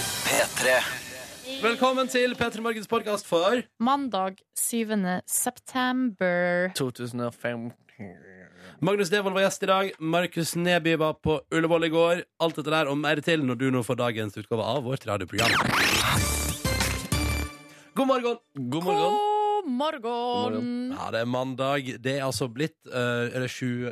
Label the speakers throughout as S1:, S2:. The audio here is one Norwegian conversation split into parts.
S1: P3.
S2: Velkommen til P3 Morgens podkast for
S3: Mandag 7. september.
S2: 2015. Magnus Devold var gjest i dag. Markus Neby var på Ullevål i går. Alt dette der og mer til når du nå får dagens utgave av vårt radioprogram. God morgen!
S4: God morgen.
S3: God morgen!
S2: Ja, det er mandag. Det er altså blitt eh, Er det sju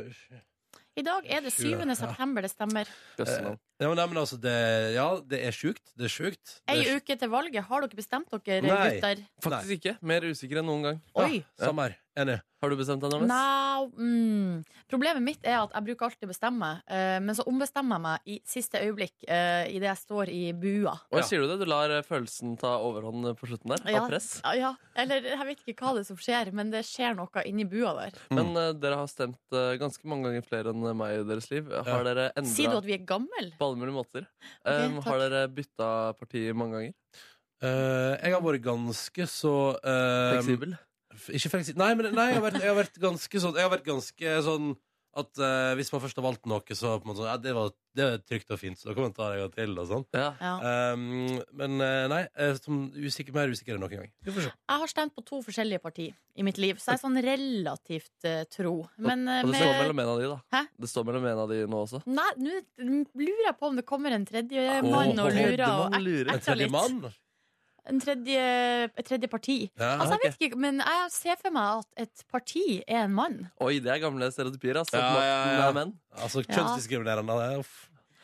S3: I dag er det 7.
S2: Ja.
S3: september, det stemmer.
S4: Bestemann.
S2: ja, men, nei, men altså, det, ja, det er sjukt. Det er sjukt.
S3: Ei
S2: Det er sjukt.
S3: uke til valget. Har dere bestemt dere,
S2: Nei.
S3: gutter?
S4: Faktisk ikke. Mer usikker enn noen gang.
S3: Oi!
S2: Ja, samme her. Enig.
S4: Har du bestemt deg, Nordnes?
S3: Nei, mm. Problemet mitt er at jeg bruker alltid å bestemme, eh, men så ombestemmer jeg meg i siste øyeblikk uh, idet jeg står i bua.
S4: Og
S2: Ja.
S4: sier du det? Du lar eh, følelsen ta overhånd eh, på slutten der?
S3: Ja.
S4: Av press?
S3: Ja, Ja, eller jeg vet ikke hva det er som skjer, men det skjer noe inni bua der.
S2: Mm.
S4: Men eh, dere har stemt eh, ganske mange ganger flere enn eh, meg i deres liv. Har
S2: Ja.
S4: dere
S3: Si du
S4: endra
S3: at vi er gammel?
S4: på alle mulige måter? Um,
S3: takk.
S4: har dere bytta parti mange ganger?
S2: Eh, jeg har vært ganske så eh,
S4: Fleksibel?
S2: f- Ikke fleksibel. Nei, men nei, jeg, har vært, jeg har vært ganske sånn Jeg har vært ganske sånn at eh, hvis man først har valgt noe, så på en måte sånn, ja, det var det er trygt og fint, så da kan man ta det en gang til. Og sånn.
S4: Ja.
S3: Ja.
S2: Ehm, men eh, nei, eh, som usikker, mer usikker enn noen gang. Vi får se.
S3: Jeg har stemt på to forskjellige parti i mitt liv, så jeg er sånn relativt eh, tro. Men eh,
S4: Og det står
S3: med
S4: mellom en av de, da.
S3: Hæ?
S4: Det står mellom en av de nå også.
S3: Nei, nå lurer jeg på om det kommer en tredje mann og lurer og ek-
S4: lurer.
S2: En tredje
S3: litt.
S2: mann?
S3: en tredje, et tredje parti.
S2: Ja.
S3: Altså, jeg vet ikke, men jeg ser for meg at et parti er en mann.
S4: Oi, det er gamle stereotypier. Altså.
S2: Ja,
S4: at
S2: ja,
S4: makten
S2: ja.
S4: er menn.
S2: Altså
S3: Ja.
S2: kjønnsdiskriminerende. det er- uff.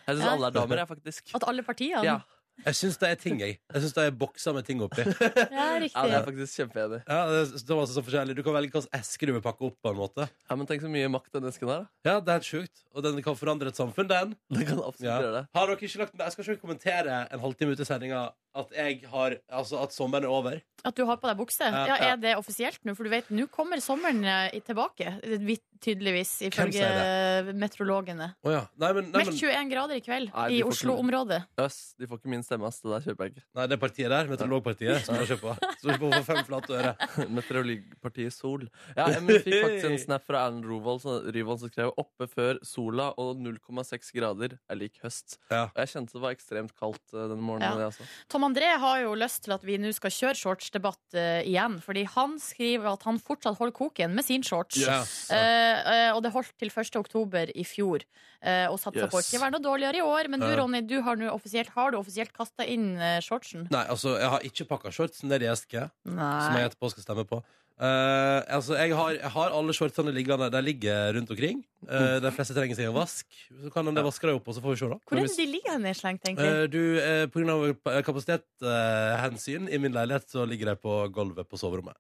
S4: Jeg syns
S3: Ja.
S4: alle er damer, jeg, faktisk.
S3: At alle partiene
S4: Ja.
S2: Jeg syns det er ting, jeg. Jeg syns det er bokser med ting oppi.
S3: Ja,
S4: ja, det er jeg
S3: riktig.
S4: faktisk kjempeenig. i.
S2: Ja, det er så- det var altså så forskjellig. Du kan velge hvilken eske du vil pakke opp. på en måte
S4: Ja, men tenk så mye makt den esken har. da.
S2: Ja, Det er helt sjukt. Og den kan forandre et samfunn, den.
S4: Den kan absolutt
S2: Ja.
S4: gjøre det.
S2: Har dere ikke lagt med? Jeg skal ikke kommentere en halvtime ut i sendinga at jeg har Altså at sommeren er over.
S3: At du har på deg bukse.
S2: Ja,
S3: Ja,
S2: ja.
S3: er det offisielt nå? For du vet, nå kommer sommeren eh, tilbake. Vi- Tydeligvis,
S2: Hvem
S3: ifølge meteorologene.
S2: Å ja. Nei, men, nei,
S3: Meldt
S2: men
S3: 21 grader i kveld
S4: Nei,
S3: i
S4: vi får ikke-
S3: Oslo-området.
S4: Øss, de får ikke min stemme, ass. Det der kjøper jeg ikke.
S2: nei, det partiet der, Meteorologpartiet, som jeg kjøper. Så du får fem flate øre.
S4: Meteorologpartiet Sol. Ja, men jeg fikk faktisk en snap fra Erlend Rovold som, Ryvold som skrev oppe før sola og 0,6 grader er lik høst.
S2: Ja.
S4: Og jeg kjente det var ekstremt kaldt eh, den
S3: Ja.
S4: morgenen. jeg også.
S3: Tom André har jo lyst til at vi nå skal kjøre shortsdebatt eh, igjen, fordi han skriver at han fortsatt holder koken med sin shorts.
S2: Yes.
S3: Eh, eh, og det holdt til 1. oktober i fjor. eh, og satsa på
S4: Yes.
S3: ikke å være noe dårligere i år. Men du,
S2: Ja.
S3: Ronny, du har, nå offisielt, har du offisielt kasta inn eh, shortsen?
S2: Nei, altså, jeg har ikke pakka shortsen ned i eske. som jeg
S3: Nei.
S2: etterpå skal stemme på. Eh, altså, jeg har, jeg har alle shortsene liggende. De ligger rundt omkring. Eh, de fleste trenger seg en vask. Så kan en vaske dem opp, og så får vi se, da.
S3: Hvor er det de ligger hen nedslengt, egentlig?
S2: Eh, du, eh, på grunn av kapasitethensyn i min leilighet, så ligger de på gulvet på soverommet.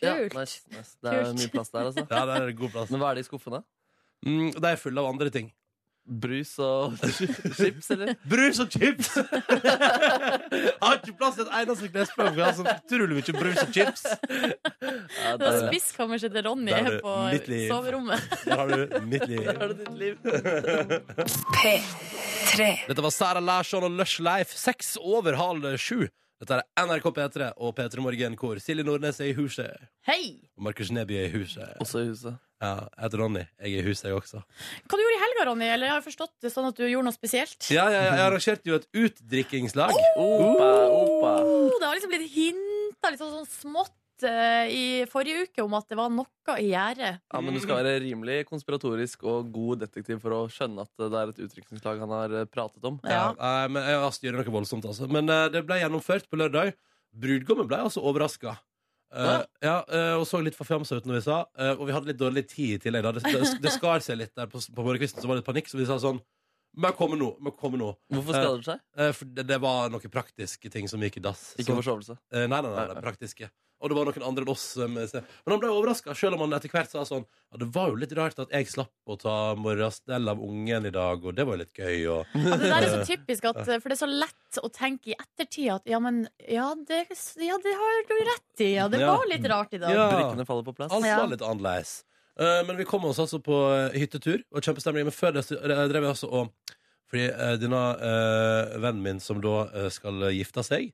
S3: Kult.
S4: Ja, nice, nice. Det er
S3: Kult.
S4: mye plass der, altså.
S2: Ja, der er det god plass.
S4: Men hva er det i skuffene?
S2: Mm, de er fulle av andre ting.
S4: Brus og chips, eller?
S2: Brus og chips! jeg har ikke plass til et eneste klesplagg. for Jeg har så utrolig mye brus og chips.
S4: Ja,
S3: Det
S4: det
S3: er
S4: er det.
S3: Spiskammerset til Ronny
S2: Eh, Der
S3: er
S2: er det
S3: på
S2: mitt liv.
S3: soverommet.
S2: Der har du mitt liv.
S4: Der er det ditt liv.
S2: Dette var Sara Larsson og Lush Life, seks over halv sju. Dette er NRK P3 og P3 Morgen, hvor Silje Nordnes er i huset.
S3: Hei!
S2: Og Markus Neby er i huset.
S4: Også i huset.
S2: Ja, jeg heter Ronny. Jeg er i huset, jeg også.
S3: Hva du gjorde i helga, Ronny? Eller jeg har forstått det sånn at du gjorde noe spesielt?
S2: Ja, ja, ja, jeg arrangerte jo et utdrikkingslag.
S4: Opa, opa.
S3: Oh, det har liksom blitt hinta litt sånn, sånn smått eh, i forrige uke om at det var noe i gjære.
S4: Ja, men Du skal være rimelig konspiratorisk og god detektiv for å skjønne at det er et utrykningslag han har eh, pratet om.
S2: Ja, eh, men jeg har styrt noe voldsomt, altså. Men eh, det ble gjennomført på lørdag. Brudgommen ble altså overraska.
S4: Hva?
S2: ja, eh, og så litt forfjamsa ut når vi sa. eh, og vi hadde litt dårlig tid i tillegg. Da. Det, det, det skar seg litt der på, på morgenkvisten, så var det litt panikk. Så vi sa sånn Men kom nå. Men kom nå.
S4: Hvorfor skader det seg?
S2: Eh, For det, det var noen praktiske ting som gikk i dass.
S4: Ikke
S2: Så-
S4: forsovelse.
S2: eh, nei, nei, nei, nei, praktiske. Og det var noen andre enn oss. Som, eh, se- men han ble overraska, selv om han etter hvert sa sånn Ja, det var jo litt rart at jeg slapp å ta morgenstell av ungen i dag, og det var jo litt gøy, og
S3: Ja, det der er så typisk, at, eh, for det er så lett å tenke i ettertid at ja, men ja, det, ja, det har du rett i. Ja, det
S2: Ja.
S3: var litt rart i dag.
S2: Ja.
S4: Brikkene faller på plass.
S2: Alt
S3: Ja.
S2: var litt annerledes. Eh, men vi kom oss altså på eh, hyttetur, og kjempestemning. Men før det så eh, drev vi altså og Fordi eh, denne eh, vennen min som da eh, skal gifte seg,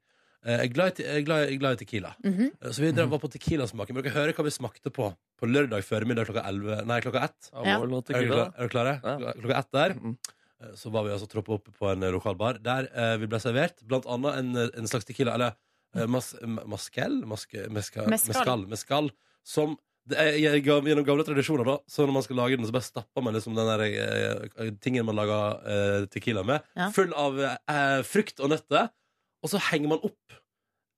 S2: eh, er glad i, te- er glad, er glad i Tequila.
S3: Mhm.
S2: Eh, Så vi drev var på Tequila-smaken. Men Dere hører hva vi smakte på på lørdag formiddag klokka 11, nei, klokka 1.
S4: Ja, mål og
S2: Er dere
S4: tequila,
S2: klar- er dere klare?
S4: Ja.
S2: Klokka ett der.
S4: Mm.
S2: eh, så var vi altså troppa opp på en eh, lokal bar der eh, vi ble servert blant annet en, eh, en slags tequila, eller eh, mas, maskel? Maske, meska,
S3: Mezcal.
S2: mescal. Mescal. Som det er, jeg, Gjennom gamle tradisjoner, da, så når man skal lage den, så bare stapper man liksom den der, eh, tingen man lager eh, tequila med,
S3: Ja.
S2: full av eh, frukt og nøtter, og så henger man opp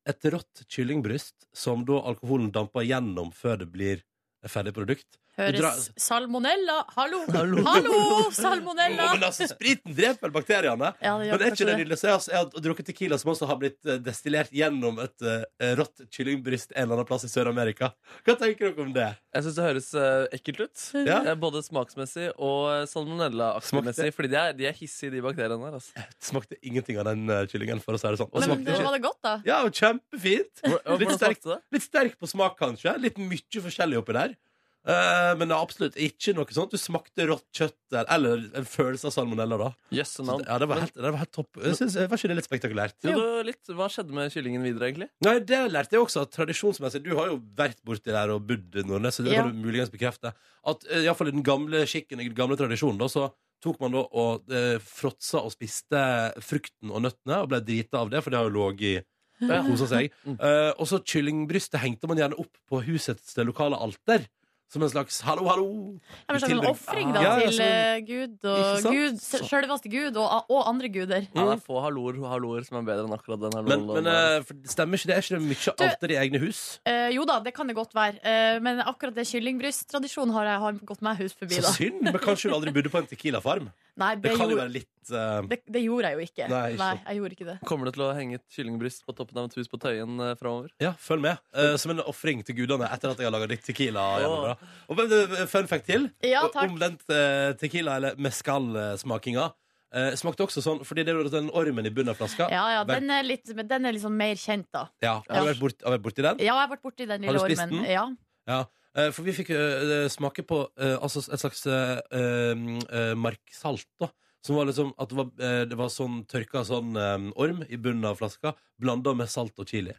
S2: et rått kyllingbryst som da alkoholen damper gjennom før det blir et ferdig produkt. Du drar-
S3: Høres salmonella Hallo!
S2: Hallo.
S3: Hallo,
S2: Å,
S3: salmonella!
S2: men altså, spriten dreper vel bakteriene?
S3: Ja, det gjør
S2: Men det er ikke
S3: kanskje
S2: det
S3: det.
S2: nydelig? Så jeg, har- jeg har drukket tequila som også har blitt eh, destillert gjennom et eh, rått kyllingbryst en eller annen plass i Sør-Amerika. Hva tenker dere om det?
S4: Jeg syns det høres eh, ekkelt ut.
S2: Ja.
S4: Eh, Både smaksmessig og salmonella-aktig
S2: Smakte-
S4: messig. Fordi de er, de er hissige, de bakteriene der. Altså.
S2: Smakte ingenting av den eh, kyllingen, for å si det sånn.
S4: Men
S2: Det smakte
S4: det
S2: ikke.
S3: var det godt, da?
S2: Ja, og kjempefint.
S4: Hvor-
S2: Litt
S4: Hvordan
S2: sterkt.
S4: smakte det?
S2: Litt sterk på smak, kanskje. Litt mye forskjellig oppi der. Eh, men det er absolutt ikke noe sånt. Du smakte rått kjøtt der. Eller en følelse av salmonella, da.
S4: Jøsse
S2: Så,
S4: navn.
S2: det- ja, det var helt, det var helt topp. Jeg synes, var ikke det litt spektakulært?
S4: Jo, det var litt, hva skjedde med kyllingen videre, egentlig?
S2: Nei, det lærte jeg også at tradisjonsmessig Du har jo vært borti der og bodd i Nordnes, så det
S3: Ja.
S2: kan du muligens bekrefte. At eh, i hvert fall i den gamle skikken, i den gamle tradisjonen, da, så tok man da og eh, fråtsa og spiste frukten og nøttene og ble drita av det, for det har jo ligget i
S4: Ja.
S2: Kosa seg.
S4: Mm.
S2: Eh, og så kyllingbrystet hengte man gjerne opp på husets lokale alter. Som en slags 'hallo, hallo'.
S3: Ja, men sånn en
S2: Tilbring-
S3: ofring da,
S2: Ja, ja,
S3: til
S2: sånn-
S3: eh, Gud
S2: Ikke
S3: og
S2: sant?
S3: Gud,
S2: Så-
S3: sjølveste Gud og, og andre guder.
S4: Ja, det er få halloer, halloer som er bedre enn akkurat den
S2: Mm. Men,
S4: halloen.
S2: men eh, for- stemmer ikke det? Er ikke det mye
S3: Du-
S2: alter i egne hus?
S3: Eh, jo da, det kan det godt være, eh, men akkurat det kyllingbrysttradisjonen har jeg har gått meg hus forbi.
S2: Så
S3: da
S2: synd, men kanskje du aldri bodde på en Tequila-farm?
S3: Nei,
S2: Det
S3: det,
S2: kan jo
S3: gjorde,
S2: være litt eh,
S3: det, det gjorde jeg jo ikke.
S2: Nei, ikke sant.
S3: jeg gjorde ikke det.
S4: Kommer det til å henge et kyllingbryst på toppen av et hus på Tøyen eh, framover?
S2: Ja, følg med. Eh, som en ofring til gudene etter at jeg har laga litt tequila. gjennom det. Og eh, fun fact til
S3: Ja,
S2: og-
S3: takk.
S2: om den eh, tequila- eller mescal-smakinga. Eh, smakte også sånn, fordi det er jo den ormen i bunnen av flaska.
S3: Ja, ja, den er litt men den er liksom mer kjent, da.
S2: Ja, Har du vært bort- har du vært borti den?
S3: Ja, jeg ble borti den
S2: Har
S3: lille
S2: du spist
S3: ormen.
S2: den?
S3: Ja.
S2: Eh, for vi fikk eh, smake på eh, altså et slags eh, eh, marksalt, da. Som var liksom at det var, eh, det var sånn tørka sånn eh, orm i bunnen av flaska, blanda med salt og chili.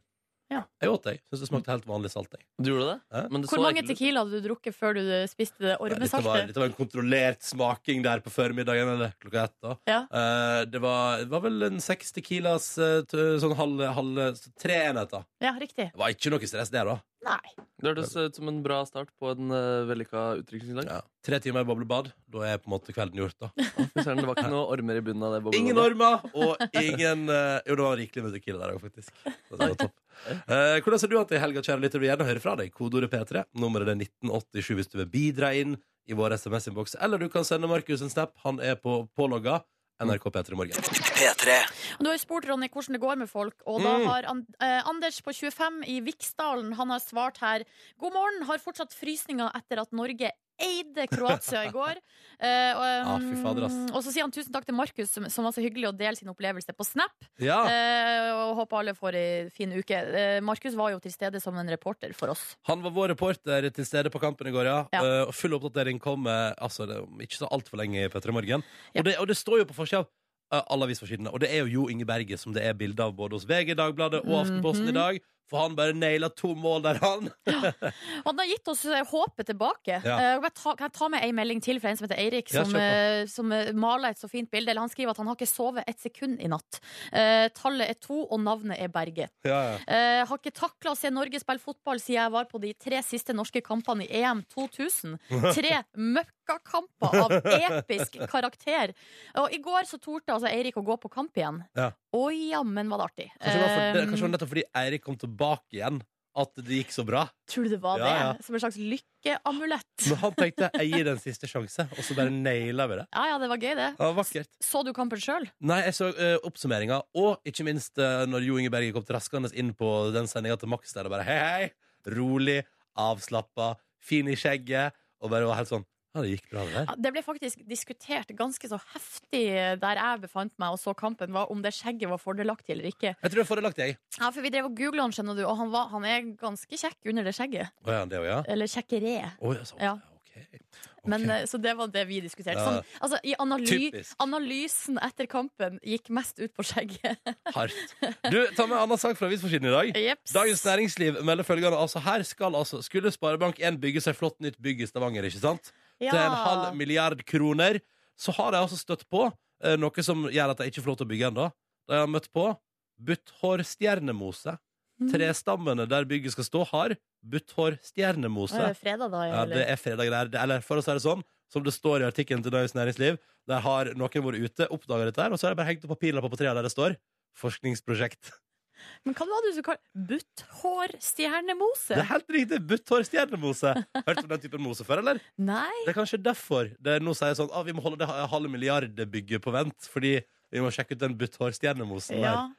S3: Ja.
S2: Jeg åt det. Syns det smakte helt vanlig salt. Jeg.
S4: Du gjorde det?
S2: Hæ?
S4: Men det
S3: Hvor
S4: så
S3: mange
S4: ekkelt ut.
S3: tequila hadde du drukket før du spiste det
S2: Nei, Dette var,
S3: ormesaltet?
S2: dette var en kontrollert smaking der på formiddagen, eller klokka ett. da
S3: Ja.
S2: Eh, det, var, det var vel en seks tequilas, eh, t- sånn halv, halv så Tre enheter.
S3: ja, riktig.
S2: Det var ikke noe stress, det, da.
S3: Nei.
S4: Det hørtes ut som en bra start på en uh, vellykka utdrikningsdag.
S2: Ja. Tre timer i boblebad. Da er på en måte kvelden gjort, da.
S4: Fy søren, Det var ikke noe ormer i bunnen av det. boblebadet.
S2: Ingen ormer og ingen eh, Jo, det var rikelig med tequila der òg, faktisk. Så Det var topp. Eh, hvordan ser du at det i helga, kjære lytter? Vi vil gjerne høre fra deg. Kodeordet P3. Nummeret er 1987 hvis du vil bidra inn i vår SMS-innboks. Eller du kan sende Markus en snap. Han er på pålogga. NRK P3 Morgen.
S3: Og Du har jo spurt Ronny hvordan det går med folk, og da
S2: Mm.
S3: har An eh, Anders på 25 i Viksdalen Han har svart her God morgen, har fortsatt frysninga etter at Norge eide Kroatia i går. Eh, og,
S2: Ah, fy fader, ass.
S3: mm, og så sier han tusen takk til Markus, som, som var så hyggelig å dele sin opplevelse på Snap.
S2: Ja.
S3: Eh, og håper alle får ei en fin uke. Eh, Markus var jo til stede som en reporter for oss.
S2: Han var vår reporter til stede på kampen i går, ja.
S3: Ja.
S2: Eh, og full oppdatering kom eh, altså, det, er om ikke så altfor lenge i P3 Morgen.
S3: Ja.
S2: Og, det, og det står jo på forsida av eh, alle avisforsidene. Og det er jo Jo Inge Berge som det er bilde av både hos VG, Dagbladet og Aftenposten
S3: Mhm.
S2: i dag. For han bare naila to mål der, han.
S3: Og Han har gitt oss eh, håpet tilbake.
S2: Ja.
S3: Eh, bare ta, kan jeg ta med ei melding til fra en som heter Eirik,
S2: Ja,
S3: som,
S2: kjør på.
S3: eh, som eh, maler et så fint bilde? Eller han skriver at han har ikke sovet et sekund i natt. Eh, tallet er to, og navnet er Berge.
S2: Ja, ja.
S3: Eh, har ikke takla å se Norge spille fotball siden jeg var på de tre siste norske kampene i EM 2000. Tre møkkakamper av episk karakter. Og i går så torde altså Eirik å gå på kamp igjen.
S2: Ja.
S3: Å jammen var det artig.
S2: Kanskje det var for, det, kanskje det
S3: Eh,
S2: var nettopp fordi Eirik kom tilbake igjen at det gikk så bra.
S3: Tror du det var
S2: Ja,
S3: det?
S2: ja.
S3: Som en slags lykkeamulett.
S2: Men han tenkte jeg gir det en siste sjanse, og så bare naila vi det.
S3: Ja, ja, det var gøy, det.
S2: Ja, vakkert.
S3: Så du kampen sjøl?
S2: Nei, jeg så uh, oppsummeringa, og ikke minst eh, når Jo Inge Berge kom traskende inn på den sendinga til Max, der det bare hei, hei, rolig, avslappa, fin i skjegget, og bare var helt sånn Ja, det gikk bra, det der.
S3: Ja, Det ble faktisk diskutert ganske så heftig der jeg befant meg og så kampen, var om det skjegget var fordelaktig eller ikke.
S2: Jeg tror det er fordelaktig, jeg.
S3: Ja, for vi drev og googla han, skjønner du, og han, var, han er ganske kjekk under det skjegget.
S2: Å ja, det òg, ja?
S3: Eller kjekkere.
S2: Å, ja, så,
S3: Ja.
S2: ok. Ok.
S3: Men, eh, Så det var det vi diskuterte.
S2: Ja.
S3: Sånn, altså, i analy
S2: Typisk.
S3: analysen etter kampen gikk mest ut på skjegget.
S2: Hardt. Du, ta med en annen sak fra avisforsiden i dag.
S3: Jeps.
S2: Dagens Næringsliv melder følgende. Altså, her skal altså Skulle Sparebank1 bygge seg flott nytt bygg i Stavanger, ikke sant?
S3: ja.
S2: til en halv milliard kroner, så har de altså støtt på eh, noe som gjør at de ikke får lov til å bygge ennå. De har møtt på butthårstjernemose. Trestammene der bygget skal stå, har
S3: Nå er
S2: butthårstjernemose.
S3: det fredag, da.
S2: Ja, det
S3: Eller?
S2: er fredag der. Det- Eller for å si det sånn, som det står i artikkelen til Dagens Næringsliv, der har noen vært ute, oppdaga dette, her, og så har de bare hengt opp papirlapper på trærne der det står 'Forskningsprosjekt'.
S3: Men hva var det du kalte Butthårstjernemose?
S2: Det er helt riktig! Butthårstjernemose. Hørt om den typen mose før, eller?
S3: Nei.
S2: Det er kanskje derfor det nå sier sånn ah, vi må holde det ha- halve milliardbygget på vent, fordi vi må sjekke ut den butthårstjernemosen der.
S3: Ja.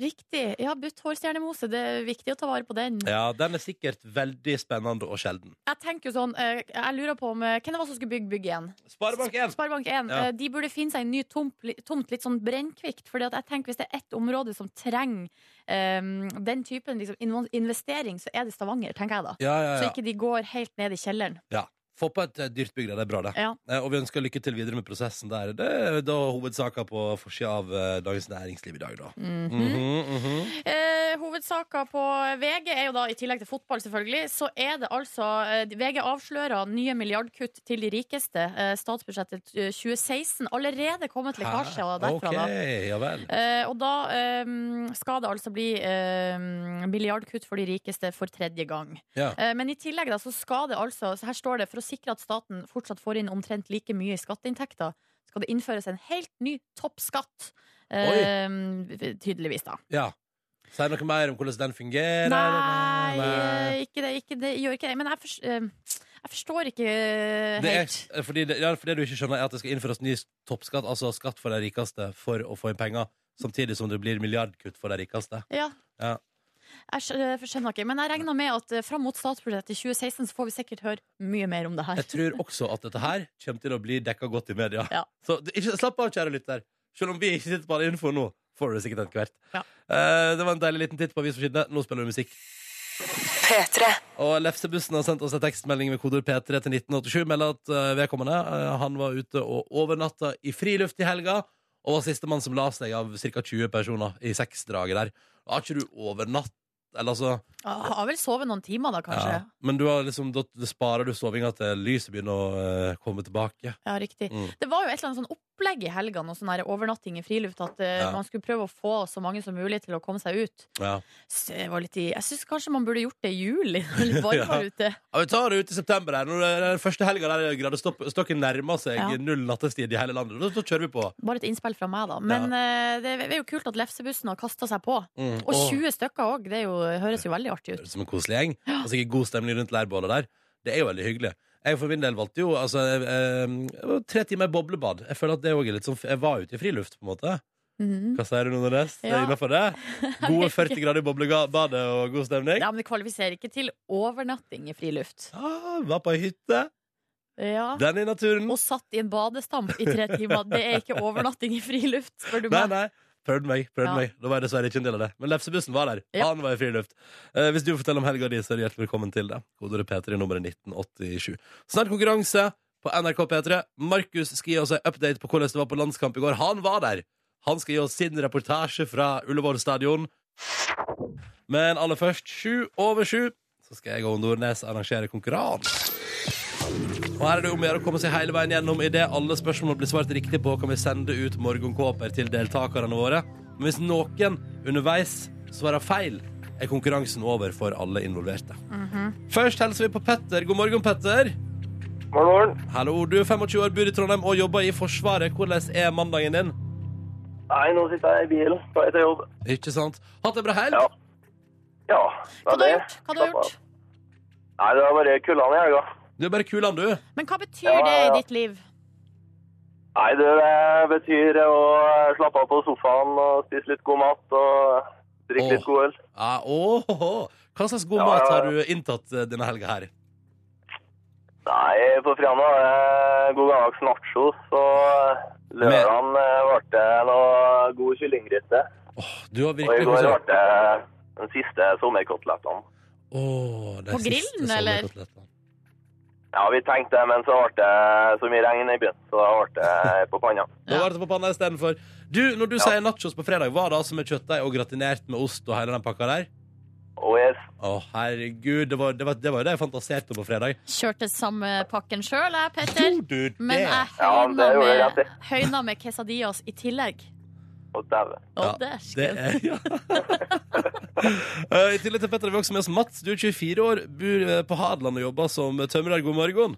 S3: Riktig. Ja, butthårstjernemose. Det er viktig å ta vare på den.
S2: Ja, den er sikkert veldig spennende og sjelden.
S3: Jeg tenker jo sånn, eh, jeg lurer på om eh, Hvem det var som skulle bygge bygg igjen?
S2: Sparebank 1!
S3: Sparebank 1.
S2: Ja.
S3: eh, De burde finne seg en ny tomt, tomt litt sånn brennkvikt. Fordi at jeg tenker Hvis det er ett område som trenger eh, den typen liksom, inv- investering, så er det Stavanger, tenker jeg da.
S2: Ja, ja,
S3: Så
S2: ja.
S3: ikke de går helt ned i kjelleren.
S2: ja. Få på et eh, dyrt bygg, der, det er bra, det.
S3: Ja.
S2: Eh, Og vi ønsker lykke til videre med prosessen der. Det er da hovedsaker på forsida av eh, Dagens Næringsliv i dag, da.
S3: Mhm.
S2: Mhm, mhm.
S3: Eh, hovedsaker på VG er jo da, i tillegg til fotball selvfølgelig, så er det altså eh, VG avslører nye milliardkutt til de rikeste. Eh, statsbudsjettet eh, 2016. Allerede kommet lekkasje derfra,
S2: Ah, Ok,
S3: da.
S2: ja vel.
S3: Eh, og da eh, skal det altså bli eh, milliardkutt for de rikeste for tredje gang.
S2: Ja.
S3: Eh, men i tillegg da, så skal det altså, så her står det, for å sikre at staten fortsatt får inn omtrent like mye i skatteinntekter, skal det innføres en helt ny toppskatt. Eh, tydeligvis, da.
S2: ja. Sier noe mer om hvordan den fungerer?
S3: Nei,
S2: Nei.
S3: eh, ikke det, ikke det, gjør ikke det. Men jeg, forst- eh, jeg forstår ikke eh,
S2: Det er,
S3: helt.
S2: fordi det, ja, for det du ikke skjønner, er at det skal innføres ny toppskatt, altså skatt for de rikeste, for å få inn penger, samtidig som det blir milliardkutt for de rikeste.
S3: Ja.
S2: Ja.
S3: Jeg skj- eh, skjønner ikke, men jeg regner med at eh, fram mot statsbudsjettet i 2016 så får vi sikkert høre mye mer om det her.
S2: Jeg tror også at dette her kommer til å bli dekka godt i media.
S3: Ja.
S2: Så du- ikke, slapp av, kjære lytter. Selv om vi ikke sitter på all info nå, får du det sikkert etter hvert.
S3: Ja.
S2: Eh, det var en deilig liten titt på avisforsidene. Nå spiller vi musikk. Og Lefsebussen har sendt oss en tekstmelding med kodeord P3 til 1987. Melder at eh, vedkommende eh, han var ute og overnatta i friluft i helga. Og var sistemann som la seg av ca. 20 personer i seksdraget der. Har ikke du overnatt Eller altså
S3: Jeg har vel sovet noen timer da, kanskje.
S2: ja.
S3: Ja,
S2: Men du har liksom, da sparer du sovinga til lyset begynner å eh, komme tilbake.
S3: riktig.
S2: Mm.
S3: Det var jo et eller annet sånn opplegg i helga, noe sånn her overnatting i friluft, at eh,
S2: Ja.
S3: man skulle prøve å få så mange som mulig til å komme seg ut.
S2: Ja.
S3: Så jeg var litt i, jeg syns kanskje man burde gjort det i juli, når det er litt varmere ute.
S2: Ja, vi tar det ut i september her. Når det er den første helga der gradestokken nærmer seg
S3: Ja.
S2: null nattestid i hele landet. Da, da kjører vi på.
S3: Bare et innspill fra meg, da. Men eh, det er jo kult at Lefsebussen har kasta seg på.
S2: Mm,
S3: Og 20 stykker òg. Det er jo, høres jo veldig artig ut.
S2: Som en koselig gjeng. Og sikkert god stemning rundt leirbålet der. Det er jo veldig hyggelig. Jeg for min del valgte jo altså, eh, eh, tre timer i boblebad. Jeg føler at det også er litt sånn Jeg var ute i friluft, på en måte.
S3: Mhm.
S2: Hva sier du nå, Nordnes? Det
S3: Ja.
S2: er Innenfor det? Gode 40 grader i boblebadet og god stemning?
S3: Ja, men det kvalifiserer ikke til overnatting i friluft.
S2: Ah, var på ei hytte.
S3: Ja.
S2: Den i naturen.
S3: Og satt i en badestamp i tre timer. Det er ikke overnatting i friluft, spør du
S2: Nei,
S3: meg.
S2: nei. Prøvde meg. prøvde
S3: Ja.
S2: meg Da var jeg dessverre ikke en del av det. Men lefsebussen var der.
S3: Ja.
S2: Han var i friluft. Eh, hvis du forteller om helga di, så er du hjertelig velkommen til det. Kodeordet P3, nummeret 1987. Snart konkurranse på NRK P3. Markus skal gi oss en update på hvordan det var på landskamp i går. Han var der! Han skal gi oss sin reportasje fra Ullevål stadion. Men aller først, sju over sju, så skal jeg og Nordnes arrangere konkurranse. Og her er det om å gjøre å komme seg hele veien gjennom. Idet alle spørsmål blir svart riktig på, kan vi sende ut morgenkåper til deltakerne våre. Men hvis noen underveis svarer feil, er konkurransen over for alle involverte.
S3: Mhm.
S2: Først hilser vi på Petter. God morgen, Petter.
S1: Morgen, morgen.
S2: Hallo, du er 25 år, bor i Trondheim og jobber i Forsvaret. Hvordan er mandagen din?
S1: Nei, nå sitter jeg i bilen på vei til jobb.
S2: Ikke sant? Hatt det bra helg?
S1: Ja. Ja, det
S3: Hva
S1: er
S3: du har
S1: det.
S3: gjort? Hva du har
S1: Slapp
S3: gjort?
S1: av. Nei, det var bare kullene i helga.
S2: Du er bare kulan, du.
S3: Men hva betyr
S1: Ja,
S3: det
S1: ja,
S3: i
S1: ja.
S3: ditt liv?
S1: Nei, det det betyr å slappe av på sofaen og spise litt god mat og drikke
S2: Åh.
S1: litt god øl.
S2: Ja, åhåhå. Hva slags god
S1: Ja,
S2: mat
S1: ja, ja.
S2: har du inntatt eh, denne helga her?
S1: Nei, på fredag var det god gammeldags nacho, så lørdagen eh, ble det noe god kyllinggryte.
S2: Åh, du har
S1: Og i
S2: virkelig
S1: går
S2: koset
S1: ble det den siste sommerkotelettene.
S2: Åh, det
S3: På
S2: siste
S3: grillen,
S2: som er
S3: eller?
S2: kotelettene.
S1: Ja, vi tenkte det, men så ble det så mye regn i byen, så da ble det på panna.
S2: Da
S3: Ja.
S2: var det på panna istedenfor. Du, når du
S1: Ja.
S2: sier nachos på fredag, var det altså med kjøttdeig og gratinert med ost og hele den pakka der?
S1: Oh yes.
S2: Å, herregud. Det var, det, var, det var jo det jeg fantaserte om på fredag.
S3: Kjørte samme pakken sjøl, jeg, Petter.
S2: Gjorde du det?
S3: Men jeg
S1: Ja, men det
S3: høyna
S1: gjorde jeg rett
S3: med,
S1: i.
S3: høyna med quesadillas i tillegg.
S1: Og dæven.
S3: Å,
S2: Ja, Det
S3: dæsken.
S2: er, ja. Eh, I tillegg til Petter har vi også med oss Mats. Du er 24 år, bor eh, på Hadeland og jobber som tømrer. God morgen.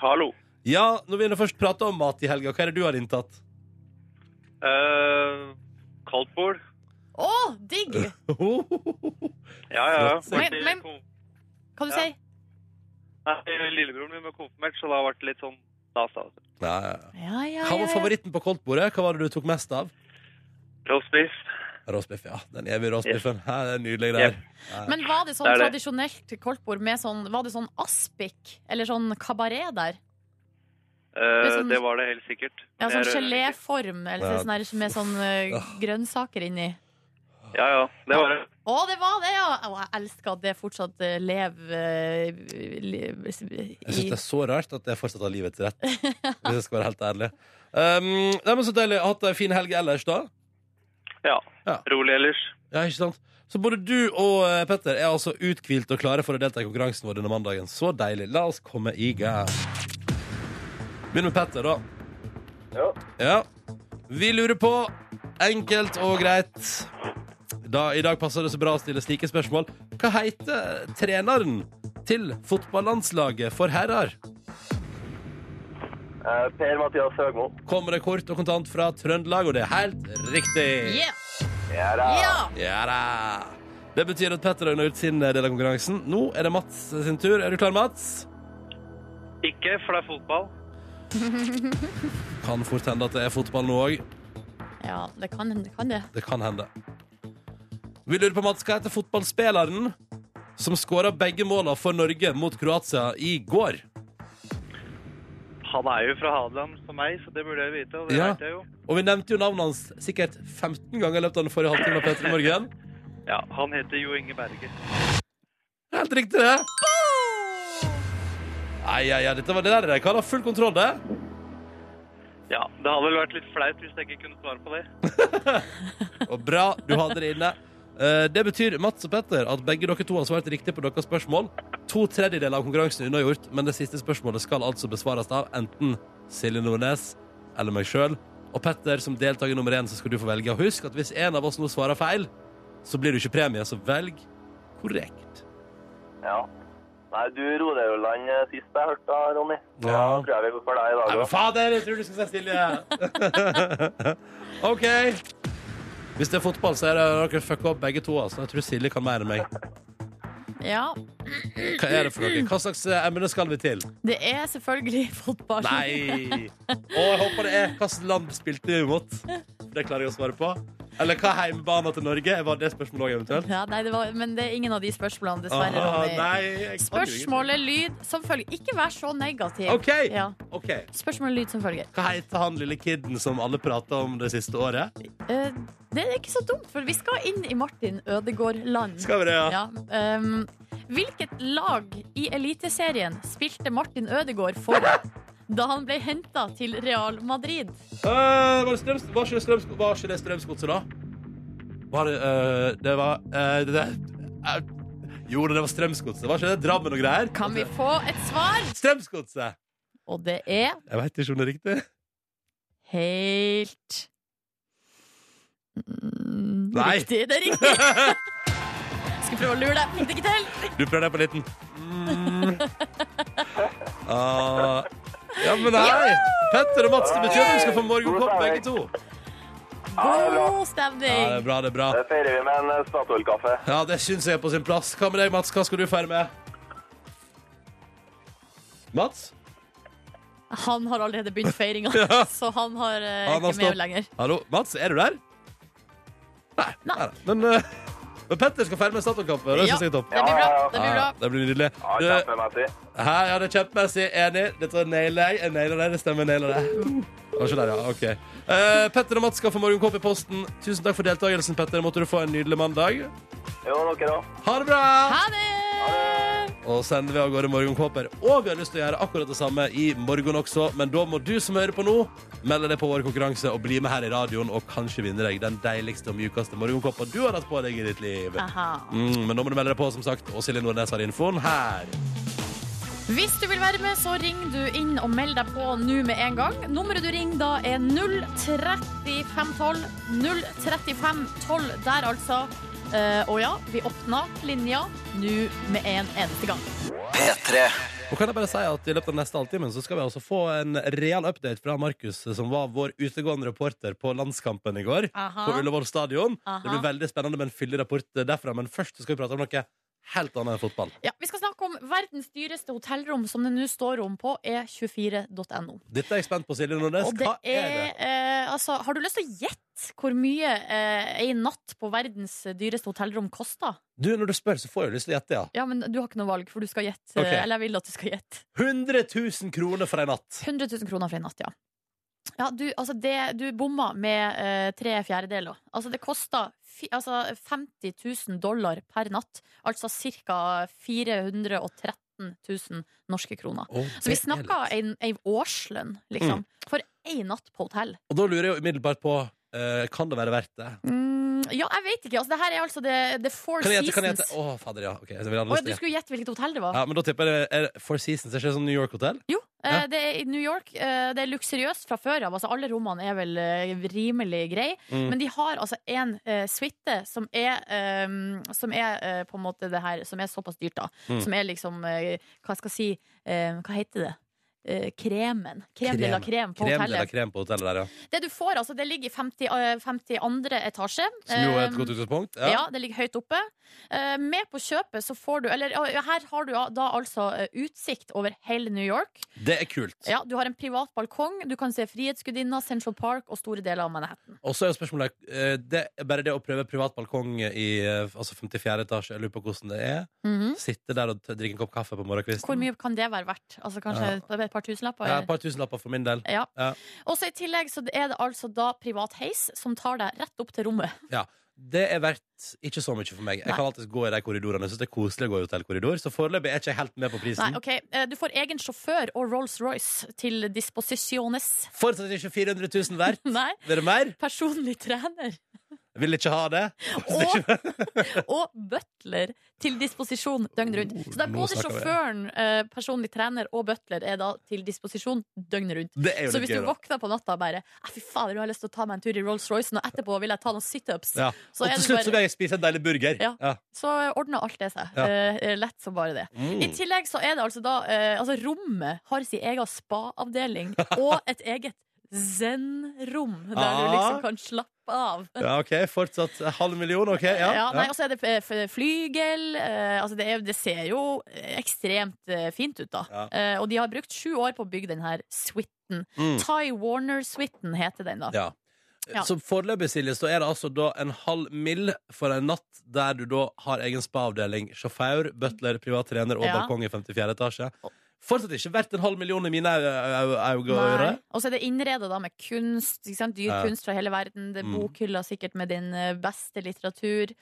S5: Hallo.
S2: Ja, når vi nå først prater om mat i helga, hva er det du har inntatt?
S5: Uh, Kaldtbord.
S3: Å, digg!
S5: Ja, ja. ja.
S2: Flott.
S5: Vært i
S3: Men- men-
S5: kon-
S3: Kan du
S5: Ja.
S3: si?
S5: Nei, lillebroren min var konfirmert, så det har vært litt sånn stas. da.
S2: Nei, ja, ja.
S3: Ja, ja,
S2: Hva
S3: ja,
S2: var
S3: ja.
S2: favoritten på koldtbordet? Hva var det du tok mest av?
S5: Roast beef.
S2: Råsbiff, ja. Den evige råsbiffen. Hæ, Det er nydelig greier.
S3: Men var det sånn
S5: Det er det.
S3: tradisjonelt koldtbord med sånn Var det sånn aspik eller sånn kabaret der?
S5: Eh,
S3: Det er sånn-
S5: det var det helt sikkert.
S3: Ja,
S5: Men
S3: sånn
S5: jeg rører ikke.
S3: geléform eller
S2: Ja.
S3: sånn der, med sånn eh,
S2: Ja.
S3: grønnsaker inni.
S5: Ja, ja. Det var det.
S3: Å, det var det, ja! Å, jeg elsker at det fortsatt eh, lever eh, le-
S2: Jeg
S3: i
S2: syns det er så rart at jeg fortsatt har livets rett, hvis jeg skal være helt ærlig. Um, nei, men Så deilig. Hatt ei en fin helg ellers, da?
S5: Rolig ellers.
S2: Ja, ikke sant? Så både du og eh, Petter er altså uthvilt og klare for å delta i konkurransen vår denne mandagen. Så deilig. La oss komme i gang. Begynn med Petter, da.
S1: Ja.
S2: Ja. Vi lurer på, enkelt og greit da, I dag passer det så bra å stille slike spørsmål. Hva heter treneren til fotballandslaget for herrer?
S1: Eh, Per Mathias Høgmo.
S2: Kommer det kort og kontant fra Trøndelag, og det er helt riktig.
S3: Yeah!
S1: Ja da.
S3: Ja!
S2: Ja da. Det betyr at Petter har unnagjort sin del av konkurransen. Nå er det Mats sin tur. Er du klar, Mats?
S5: Ikke, for det er fotball.
S2: Kan fort hende at det er fotball nå òg.
S3: Ja, det kan det. Kan det.
S2: Det kan hende. Vi lurer på, Mats, hva heter fotballspilleren som skåra begge måla for Norge mot Kroatia i går?
S5: Han er jo fra Hadeland som meg, så det burde jeg vite. Og det
S2: Ja.
S5: vet jeg jo.
S2: Og vi nevnte jo navnet hans sikkert 15 ganger i løpet av den forrige halvtimen. av Petter i Morgen.
S5: Ja, Han heter Jo Inge Berge.
S2: Helt riktig, det. Nei, ja, ja, dette var det der. Jeg kan ha full kontroll, det.
S5: Ja, Det hadde vel vært litt flaut hvis jeg ikke kunne svare på det.
S2: Og bra, du hadde det inne. Eh, Det betyr Mats og Petter at begge dere to har svart riktig på deres spørsmål. To tredjedeler av konkurransen er unnagjort, men det siste spørsmålet skal altså besvares av enten Silje Nordnes eller meg sjøl. Og Petter, som deltaker nummer én, så skal du få velge. Og husk at hvis en av oss nå svarer feil, så blir det ikke premie, så velg korrekt.
S1: Ja. Nei, du ro deg jo i land eh, sist jeg hørte, da, Ronny. Da
S2: Ja.
S1: tror jeg vi går for deg i dag
S2: Nei, men
S1: òg.
S2: fader, jeg tror du skal si Silje! OK. Hvis det er fotball, så er det dere fucka opp begge to. Altså. Jeg tror Silje kan mer enn meg.
S3: Ja.
S2: Hva er det for noe? Hva slags eh, emne skal vi til?
S3: Det er selvfølgelig fotball.
S2: Nei! Og jeg håper det er hvilket land spilte vi mot. Det klarer jeg å svare på. Eller hva er heimebana til Norge? Var det spørsmålet også eventuelt?
S3: Ja, nei det var, men det er ingen av de spørsmålene, dessverre.
S2: Ah,
S3: Ronny.
S2: nei, jeg kan jo
S3: Spørsmålet lyd som følger. Ikke vær så negativ.
S2: ingenting. OK!
S3: Ja.
S2: ok.
S3: Spørsmålet lyd som følger.
S2: Hva heter han lille kiden som alle prata om det siste året?
S3: Eh, det er ikke så dumt, for vi skal inn i Martin Ødegaard-land.
S2: Skal vi det, ja?
S3: Ja, ehm, hvilket lag i Eliteserien spilte Martin Ødegaard for da han ble henta til Real Madrid?
S2: Eh, var, det strøms, var, ikke det strøms, var ikke det Strømsgodset, da? Var det eh, Det var eh, det, eh, Jo, det var Strømsgodset. Var ikke det Drammen og greier?
S3: Kan vi få et svar?
S2: Strømsgodset!
S3: Og det er
S2: Jeg veit ikke om det er riktig.
S3: helt Mm,
S2: Nei.
S3: Riktig. Det er riktig. Skal prøve å lure deg. Fikk det ikke til.
S2: Du prøver deg på en liten Ah, Ja, men hei! Petter og Mats, det betyr at vi skal få morgenkopp, begge to.
S3: God
S2: Ja, det er
S3: stemning.
S2: bra, det er bra.
S1: Det feirer vi med en eh, Statoil-kaffe.
S2: Ja, det syns jeg er på sin plass. Hva med deg, Mats? Hva skal du feire med? Mats?
S3: Han har allerede begynt feiringa,
S2: Ja.
S3: så han har eh,
S2: Han har
S3: ikke med
S2: stopp.
S3: lenger.
S2: Hallo, Mats, er du der? Nei.
S3: Nei.
S2: nei, Men, eh, men Petter skal feire med Statoil-kamp. Det
S3: Ja.
S2: syns jeg er topp.
S3: Det blir bra. Det blir bra.
S2: Ja, det blir nydelig. Eh,
S1: Ja,
S2: Du,
S1: kjempemessig.
S2: her, ja, det er kjempemessig. Enig. Dette nailer jeg. Jeg nailer det. Det stemmer. jeg Nailer det. Det var ikke der, ja. Ok. Eh, Petter og Mats skal få morgenkopp i posten. Tusen takk for deltakelsen, Petter. Måtte du få en nydelig mandag.
S1: Jo, dere òg.
S2: Ha det bra!
S3: Ha det!
S2: Og Og sender vi av gårde morgenkåper. Og vi har lyst til å gjøre akkurat det samme i morgen også, men da må du som hører på nå, melde deg på vår konkurranse og bli med her i radioen og kanskje vinne deg den deiligste og mjukeste morgenkåpa du har hatt på deg i ditt liv.
S3: Aha.
S2: Mm, men da må du melde deg på, som sagt, og Silje Nordnes har infoen her.
S3: Hvis du vil være med, så ring du inn og meld deg på nå med en gang. Nummeret du ringer da er 03512. 03512 der, altså. Eh, og ja, vi åpna linja nå med en eneste gang.
S2: Og kan jeg bare si at I løpet av neste halvtimen så skal vi også få en real update fra Markus, som var vår utegående reporter på Landskampen i går.
S3: Aha.
S2: På Ullevål stadion.
S3: Aha.
S2: Det blir veldig spennende med en fyldig rapport derfra. Men først så skal vi prate om noe helt annet enn fotball.
S3: Ja, vi skal snakke om verdens dyreste hotellrom, som det nå står om på e e24.no.
S2: Dette er jeg spent på, Silje Nordnes.
S3: Og det
S2: Hva er det?
S3: er, eh, altså, har du lyst til å gjette hvor mye eh, ei natt på verdens dyreste hotellrom koster?
S2: Du, Når du spør, så får jeg jo lyst til å gjette, ja.
S3: Ja, men du har ikke noe valg, for du skal gjette. eh,
S2: Ok.
S3: Eller jeg vil at du skal gjette.
S2: 100 000 kroner for ei natt.
S3: 100 000 kroner for en natt, ja. Ja, du, altså det, du bomma med eh, tre fjerdedeler. Altså det kosta fi, altså 50 000 dollar per natt. Altså ca. 413 000 norske kroner. Så vi snakka en, en årslønn, liksom.
S2: Mm.
S3: For én natt på hotell.
S2: Og da lurer jeg jo umiddelbart på eh, Kan det være verdt det?
S3: Mm, ja, jeg vet ikke. Altså, det her er altså The, the Four
S2: Kan jeg gjette? Kan jeg
S3: Seasons.
S2: gjette? Å, fader, ja. Ok, jeg vil ha
S3: Å, du
S2: lyst til å gjette.
S3: skulle gjette hvilket hotell det var?
S2: Ja, men da tipper jeg det er Four Seasons. Er ikke det sånn New York-hotell?
S3: Jo,
S2: Ja.
S3: eh, det er i New York. eh, Det er luksuriøst fra før av. Altså, alle rommene er vel eh, rimelig greie.
S2: Mm.
S3: Men de har altså en eh, suite som er, eh, som er eh, på en måte det her Som er såpass dyrt, da.
S2: Mm.
S3: Som er liksom eh, Hva skal jeg si eh, Hva heter det? Eh, kremen. Krem de la krem på
S2: Krem de la
S3: hotellet.
S2: krem på hotellet der, ja.
S3: Det du får, altså, det ligger i 50, eh, 52. etasje.
S2: Som jo er
S3: Eh,
S2: et godt utgangspunkt.
S3: ja.
S2: Ja.
S3: det ligger høyt oppe. Eh, med på kjøpet så får du Eller ja, her har du da altså eh, utsikt over hele New York.
S2: Det er kult.
S3: Ja, Du har en privat balkong, du kan se Frihetsgudinna, Central Park og store deler av Manhattan.
S2: Og så er jo spørsmålet eh, det, er Bare det å prøve privat balkong i eh, altså 54 etasje, jeg lurer på hvordan det er. Sitte der og t- drikke en kopp kaffe på morgenkvisten.
S3: Mm. Hvor mye kan det være verdt? Altså Kanskje et par tusenlapper?
S2: Ja,
S3: eller?
S2: et par tusenlapper for min del.
S3: Ja.
S2: Ja.
S3: Og så I tillegg så er det altså da privat heis som tar deg rett opp til rommet.
S2: Det er verdt ikke så mye for meg. Jeg
S3: Nei.
S2: kan alltid gå i de korridorene. Jeg synes det er koselig å gå i hotellkorridor, så foreløpig er ikke jeg helt med på prisen.
S3: Nei, ok, eh, Du får egen sjåfør og Rolls-Royce til disposisjones.
S2: Fortsatt ikke 400 000 verdt.
S3: Nei,
S2: Vil det mer?
S3: personlig trener
S2: Vil ikke ha det.
S3: og, og butler til disposisjon døgnet rundt. Så det er
S2: Nå
S3: både
S2: snakker vi.
S3: sjåføren, eh, personlig trener og butler er da til disposisjon døgnet rundt.
S2: Det er jo
S3: Så
S2: litt
S3: hvis
S2: gøy,
S3: du
S2: da.
S3: våkner på natta og bare «Ah, Fy fader, nå har jeg lyst til å ta meg en tur i Rolls-Roycen, og etterpå vil jeg ta noen situps,
S2: Ja.
S3: så,
S2: og
S3: er
S2: til
S3: det
S2: slutt så
S3: bare-
S2: vil jeg spise en deilig burger.
S3: Ja.
S2: Ja.
S3: så ordner alt det seg.
S2: Ja.
S3: Eh, lett som bare det. I
S2: Mm.
S3: tillegg så er det altså da eh, Altså, rommet har sin egen spa-avdeling og et eget zen-rom, der du
S2: Ah.
S3: liksom kan slappe av.
S2: ja, OK. Fortsatt halv million, OK? Ja.
S3: Ja, nei,
S2: ja.
S3: Og så er det eh, f- flygel. eh, altså det, er, det ser jo ekstremt eh, fint ut, da.
S2: Ja.
S3: Eh, og de har brukt sju år på å bygge den her suiten.
S2: Mm.
S3: Ty Warner-suiten heter den, da.
S2: Ja.
S3: Ja.
S2: Så foreløpig, Silje, så er det altså da en halv mill. for en natt der du da har egen spa-avdeling, sjåfør, butler, privat trener og
S3: Ja.
S2: balkong i 54 etasje. Fortsatt ikke verdt en halv million i mine ø- ø- ø- øyne å gjøre.
S3: Nei. Og så er det innreda da med kunst, ikke sant? dyr
S2: Ja.
S3: kunst fra hele verden. Det er
S2: Mm.
S3: bokhylla sikkert med din eh, beste litteratur.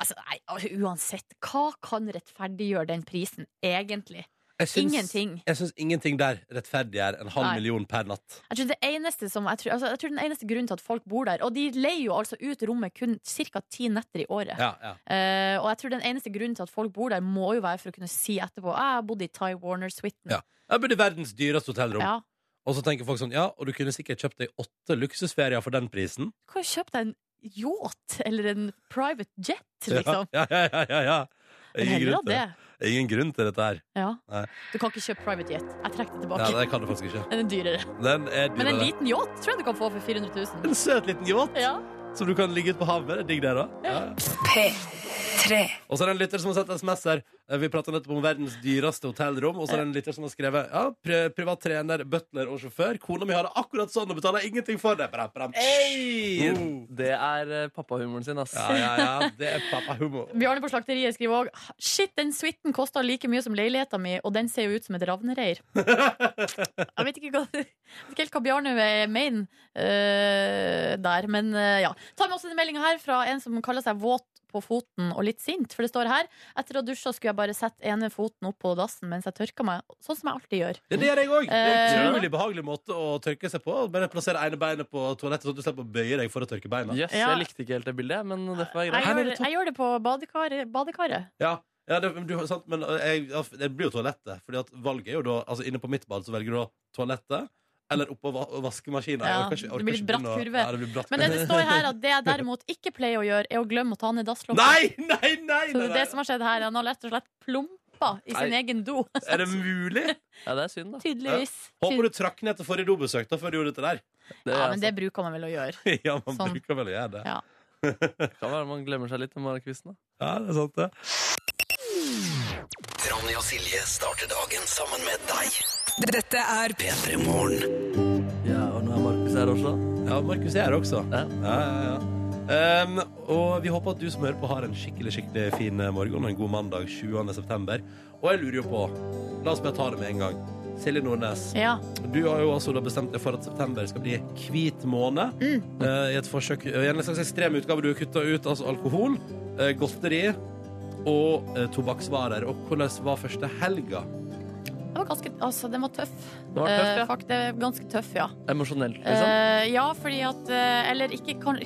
S3: Altså, nei, altså, uansett, hva kan rettferdiggjøre den prisen, egentlig?
S2: Jeg syns-
S3: Ingenting.
S2: Jeg syns ingenting der rettferdiggjør en halv
S3: Nei.
S2: million per natt.
S3: Jeg tror, det eneste som, jeg, tror, altså, jeg tror den eneste grunnen til at folk bor der Og de leier jo altså ut rommet kun ca. ti netter i året.
S2: Ja, ja.
S3: Eh, og jeg tror den eneste grunnen til at folk bor der, må jo være for å kunne si etterpå «Ah, Jeg bodde i Ty Warner-suiten.
S2: Ja. Jeg bodde i verdens dyreste hotellrom.
S3: Ja.
S2: Og så tenker folk sånn, ja, og du kunne sikkert kjøpt deg åtte luksusferier for den prisen.
S3: Du kan jo kjøpe deg en yacht eller en private jet, liksom.
S2: Ja, ja, ja, ja, ja.
S3: Men
S2: Ingen,
S3: heller
S2: grunn
S3: av
S2: til,
S3: det.
S2: det. Ingen grunn til dette her.
S3: Ja.
S2: Nei.
S3: Du kan ikke kjøpe private jet. Jeg trekker det tilbake.
S2: Nei, det kan du faktisk ikke.
S3: Den er dyrere.
S2: Den er
S3: Men en
S2: dyrere.
S3: liten yacht tror jeg du kan få for 400 000.
S2: En søt liten yacht
S3: Ja.
S2: som du kan ligge ute på havet med. Det er Digg det, da. Ja. Og så er det en lytter som har sett SMS her. Eh, Vi prater nettopp om verdens dyreste hotellrom. Og så er det en lytter som har skrevet ja, pri privat trener, butler og sjåfør. Kona mi har det akkurat sånn og betaler ingenting for det. Bram, bram. Oh.
S4: Det er eh, pappahumoren sin, ass.
S2: Ja, ja, ja. Det er pappahumor.
S3: Bjarne på slakteriet skriver òg Shit, den suiten kosta like mye som leiligheta mi, og den ser jo ut som et ravnereir. jeg vet ikke, hva, jeg vet ikke helt hva Bjarne mener eh, der, men eh, ja. Ta med oss en melding her fra en som kaller seg Våt på på foten og litt sint, for det står her etter å ha dusja skulle jeg bare sette ene foten opp på dassen mens jeg tørka meg, sånn som jeg alltid gjør.
S2: Det gjør jeg òg. Det er en
S3: Eh.
S2: utrolig behagelig måte å tørke seg på. Bare plassere ene beinet på toalettet, sånn at du slipper å bøye deg for å tørke beina.
S4: Yes,
S3: Ja.
S4: Jeg likte ikke helt det bildet, men det får være
S3: Jeg
S4: greit.
S3: gjør, jeg gjør det på badekaret. badekaret.
S2: Ja, ja det, men du, har- sant, men eh, jeg, ja, det blir jo toalettet. Fordi at valget er jo da Altså Inne på mitt bad så velger du da toalettet eller oppå va vaskemaskinen. Jeg
S3: Ja,
S2: orker ikke- jeg
S3: det
S2: orker
S3: blir
S2: ikke
S3: bratt
S2: begynne å-
S3: kurve.
S2: Ja, det blir bratt
S3: Men det, det står her at det jeg derimot ikke pleier å gjøre, er å glemme å ta ned dasslokket.
S2: Nei, nei, nei!
S3: Så det er
S2: nei, nei.
S3: det som har skjedd her. Han har rett og slett plumpa i sin
S4: Nei.
S3: egen do.
S2: Er det mulig?
S4: Ja, det er synd, da.
S3: Tydeligvis.
S2: Håper du altså. trakk ned til forrige dobesøk da før du gjorde dette der.
S4: Det,
S3: Ja,
S4: er
S3: men det bruker man vel å gjøre.
S2: Ja, man
S3: Sånn.
S2: bruker vel å gjøre det.
S3: Ja.
S4: sant. kan være man glemmer seg litt når man er kvisten. Da.
S2: Ja, det er sant, det.
S6: Ronny og Silje starter dagen sammen med deg.
S7: Dette er
S6: P3 Morgen.
S4: Ja, og nå er Markus her også.
S2: Ja, Markus er her også.
S4: Ja.
S2: Ja, ja, ja. Ehm, og vi håper at du som hører på, har en skikkelig skikkelig fin eh, morgen og en god mandag 20. september. Og jeg lurer jo på La oss bare ta det med en gang. Silje Nordnes,
S3: Ja.
S2: du har jo altså da bestemt deg for at september skal bli hvit måned.
S3: Mm.
S2: eh, I et forsøk I en slags ekstrem utgave. Du har kutta ut altså alkohol, eh, godteri og eh, tobakksvarer. Og hvordan var første helga?
S3: Den var ganske Altså, den var tøff.
S4: Det var tøft,
S3: Eh,
S4: ja.
S3: fakt, det er ganske tøff, ja.
S4: Emosjonelt, liksom.
S3: Eh, ja, fordi at eh, Eller ikke kan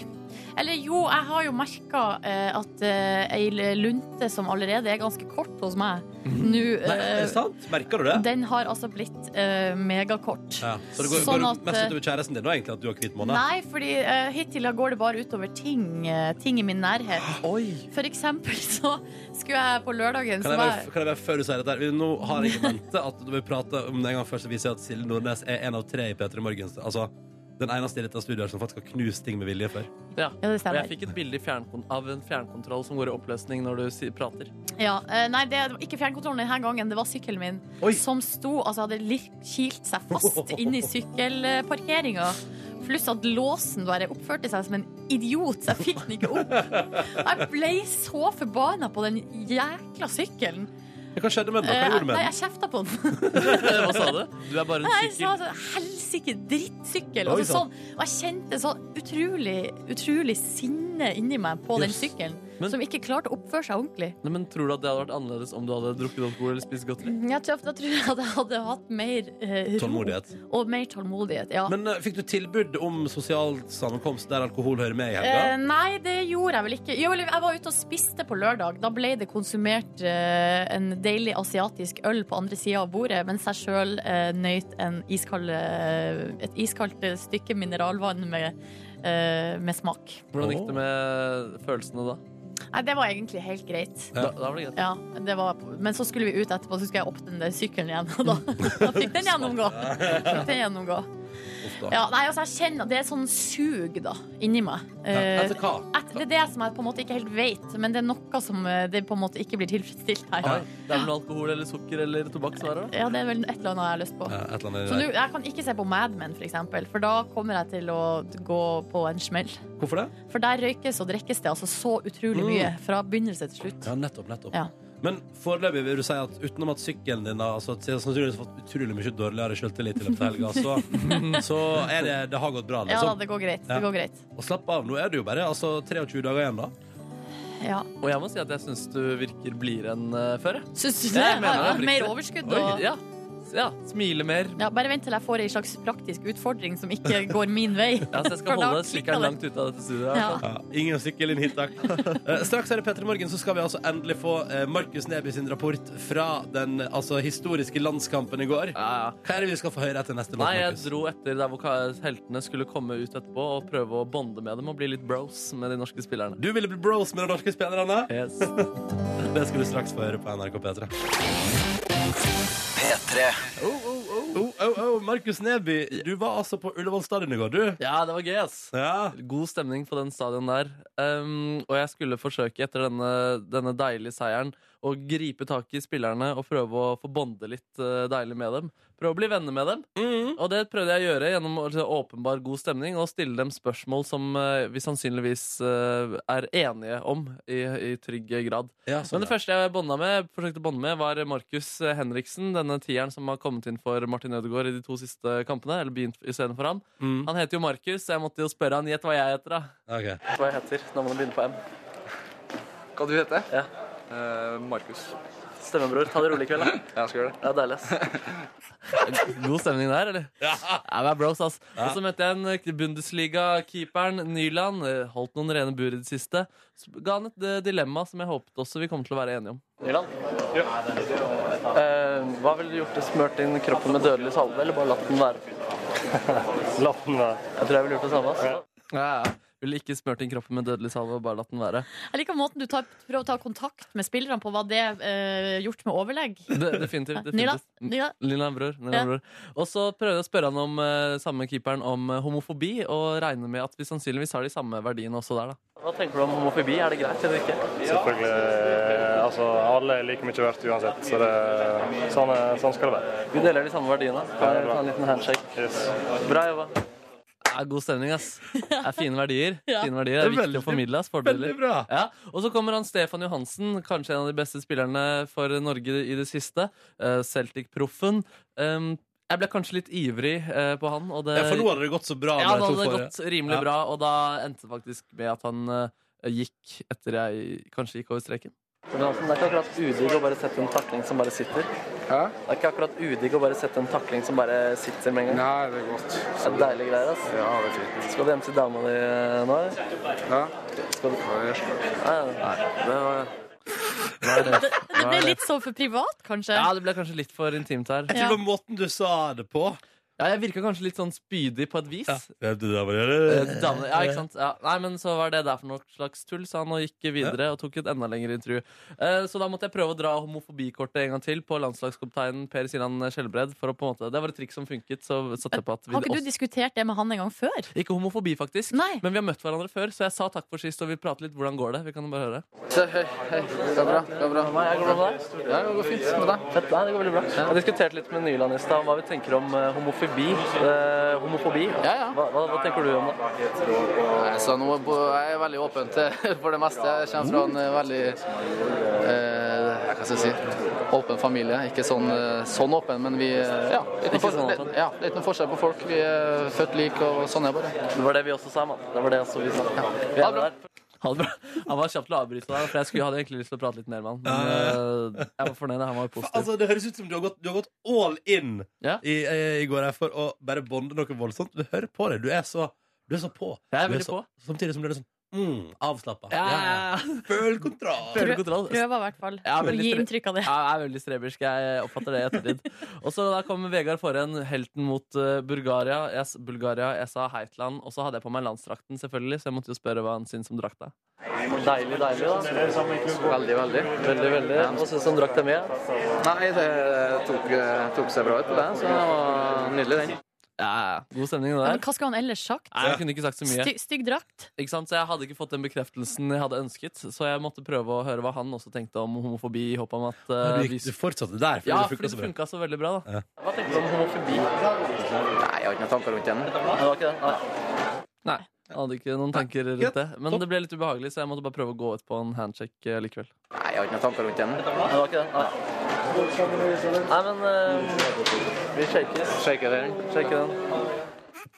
S3: Eller jo, jeg har jo merka eh, at eh, ei lunte som allerede er ganske kort hos meg, nå
S2: Mhm. Nei, er
S3: eh,
S2: det sant? Merker du det?
S3: Den har altså blitt eh, megakort.
S2: Ja. Så det går,
S3: Sånn
S2: går
S3: at,
S2: det mest
S3: eh,
S2: utover kjæresten din nå, egentlig, at du har hvit måned?
S3: Nei, fordi eh, hittil går det bare utover ting, eh, ting i min nærhet.
S4: Oi!
S3: For eksempel så skulle jeg på lørdagen
S2: Kan
S3: så
S2: jeg,
S3: var jeg-
S2: bare, kan jeg bare før du sier dette her Nå har jeg ventet at du vil prate om det en gang først Så viser jeg at Silje Nordnes er en av tre i Peter Morgens Altså, den eneste i dette studiet som faktisk har knust ting med vilje før
S4: Ja.
S3: Ja, det
S4: Og
S3: stemmer.
S4: jeg fikk et bilde i fjernkon av en fjernkontroll som går i oppløsning når du si prater.
S3: Ja, eh, nei, det var ikke fjernkontrollen denne gangen, det var sykkelen min.
S2: Oi.
S3: Som sto, altså hadde lir- kilt seg fast inn i sykkelparkeringa. Pluss at låsen bare oppførte seg som en idiot, så jeg fikk den ikke opp. Jeg ble så forbanna på den jækla sykkelen.
S2: Men Hva skjedde med den? da? Hva
S3: Eh,
S2: gjorde du
S3: Nei,
S2: med den?
S3: jeg kjefta på den.
S4: Hva sa du? Du er bare
S3: Nei,
S4: en
S3: jeg sa
S4: sykkel.
S3: sånn helsike drittsykkel.
S2: Oi,
S3: Altså,
S2: sant.
S3: sånn, og jeg kjente sånn utrolig, utrolig sinne inni meg på den
S2: Jøss.
S3: sykkelen,
S4: Men-
S3: som ikke klarte å oppføre seg ordentlig.
S4: Nei, men tror du at det hadde vært annerledes om du hadde drukket alkohol eller spist godteri?
S3: Jeg tror, da tror jeg at jeg hadde hatt mer eh, ro
S2: Tålmodighet
S3: og mer tålmodighet. Ja.
S2: Men eh, fikk du tilbud om sosial sammenkomst Der alkohol hører med i
S3: Eh,
S2: helga?
S3: nei, det gjorde jeg vel ikke. Jo, eller jeg var ute og spiste på lørdag. Da ble det konsumert eh, en deilig asiatisk øl på andre sida av bordet, mens jeg sjøl eh, nøyt en iskald, eh, et iskaldt eh, stykke mineralvann med, eh, med smak.
S4: Hvordan gikk det med følelsene da?
S3: Nei, det var egentlig helt greit.
S2: Ja.
S4: Da, da var det greit.
S3: Ja, det var, men så skulle vi ut etterpå, så skulle jeg opp den der sykkelen igjen. Og da, da fikk den gjennomgå. Fikk den gjennomgå.
S2: Uff da.
S3: Ja, nei, altså, jeg kjenner at det er sånn sug da, inni meg. Eh,
S2: Etter altså, hva?
S3: et- det er det som jeg på en måte ikke helt vet, men det er noe som eh, det på en måte ikke blir tilfredsstilt
S4: Nei,
S3: her.
S4: det er vel noe alkohol eller sukker eller tobakksvarer? da?
S3: Ja, det er vel et eller annet jeg har lyst på.
S2: Eh, Et eller
S3: Så
S2: annet i
S3: nå, jeg kan ikke se på Mad Men, for eksempel, for da kommer jeg til å gå på en smell.
S2: det Hvorfor det?
S3: For der røykes og drikkes det altså så utrolig
S2: Mm.
S3: mye, fra begynnelse til slutt.
S2: Ja, nettopp, nettopp
S3: Ja.
S2: Men foreløpig vil du si at utenom at sykkelen din har altså, sannsynligvis fått utrolig mye dårligere selvtillit i løpet av helga, så, så er det, det har gått bra.
S3: Ja da,
S2: Liksom.
S3: det går greit.
S2: Ja.
S3: Det går greit.
S2: Og slapp av, nå er det jo bare altså, 23 dager igjen, da.
S3: Ja.
S4: Og jeg må si at jeg syns du virker blidere enn eh, før. jeg.
S3: Syns du det?
S4: Jeg mener
S3: Har jeg
S4: det,
S3: fått mer
S4: oppriktig.
S3: overskudd?
S4: Oi,
S3: Og...
S4: ja. ja. Smile mer.
S3: Ja, bare vent til jeg får ei slags praktisk utfordring som ikke går min vei.
S4: Ja, så jeg
S3: For
S4: skal
S3: da
S4: holde
S3: klikker det.
S4: sykkelen langt ute av dette studioet.
S3: Ja.
S4: altså.
S2: Ja, ingen sykkel inn hit, takk. Eh, straks her i Petter Morgen så skal vi altså endelig få eh, Markus Neby sin rapport fra den eh, altså, historiske landskampen i går.
S4: Ja, ja.
S2: Hva er det vi skal få høre etter neste låt,
S4: Nei, jeg
S2: Markus?
S4: dro etter der hvor ka- heltene skulle komme ut etterpå og prøve å bonde med dem og bli litt bros med de norske spillerne.
S2: Du ville bli bros med de norske spillerne?
S4: Yes.
S2: Det skal du straks få høre på NRK P3.
S6: P3.
S2: Oh, oh, oh, Markus Neby, du var altså på Ullevål stadion i går, du.
S4: Ja, det var gøy, ass.
S2: Ja.
S4: God stemning på den stadion der. Um, og jeg skulle forsøke etter denne, denne deilige seieren å gripe tak i spillerne og prøve å få bonde litt eh, deilig med dem. Prøve å bli venner med dem. Og det prøvde jeg å gjøre gjennom å- altså, åpenbar god stemning og stille dem spørsmål som eh, vi sannsynligvis eh, er enige om i, i trygg grad.
S2: Ja,
S4: Men
S2: sånn,
S4: det
S2: ja.
S4: første jeg bonda med, forsøkte å bonde med, var Markus Henriksen. Denne tieren som har kommet inn for Martin Ødegaard i de to siste kampene. Eller begynt istedenfor han.
S2: Mm.
S4: Han heter jo Markus, så jeg måtte jo spørre han gjett hva jeg heter. da
S2: Ok.
S4: Hva jeg heter når man begynner på M.
S7: Hva du heter
S4: Ja.
S7: Eh, Markus.
S4: Stemmer, bror. Ta det rolig i kveld, da.
S7: Jeg skal gjøre det.
S4: Det er deilig, ass. God stemning der, eller? Ja, det er bros, ass. Og så møtte jeg en eh, Bundesliga-keeperen, Nyland. eh, Holdt noen rene bur i det siste. Så ga han et eh, dilemma som jeg håpet også vi kom til å være enige om. Nyland? Eh, hva ville du gjort hvis smurt inn kroppen med dødelig salve, eller bare latt den være?
S8: Latt den være.
S4: Jeg tror jeg ville gjort det samme, ass. Ja, ja. Ville ikke smurt inn kroppen med dødelig salve og bare latt den være.
S3: Jeg liker måten du tar, prøver å ta kontakt med spillerne på. Var det eh, gjort med overlegg?
S4: Det, definitivt.
S3: Nyland?
S4: definitivt.
S3: Nyland?
S4: Lilleland bror. Lilleland bror. Og så prøvde jeg å spørre han om eh, samme keeperen om eh, homofobi, og regner med at vi sannsynligvis har de samme verdiene også der, da. Hva tenker du om homofobi? Er det greit eller ikke?
S8: Selvfølgelig. Altså, alle er like mye verdt uansett, så det, sånn, er- sånn skal det være.
S4: Vi deler de samme verdiene.
S8: Kan jeg ta en
S4: liten handshake?
S8: Yes.
S4: Bra jobba. Ja, god stemning, ass. Det er fine verdier.
S3: Ja.
S4: Fine verdier. Det er viktig å formidle. ass, forbilder.
S2: Veldig bra.
S4: Ja, Og så kommer han Stefan Johansen, kanskje en av de beste spillerne for Norge i det siste. eh, Celtic-proffen. Um, jeg ble kanskje litt ivrig eh, på han. Og det,
S2: Ja, for nå hadde det gått så bra.
S4: Ja,
S2: med
S4: da
S2: de to
S4: hadde det
S2: forrige.
S4: gått rimelig
S2: Ja.
S4: bra, og da endte det faktisk med at han eh, gikk etter jeg kanskje gikk over streken. Det er ikke akkurat udigg å bare sette en takling som bare sitter.
S7: Hæ?
S4: Det er ikke akkurat udigg å bare sette en takling som bare sitter med
S7: Nei, det er godt. Så-
S4: deilige greier, ass.
S7: Ja, det er fint.
S4: Skal du hjem til dama di nå?
S7: Ja.
S4: Skal du...
S7: Hva gjør du?
S4: Nei, det var... Hva er det?
S3: Det ble litt sånn for privat, kanskje?
S4: Ja, det ble kanskje litt for intimt her.
S2: Jeg tror det var måten du sa det på.
S4: Ja, jeg virka kanskje litt sånn spydig på et vis.
S2: Det, det, det,
S4: Eh, damene, ja, ikke sant? Ja. Nei, men så var det der for noe slags tull, sa han, og gikk videre og tok et enda lengre intervju. Eh, så da måtte jeg prøve å dra homofobikortet en gang til på landslagskapteinen Per Sinan Skjelbred. For å på en måte, det var et trikk som funket, så satte jeg på at vi
S3: Har ikke du
S4: også,
S3: diskutert det med han en gang før?
S4: Ikke homofobi, faktisk.
S3: Nei.
S4: Men vi har møtt hverandre før, så jeg sa takk for sist, og vi prater litt. Hvordan går det? Vi kan jo bare høre.
S7: Se, Hei, hei. Det er bra. Det er bra.
S4: Nei, jeg går bra med
S7: Ja, det går fint med deg.
S4: Fett, nei, det går veldig bra. Jeg diskuterte litt med Nyland i stad om hva vi tenker om eh, homofobi. Eh, homofobi.
S7: Ja, ja.
S4: Hva, tenker du om det?
S7: Nei, så nå er bo- jeg er veldig åpen til for det meste. Jeg kommer fra en eh, veldig eh, Hva skal jeg si åpen familie. Ikke sånn, eh, sånn åpen, men vi eh, ja, det er
S4: Ikke
S7: ikke
S4: sånn
S7: noe
S4: åpen.
S7: forskjell, ja, det er ikke noe forskjell på folk. Vi er født like, og sånn er det bare.
S4: Det var det vi også sa, mann. Det var det også vi sa. Vi er der. Ha det bra. Han var kjapt til å avbryte deg, for jeg skulle, hadde egentlig lyst til å prate litt mer med han. Men eh, jeg var fornøyd. Han var jo positiv.
S2: Altså, det høres ut som du har gått, du har gått all in
S4: Ja.
S2: i, eh, i går her for å bare bonde noe voldsomt. Du hører på deg. Du er så, du er så på.
S4: Jeg er
S2: Du
S4: veldig
S2: så,
S4: på.
S2: Samtidig som du er sånn mm, avslappa.
S4: Ja, ja, ja.
S2: Føl kontroll.
S4: Føler kontroll.
S3: Prøver i hvert fall
S4: Ja,
S3: å
S4: veldig
S3: gi
S4: stre-
S3: inntrykk av det.
S4: Ja, jeg er veldig strebersk. Jeg oppfatter det i ettertid. Og så da kom Vegard Forhen, helten mot eh, Bulgaria. Jeg, s- Bulgaria. jeg sa Heitland, og så hadde jeg på meg landsdrakten, selvfølgelig, så jeg måtte jo spørre hva han syntes om drakta. Deilig, deilig, da.
S7: Veldig, veldig.
S4: Veldig, veldig. Hva syns du om drakta mi?
S7: Nei, det tok, tok seg bra ut på det, så det var nydelig, den.
S4: Ja, ja. god stemning, det
S3: Ja,
S4: der.
S3: men hva skulle han ellers sagt?
S4: Nei, jeg kunne ikke sagt så mye.
S3: Sty stygg drakt?
S4: Ikke sant? Så jeg hadde ikke fått den bekreftelsen jeg hadde ønsket, så jeg måtte prøve å høre hva han også tenkte om homofobi. i håp om at... eh,
S2: Du,
S4: vi
S2: gikk, du fortsatte der. fordi
S4: ja,
S2: det
S4: fordi
S2: funket
S4: det
S2: så bra.
S4: funka så veldig bra, da.
S2: Ja.
S4: Hva tenker du om homofobi?
S7: Nei, jeg har ikke noen tanker rundt den.
S4: det var ikke det. Nei. Jeg hadde ikke noen tanker rundt det. Men
S2: Topp.
S4: det ble litt ubehagelig, så jeg måtte bare prøve å gå ut på en handshake eh, likevel.
S7: Nei, jeg har ikke noen tanker rundt den.
S4: Nei, det var ikke det. Nei, men eh, vi shakes.
S7: Shaker den.
S4: Sjekker den.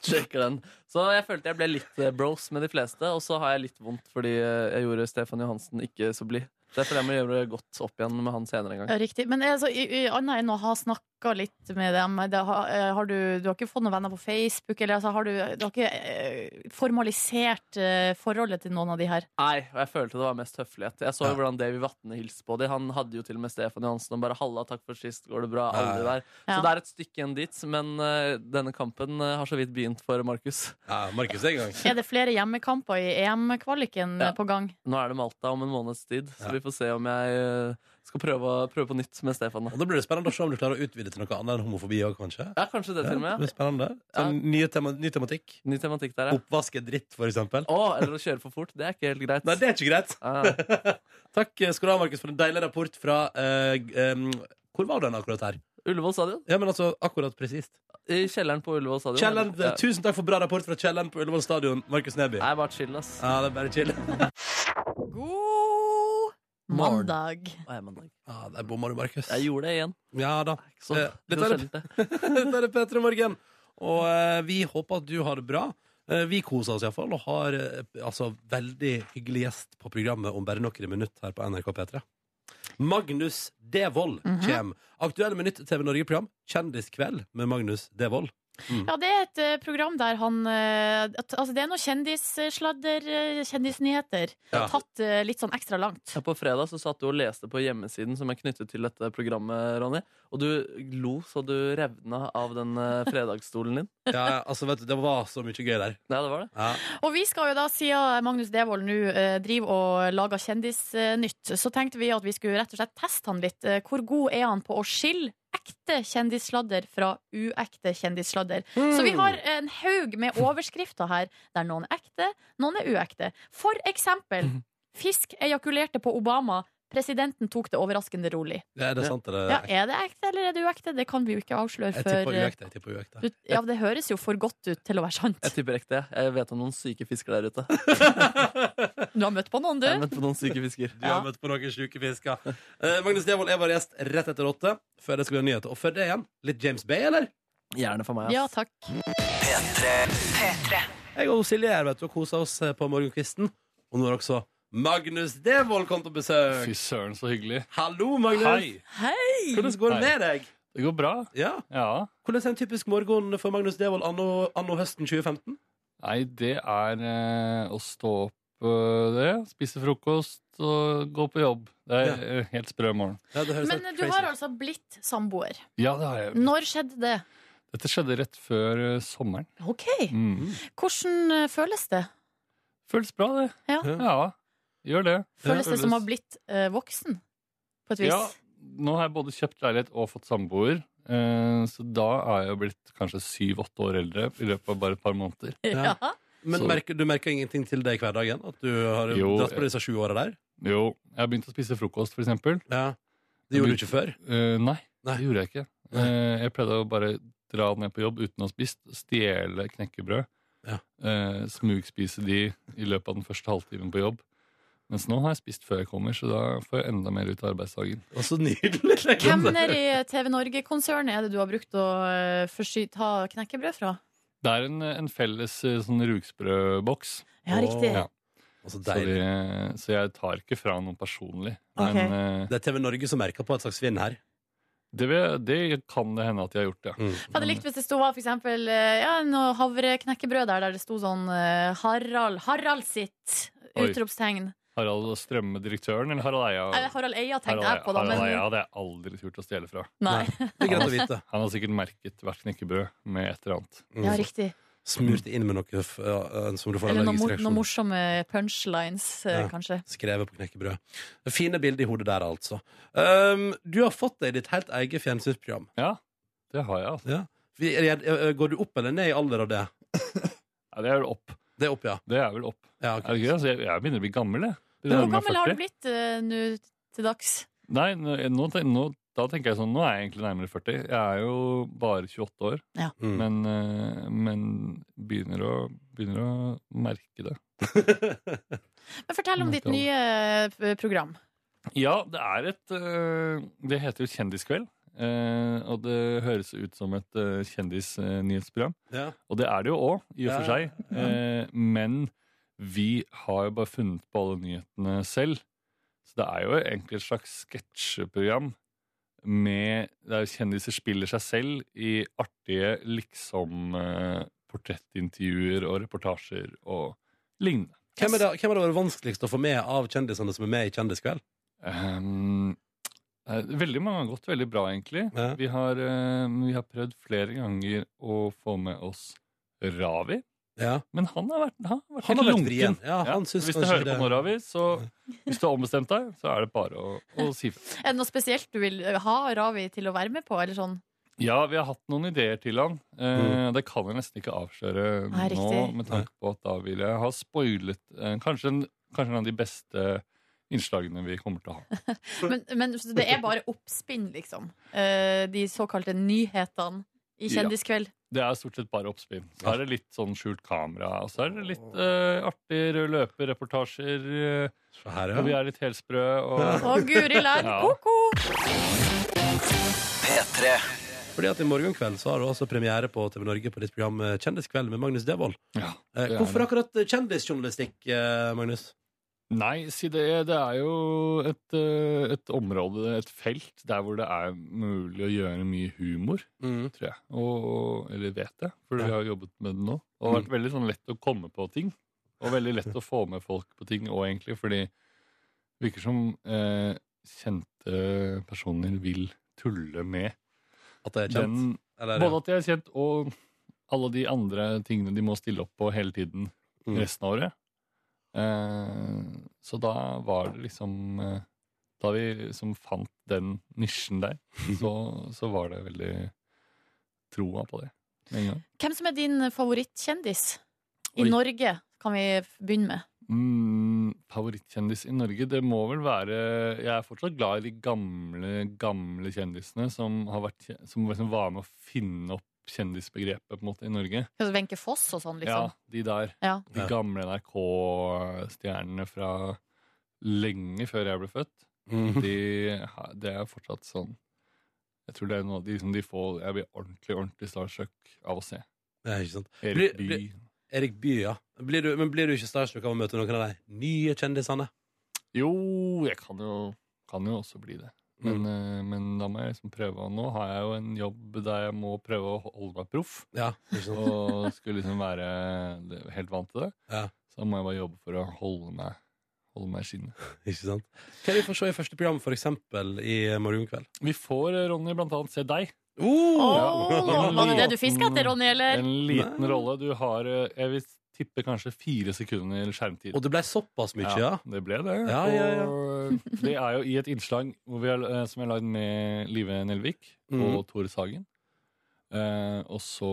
S4: Sjekker den. Så jeg følte jeg ble litt eh, bros med de fleste, og så har jeg litt vondt fordi eh, jeg gjorde Stefan Johansen ikke så blid. Så jeg føler jeg må gjøre godt opp igjen med han senere en gang.
S3: Ja, riktig. Men altså, i, i, annet enn å ha snakka litt med dem, det har, eh, har du, du har ikke fått noen venner på Facebook? Eller altså, har du, du har ikke eh, formalisert eh, forholdet til noen av de her?
S4: Nei, og jeg følte det var mest høflighet. Jeg så jo
S2: Ja.
S4: hvordan Davy Vatne hilste på dem. Han hadde jo til og med Stefan Johansen og bare 'halla, takk for sist, går det bra?' alle de der.
S3: Ja.
S4: Så det er et stykke igjen dit, men eh, denne kampen eh, har så vidt begynt for Markus.
S2: Ja, Markus en gang.
S3: Er det flere hjemmekamper i EM-kvaliken
S4: Ja.
S3: eh, på gang?
S4: Nå er det Malta om en måneds tid, så
S2: Ja.
S4: vi får se om jeg eh, skal prøve, å- prøve på nytt med Stefan. Da.
S2: Og Da blir det spennende å se om du klarer å utvide til noe annet enn homofobi òg, kanskje.
S4: Ja, kanskje det til og
S2: det
S4: med.
S2: blir spennende. Sånn, nye tema, ny tematikk.
S4: Ny tematikk der, ja.
S2: Oppvask er dritt, for eksempel.
S4: Å, eller å kjøre for fort. Det er ikke helt greit.
S2: Nei, det er ikke greit.
S4: Ah,
S2: Takk skal du ha, Markus, for en deilig rapport fra eh, em, Hvor var den akkurat her?
S4: Ullevål stadion.
S2: Ja, men altså, akkurat presist.
S4: I kjelleren på Ullevål stadion.
S2: Kjellen,
S4: Ja.
S2: Tusen takk for bra rapport fra Kjelleren på Ullevål stadion, Markus Neby.
S4: Nei, bare chill, ass.
S2: Ja, det er bare chill.
S3: God
S4: Morgen.
S3: mandag.
S4: Nei, mandag.
S2: Ja, Ah, der bomma du, Markus.
S4: Jeg gjorde det igjen.
S2: Ja da.
S4: Ikke sånn.
S2: Eh,
S4: Det
S2: dette er-
S4: er sjeldent, det.
S2: Der er Petra Morgen. Og eh, vi håper at du har det bra. Eh, Vi koser oss iallfall, og har eh, altså, veldig hyggelig gjest på programmet om bare noen minutter her på NRK P3. Magnus Devold kommer. Aktuelle minutt TV Norge-program Kjendiskveld med Magnus Devold.
S3: Ja, det er et eh, program der han eh, at- Altså, det er noe kjendissladder, eh, kjendisnyheter.
S2: Ja.
S3: Tatt eh, litt sånn ekstra langt.
S4: Ja, På fredag så satt du og leste på hjemmesiden som er knyttet til dette programmet, Ronny. Og du lo så du revna av den eh, fredagsstolen din.
S2: Ja, altså, vet du, det var så mye gøy der.
S4: Ja, det var det.
S2: Ja.
S3: Og vi skal jo da, siden Magnus Devold nå eh, driver og lager kjendisnytt, så tenkte vi at vi skulle rett og slett teste han litt. Eh, Hvor god er han på å skille ekte kjendissladder fra uekte kjendissladder? Så vi har en haug med overskrifter her, der noen er ekte, noen er uekte. For eksempel, fisk ejakulerte på Obama. Presidenten tok det overraskende rolig.
S2: Ja, Er det sant, eller?
S3: Ja, Er det ekte eller er det uekte? Det kan vi jo ikke avsløre
S2: jeg
S3: før
S2: tipper
S3: eh,
S2: uekte. Jeg tipper uekte.
S3: du- Ja, det høres jo for godt ut til å være sant.
S4: Jeg tipper ekte. jeg. Jeg vet om noen syke fisker der ute.
S3: Du har møtt på noen, du.
S4: Jeg møtte noen syke fisker.
S2: Du har møtt på noen sjuke fisker. Eh, Magnus Devold er vår gjest rett etter åtte. Før det skal bli nyheter. Og før det igjen, litt James Bay, eller?
S4: Gjerne for meg.
S3: Ja,
S4: ass.
S3: takk.
S2: Jeg og Silje her, vet du, og koser oss eh, på morgenkvisten. Og nå har også Magnus Devold kommet på besøk.
S9: Fy søren, så hyggelig.
S2: Hallo, Magnus.
S9: Hei.
S2: Hvordan går det
S9: Hei.
S2: med deg?
S9: Det går bra.
S2: Ja.
S9: Ja.
S2: Hvordan er en typisk morgen for Magnus Devold anno, anno høsten 2015?
S9: Nei, det er eh, å stå opp eh, det, spise frokost og gå på jobb. Det er
S2: Ja.
S9: eh, helt sprø morgen.
S2: Ja, det høres
S3: Men
S2: helt
S3: du
S2: crazy
S3: har
S2: ut.
S3: altså blitt samboer.
S9: Ja, det har jeg.
S3: Når skjedde det?
S9: Dette skjedde rett før eh, sommeren.
S3: OK.
S9: Mm.
S3: Hvordan eh, føles det?
S9: Føles bra, det.
S3: Ja.
S9: ja. Gjør det.
S3: Føles det som å ha blitt eh, voksen? På et vis?
S9: Ja, nå har jeg både kjøpt leilighet og fått samboer. eh, Så da er jeg jo blitt kanskje syv-åtte år eldre i løpet av bare et par måneder.
S2: Ja.
S3: Ja.
S2: Men
S9: Så-
S2: merker, du merker ingenting til det i hverdagen? At du har
S9: Jo,
S2: dratt på disse sju åra der?
S9: Jo, jeg har begynt å spise frokost, for eksempel.
S2: Ja. Det gjorde du ikke før?
S9: Eh, nei,
S2: Nei.
S9: det gjorde jeg ikke.
S2: Nei.
S9: Eh, jeg pleide å bare dra ned på jobb uten å ha spist, stjele knekkebrød,
S2: Ja.
S9: eh, smugspise de i løpet av den første halvtimen på jobb. Mens nå har jeg spist før jeg kommer, så da får jeg enda mer ut av arbeidsdagen.
S2: Og så nydelig!
S3: Hvem nede i TV Norge-konsernet er det du har brukt å eh, forsy ta knekkebrød fra?
S9: Det er en, en felles eh, sånn rugsprødboks,
S3: Ja,
S2: Åh.
S3: riktig.
S9: Ja.
S2: Og
S9: så,
S2: så Altså, deilig.
S9: vi- så jeg tar ikke fra noen personlig.
S3: Ok.
S9: Men eh,
S2: Det er TV Norge som merker på et slags svinn her.
S9: det, vil- det kan det hende at jeg har gjort, ja.
S2: Mm.
S3: Jeg hadde likt hvis det sto for eksempel, eh, ja, noe havreknekkebrød der der det sto sånn eh, Harald Harald sitt!
S9: Oi.
S3: Utropstegn.
S9: Harald Strømme, direktøren, eller Harald Eia?
S3: Nei, Harald Eia tenkte jeg
S9: Harald-
S3: på, da.
S9: Harald Eia
S3: Men,
S9: hadde jeg aldri turt å stjele fra.
S3: nei.
S2: Det er greit å vite.
S9: Han har sikkert merket hvert knekkebrød med et eller annet.
S3: Ja, riktig.
S2: Smurt inn med noe f- ja, eh, som du får
S3: Eller noen
S2: allergisk
S3: mor- noen
S2: reaksjon.
S3: morsomme punchlines, eh,
S2: Ja.
S3: kanskje.
S2: Skrevet på knekkebrød. Fine bilder i hodet der, altså. Um, du har fått deg ditt helt eget fjernsynsprogram.
S9: Ja, det har jeg. altså.
S2: Vi- er- er- Går du opp eller ned i alder av det?
S9: Ja, det er vel opp.
S2: Det er opp, ja.
S9: Det er vel opp.
S2: ja
S9: Er det
S2: ok.
S9: ikke det? Altså, jeg, jeg begynner å bli gammel, jeg. Det
S3: Hvor
S9: nærmer meg
S3: gammel har du
S9: 40.
S3: blitt eh, nå til dags?
S9: Nei, nå, nå, ten- nå, da tenker jeg sånn, nå er jeg egentlig nærmere 40. Jeg er jo bare 28 år,
S2: Mm.
S9: men, eh, men begynner, å, begynner å merke det.
S3: Men Fortell om
S9: Nei,
S3: ditt
S9: ikke
S3: nye eh, program.
S9: Ja, det er et eh, Det heter jo Kjendiskveld. eh, og det høres jo ut som et eh, kjendisnyhetsprogram.
S2: Ja.
S9: Og det er det jo òg, i og for
S2: Ja,
S9: seg. Eh, men vi har jo bare funnet på alle nyhetene selv. Så det er jo egentlig et slags sketsjeprogram med der kjendiser spiller seg selv i artige liksom-portrettintervjuer og reportasjer og lignende.
S2: Hvem, er det, hvem har det vært vanskeligst å få med av kjendisene som er med i Kjendiskveld?
S9: Ehm, eh, veldig mange har gått veldig bra, egentlig.
S2: Ja.
S9: Vi, har, eh, vi har prøvd flere ganger å få med oss Ravi.
S2: Ja.
S9: Men han har vært, han har vært
S2: Han
S9: helt
S2: har vært
S9: lunken.
S2: vrien. Ja, han synes
S9: hvis du
S2: kanskje
S9: hører
S2: det-
S9: på Nordavi, så hvis du har ombestemt deg, så er det bare å, å si fra.
S3: Er det noe spesielt du vil ha Ravi til å være med på? Eller sånn?
S9: Ja, vi har hatt noen ideer til han. Eh,
S2: Mm.
S9: det kan jeg nesten ikke avsløre
S3: Nei,
S9: nå,
S3: riktig.
S9: med tanke på at da vil jeg ha spoilet eh, kanskje, en, kanskje en av de beste innslagene vi kommer til å ha.
S3: Men, men så det er bare oppspinn, liksom. Eh, de såkalte nyhetene i
S9: Ja.
S3: Kjendiskveld.
S9: Det er stort sett bare oppspinn. Så er det litt sånn skjult kamera, og så er det litt eh, artig rød løper-reportasjer, eh,
S2: Se her,
S9: og vi
S2: ja.
S9: er litt helsprø, og
S3: Å, guri land!
S9: Ja.
S3: Ko-ko!
S6: P3
S2: Fordi at i morgen kveld så har du altså premiere på TV Norge på ditt program eh, Kjendiskveld med Magnus Devold.
S9: Ja,
S2: Eh,
S9: det er
S2: Hvorfor
S9: det.
S2: akkurat eh, kjendisjournalistikk, eh, Magnus?
S9: Nei, si det, det er jo et, eh, et område, et felt, der hvor det er mulig å gjøre mye humor, tror jeg. Og, og- eller vet jeg, for
S2: Ja. Mm.
S9: vi har jobbet med det nå. Og det har vært veldig sånn lett å komme på ting, og veldig lett å få med folk på ting òg, egentlig, fordi det virker som eh, kjente personer vil tulle med
S2: At det er kjent?
S9: den
S2: Eller,
S9: Både at de er kjent, og alle de andre tingene de må stille opp på hele tiden
S2: Mm.
S9: resten av året. Eh, så da var det liksom eh, Da vi liksom fant den nisjen der, så, så var det veldig troa på det med en gang.
S3: Hvem som er din favorittkjendis i
S9: Oi.
S3: Norge, kan vi f- begynne med.
S9: Mm, favorittkjendis i Norge, det må vel være Jeg er fortsatt glad i de gamle, gamle kjendisene som, har vært, kje- som liksom var med å finne opp kjendisbegrepet på en måte i Norge.
S3: Altså Wenche Foss og sånn, liksom.
S9: Ja, de der.
S3: Ja.
S9: De
S2: Ja.
S9: gamle NRK-stjernene fra lenge før jeg ble født,
S2: Mm.
S9: de, ha- det er fortsatt sånn Jeg tror det er noe av de som de får Jeg blir ordentlig, ordentlig starstruck av å se.
S2: Det er ikke sant.
S9: Erik
S2: Blir-
S9: Bye.
S2: Erik Bye, ja. Blir du, men blir du ikke starstruck av å møte noen av de nye kjendisene?
S9: Jo, jeg kan jo, kan jo også bli det. Men,
S2: Mhm.
S9: eh, men da må jeg liksom prøve. Og nå har jeg jo en jobb der jeg må prøve å holde meg proff.
S2: Ja, ikke sant?
S9: Og skulle liksom være helt vant til det.
S2: Ja.
S9: Så må jeg bare jobbe for å holde meg, holde meg i skinnet.
S2: Ikke sant? Hva er det vi får se i første program, for eksempel, i morgen kveld?
S9: Vi får, eh, Ronny, blant annet se deg. Oh!
S3: Åh,
S9: Ja.
S3: var det det du fiska etter, Ronny, eller?
S9: En liten
S2: Nei.
S9: rolle. Du har, eh, jeg vil tippe, kanskje fire sekunder skjermtid.
S2: Og det ble såpass mye, ja?
S9: det ble det.
S2: Ja, ja, ja.
S9: Og eh, det er jo i et innslag hvor vi har, eh, som jeg har lagd med Live Nelvik
S2: Mhm.
S9: og Tore Sagen. Eh, og så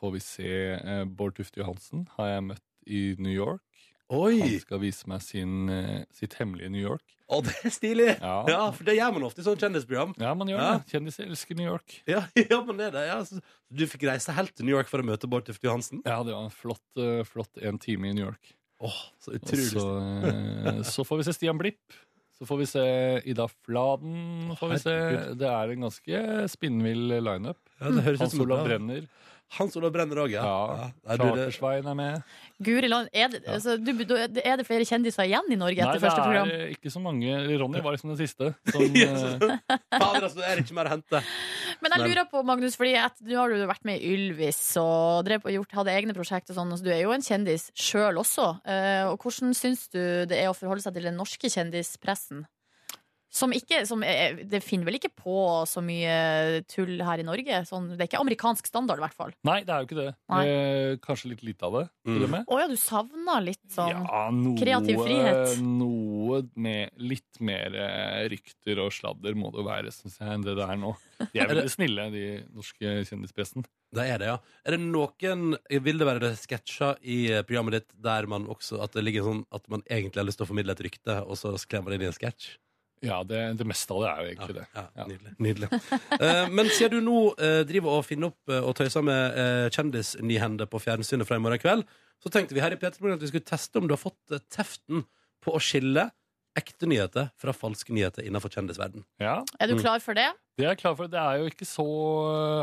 S9: får vi se eh, Bård Tufte Johansen, har jeg møtt i New York. Han
S2: Oi!
S9: skal vise meg sin, eh, sitt hemmelige New York.
S2: Å, det er stilig!
S9: Ja,
S2: Ja, for det gjør man ofte i sånn kjendisprogram.
S9: ja man gjør
S2: Ja.
S9: det. Kjendiser elsker New York.
S2: Ja, ja men det er det. Ja. Så Du fikk reise helt til New York for å møte Bård Tufte Johansen?
S9: Ja, det var en flott, eh, flott en time i New York.
S2: Åh, så
S9: Og
S2: utrolig
S9: Så, eh, så får vi se Stian Blipp. Så får vi se Ida Fladen. Får vi se.
S2: Herregud.
S9: Det er en ganske spinnvill lineup.
S2: ja, det høres ut
S9: Hans
S2: som et bra-
S9: Olav Brenner.
S2: Hans Olav Brenner òg, ja.
S9: Ja.
S2: Nei, du, det,
S9: Chartersveien er med.
S3: Guri land, er det, altså, du, du- er det flere kjendiser igjen i Norge
S9: Nei,
S3: etter
S9: det
S3: første program?
S9: er ikke så mange. Ronny var liksom den siste. Som, eh,
S2: Fader, altså, det er ikke mer å hente.
S3: Men jeg lurer på, Magnus, fordi at nå har du vært med i Ylvis og drev på, gjort, hadde egne prosjekt og sånn, så du er jo en kjendis sjøl også. Eh, og hvordan syns du det er å forholde seg til den norske kjendispressen? Som ikke, som er, det finner vel ikke på så mye tull her i Norge? Sånn, det er ikke amerikansk standard, i hvert fall.
S9: nei, det er jo ikke det.
S3: Nei.
S9: Eh, kanskje litt lite av det, til
S2: Mm.
S9: og med.
S3: Å ja, du savner litt sånn
S9: Ja, noe,
S3: kreativ frihet.
S9: Noe med litt mer eh, rykter og sladder må det være, syns jeg, enn det det er nå. De er veldig snille, de norske kjendispressen.
S2: Det er det, ja. Er det noen Vil det være det sketsjer i eh, programmet ditt der man også At det ligger sånn at man egentlig har lyst til å formidle et rykte, og så kler man det inn i en sketsj?
S9: Ja, det, det meste av det er jo egentlig det.
S2: Ja,
S9: Ja.
S2: Nydelig. nydelig. Eh, men siden du nå eh, driver og finner opp eh, og tøyser med uh, kjendisnyhender på fjernsynet fra i morgen kveld, så tenkte vi her i Peterborg at vi skulle teste om du har fått eh, teften på å skille ekte nyheter fra falske nyheter innenfor kjendisverden.
S9: Ja,
S3: Er du klar for det?
S9: det er jeg klar for. Det er jo ikke så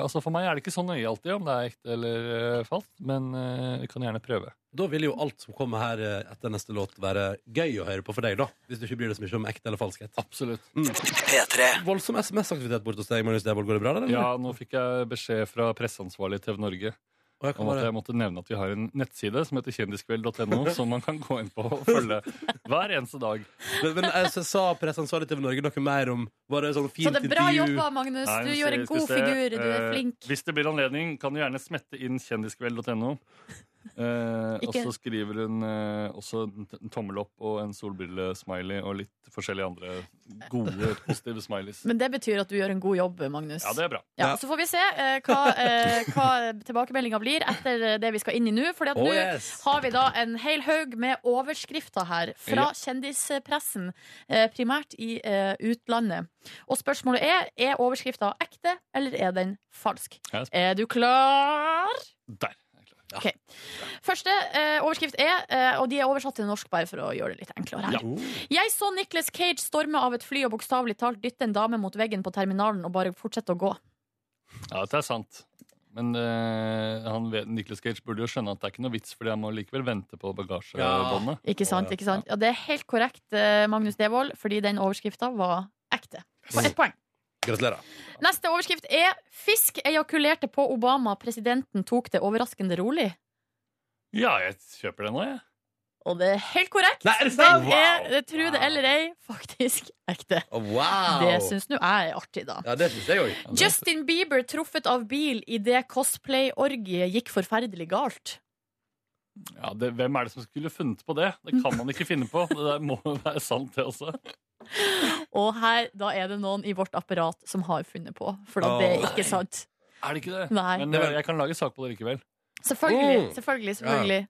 S9: Altså For meg er det ikke så nøye alltid om det er ekte eller eh, falskt, men eh, vi kan gjerne prøve.
S2: Da vil jo alt som kommer her eh, etter neste låt, være gøy å høre på for deg, da. Hvis du ikke bryr deg så mye om ekte eller falskhet.
S9: Absolutt.
S6: P3.
S2: Voldsom SMS-aktivitet borte hos deg, Magnus Devold. Går det bra, da? eller?
S9: Mm. Ja, nå fikk jeg beskjed fra presseansvarlig i TV Norge
S2: Og jeg kan
S9: om at
S2: bare...
S9: jeg måtte nevne at vi har en nettside som heter kjendiskveld.no, som man kan gå inn på og følge hver eneste dag.
S2: Men, men jeg så sa presseansvarlig TV Norge noe mer om Var det sånn
S3: Så
S2: fint
S3: det er bra
S2: intervju?
S3: jobba, Magnus.
S9: Nei,
S3: Du
S9: vi
S3: gjør
S9: skal-
S3: en
S9: skal
S3: god
S9: se.
S3: figur. Du er
S9: Eh,
S3: flink.
S9: Hvis det blir anledning, kan du gjerne smette inn kjendiskveld.no. Eh, og
S3: Ikke-
S9: så skriver hun eh, også en t- en tommel opp og en solbrillesmiley og litt forskjellige andre gode, positive smileys.
S3: Men det betyr at du gjør en god jobb, Magnus.
S9: Ja, det er bra.
S3: Ja,
S2: Ja.
S3: Så får vi se eh, hva, eh, hva tilbakemeldinga blir etter eh, det vi skal inn i nå. For
S2: Oh,
S3: nå
S2: yes.
S3: har vi da en hel haug med overskrifter her fra
S9: Ja.
S3: kjendispressen, eh, primært i eh, utlandet. Og spørsmålet er er overskrifta ekte, eller er den falsk.
S9: Jeg er spent.
S3: Er du klar?
S9: Der. er jeg klar.
S3: Første eh, overskrift er, eh, og de er oversatt til norsk bare for å gjøre det litt enklere her. Jeg så Nicholas Cage storme av et fly og bokstavelig talt dytte en dame mot veggen på terminalen og bare fortsette å gå.
S9: Ja, det er sant. Men eh, han vet, Nicolas Cage burde jo skjønne at det er ikke noe vits, fordi han må likevel vente på bagasjebåndet.
S3: Ikke sant? ikke sant? Ja, det er helt korrekt, eh, Magnus Devold, fordi den overskrifta var ekte. På ett poeng.
S2: Gratulerer.
S3: Neste overskrift er 'Fisk ejakulerte på Obama. Presidenten tok det overraskende rolig'.
S9: Ja, jeg kjøper det nå, jeg.
S3: Og det er helt korrekt.
S2: Nei, er det sant?
S3: den er, det tro det eller ei, faktisk ekte.
S2: Å, wow!
S3: Det syns nå jeg er artig, da.
S2: ja, det syns jeg òg.
S9: Ja, det-
S3: Justin Bieber truffet av bil idet cosplay-orgiet gikk forferdelig galt.
S9: Ja, det, hvem er det som skulle funnet på det? Det kan man ikke finne på. Det der må jo være sant, det også.
S3: Og her, da er det noen i vårt apparat som har funnet på, for da det er
S2: Åh.
S3: ikke sant.
S9: Er det ikke det?
S3: Nei.
S9: Men eh, jeg kan lage sak på det likevel.
S3: Selvfølgelig.
S2: Mm.
S3: selvfølgelig, selvfølgelig.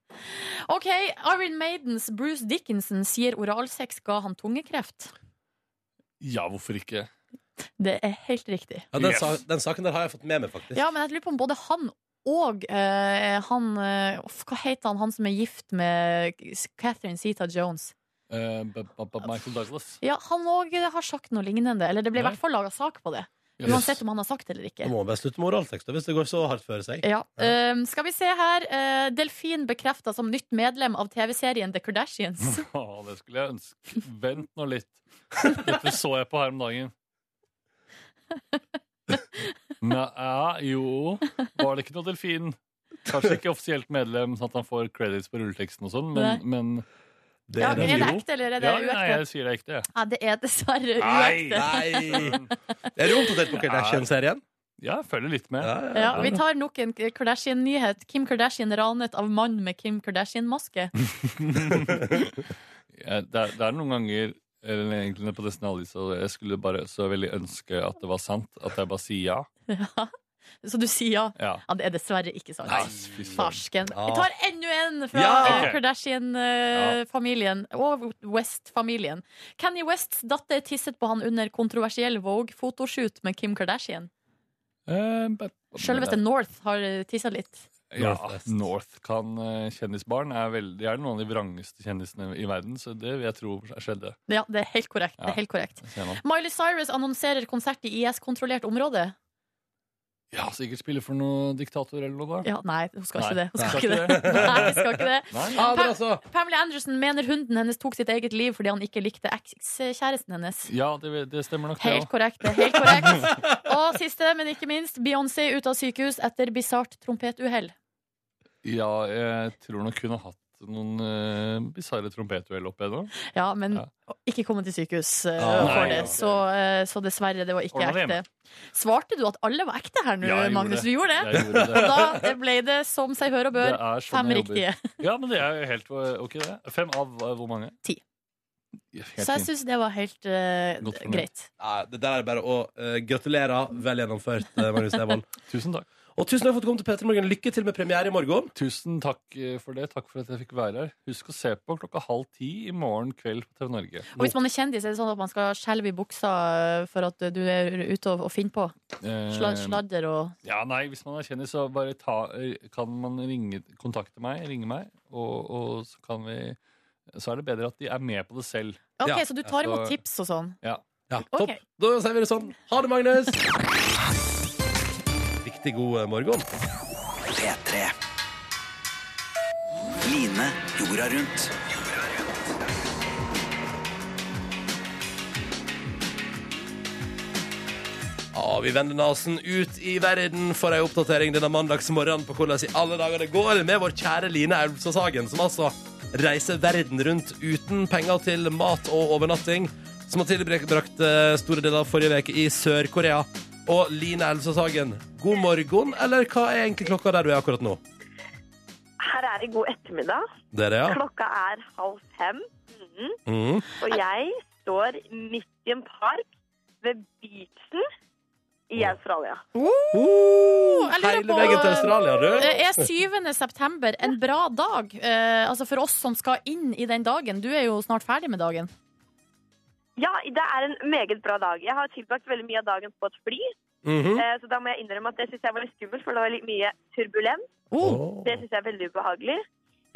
S3: OK, Iron Maidens Bruce Dickinson sier oralsex ga han tungekreft.
S9: Ja, hvorfor ikke?
S3: Det er helt riktig.
S2: Ja, den,
S9: Yes.
S2: sa, den saken der har jeg fått med meg, faktisk.
S3: Ja, men jeg lurer på om både han og eh, han eh, uff, Hva heter han han som er gift med Catherine Zeta Jones?
S9: Eh, b- b- b- Michael Douglas.
S3: Ja, han òg har sagt noe lignende. Eller det ble i
S9: Nei.
S3: hvert fall laga sak på det.
S9: Yes.
S3: Uansett om han har sagt det eller ikke.
S2: Da må man bare slutte med oraltekster hvis det går så hardt før seg.
S3: Ja. ehm, skal vi se her. eh, delfin bekrefta som nytt medlem av TV-serien The Kardashians.
S9: Å, det skulle jeg ønske. Vent nå litt. Dette så jeg på her om dagen. Nei, jo Var det ikke noe delfin? Kanskje ikke offisielt medlem, sånn at han får credits på rulleteksten og sånn, men, men
S2: Det
S3: Ja,
S2: er
S3: er
S2: det.
S3: det
S9: jo.
S3: ekte, eller er det
S9: ja, Nei,
S3: uekte?
S9: jeg sier det ekte, jeg.
S3: Ja, det er dessverre
S9: Nei,
S3: uekte.
S2: Nei! Er du oppdatert på Kardashian-serien?
S9: Ja, jeg følger litt med.
S2: Ja, ja.
S3: Ja, vi tar nok en Kardashian-nyhet. Kim Kardashian ranet av mann med Kim Kardashian-maske.
S9: Ja, Eh, det, er, det er noen ganger eller egentlig på Destiny Alice, og jeg skulle bare så veldig ønske at det var sant. At jeg bare sier ja.
S3: Ja. Så du sier ja.
S9: Ja.
S3: Ja, det er dessverre ikke sant.
S9: Nei, fy søren.
S3: Farsken.
S2: Ja.
S3: Vi tar enda en fra
S2: Ja!
S3: eh,
S9: Ok.
S3: Kardashian-familien og West-familien. Kanye Wests datter tisset på han under kontroversiell Vogue-fotoshoot med Kim Kardashian.
S9: Eh, but-
S3: Selveste North har eh, tissa litt.
S9: Ja,
S2: Northwest.
S9: North kan eh, kjendisbarn er veldig, de er noen av de vrangeste kjendisene i verden, så det vil jeg tro skjedde.
S3: Ja, det er helt korrekt. Det
S9: Ja.
S3: er helt korrekt.
S9: ser man.
S3: Miley Cyrus annonserer konsert i IS-kontrollert område.
S9: Ja, sikkert spille for noen diktator eller noe da.
S3: Ja, nei, hun skal
S9: Nei,
S3: ikke det. Hun skal
S9: skal
S3: ikke
S9: ikke
S3: det. Nei, hun skal ikke det.
S9: Nei,
S2: Ja, men altså,
S3: Pamela Anderson mener hunden hennes tok sitt eget liv fordi han ikke likte ekskjæresten hennes.
S9: Ja, det, det stemmer nok det
S3: Helt korrekt. det er Helt korrekt. Og siste, men ikke minst, Beyoncé ut av sykehus etter bisart trompetuhell.
S9: også. Ja, jeg tror nok hun har hatt noen uh, bisarre trompetuell opp igjennom.
S3: Ja, men
S9: Ja.
S3: ikke komme til sykehus eh,
S2: Ah,
S3: for
S9: nei,
S3: det.
S9: ok.
S3: Så, eh, så dessverre, det var ikke
S9: Ordna det
S3: ekte. Svarte du at alle var ekte her nå,
S9: Ja, jeg gjorde
S3: Magnus?
S9: det.
S3: Du gjorde det?
S9: Jeg gjorde det.
S3: Da ble det som seg hør og
S9: Det
S3: bør.
S9: er sånn
S3: Fem
S9: jeg jobber.
S3: riktige.
S9: Ja, men det er jo helt ok, det. Fem av eh, hvor mange?
S3: Ti.
S9: Ja, helt
S3: Så jeg
S9: fint.
S3: syns det var helt eh,
S9: Godt fornøyd.
S3: greit.
S2: nei, det der er bare å eh, gratulere. Vel gjennomført, eh, Magnus Devold.
S9: Tusen takk.
S2: Og tusen takk for at du kom til P3 Morgen. Lykke til med premiere i morgen.
S9: Tusen takk eh, for det. Takk for at jeg fikk være her. Husk å se på klokka halv ti i morgen kveld på TV Norge.
S3: Og hvis man er kjendis, er det sånn at man skal skjelve i buksa eh, for at du er ute og, og finner på?
S9: Eh,
S3: Sla, sladder og
S9: Ja, nei, hvis man er kjendis, så bare ta, eh, kan man ringe, kontakte meg, ringe meg, og, og så kan vi Så er det bedre at de er med på det selv.
S3: OK,
S2: Ja,
S3: så du tar
S9: så-
S3: imot tips og sånn?
S2: Ja,
S3: Ok.
S2: topp. Da sier vi det sånn. Ha det, Magnus. Riktig god eh, morgen.
S6: P3. Line jorda rundt.
S2: Ja, Ah, vi vender nasen ut i verden for ei oppdatering denne mandagsmorgenen på hvordan i alle dager det går med vår kjære Line Elvstad Sagen, som altså reiser verden rundt uten penger til mat og overnatting, som har tilbrakt eh, store deler av forrige uke i Sør-Korea. Og Line Elvstad Sagen, god morgen, eller hva er egentlig klokka der du er akkurat nå?
S10: Her er det god ettermiddag.
S2: Det er det, ja?
S10: Klokka er halv fem,
S2: Mm.
S10: og jeg står midt i en park ved beachen i Australia.
S2: Uh,
S3: jeg lurer
S2: hele
S3: på-
S2: veien til Australia, du.
S3: Er 7. september en bra dag? Eh, altså For oss som skal inn i den dagen. Du er jo snart ferdig med dagen.
S10: Ja, det er en meget bra dag. Jeg har tilbrakt veldig mye av dagen på et fly,
S2: Mhm.
S10: eh, så da må jeg innrømme at det syns jeg var litt skummelt, for det var litt mye turbulens.
S3: Oh,
S2: Åh.
S10: Det syns jeg er veldig ubehagelig.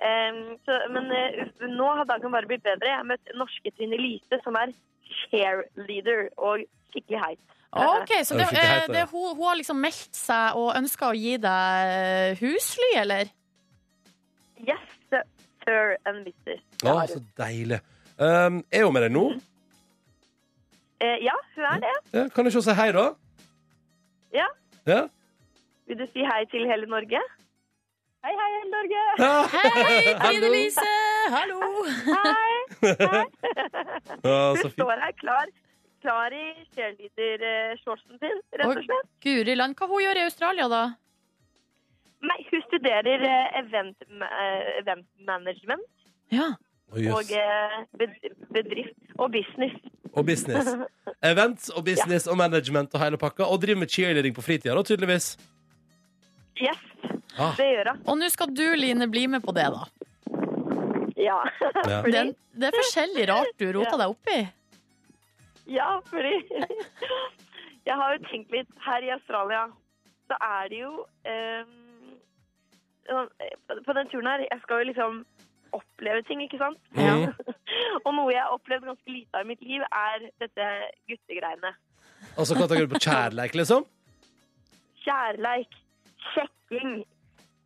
S10: Ehm, så, men eh, nå har dagen bare blitt bedre. Jeg har møtt norske Trine Lise, som er cheerleader og skikkelig heit.
S3: OK, så det,
S10: Er det skikkelig
S3: eh,
S10: heit,
S3: det, hun, hun har liksom meldt seg og ønska å gi deg eh, husly, eller?
S10: Yes, sir, sir and mister.
S2: Å, så deilig. Um, er hun med deg nå?
S10: Mm. Eh, ja, hun er det.
S2: Ja, kan du ikke si hei, da?
S10: Ja.
S2: Ja.
S10: Vil du si hei til hele Norge? Hei, hei, hele Norge!
S2: Ja.
S3: Hei, Trine Lise! Hallo!
S10: Hei! hei.
S2: Ja,
S10: Hun
S2: så fint.
S10: står her klar, klar i cheerleader-shortsen sin, rett og
S3: Oi,
S10: slett.
S3: Guri land, hva hun gjør i Australia, da?
S10: Nei, hun studerer eh, event, eh, event management
S2: Å, jøss.
S10: og eh, bed- bedrift og business.
S2: Og business. Events og business og management og hele pakka. Og driver med cheerleading på fritida, da, tydeligvis.
S10: Yes,
S2: Ah.
S10: det gjør hun.
S3: Og nå skal du, Line, bli med på det, da.
S10: Ja.
S2: Ja.
S10: Fordi-
S3: Det, det er forskjellig rart du roter deg opp i.
S10: Ja, fordi jeg har jo tenkt litt her i Australia, så er det jo ehm, sånn, eh, På den turen her, jeg skal jo liksom oppleve ting, ikke sant? Og noe jeg har opplevd ganske lite av i mitt liv, er dette guttegreiene.
S2: Altså, hva tenker du på kjærleik, liksom?
S10: Kjærleik, sjekking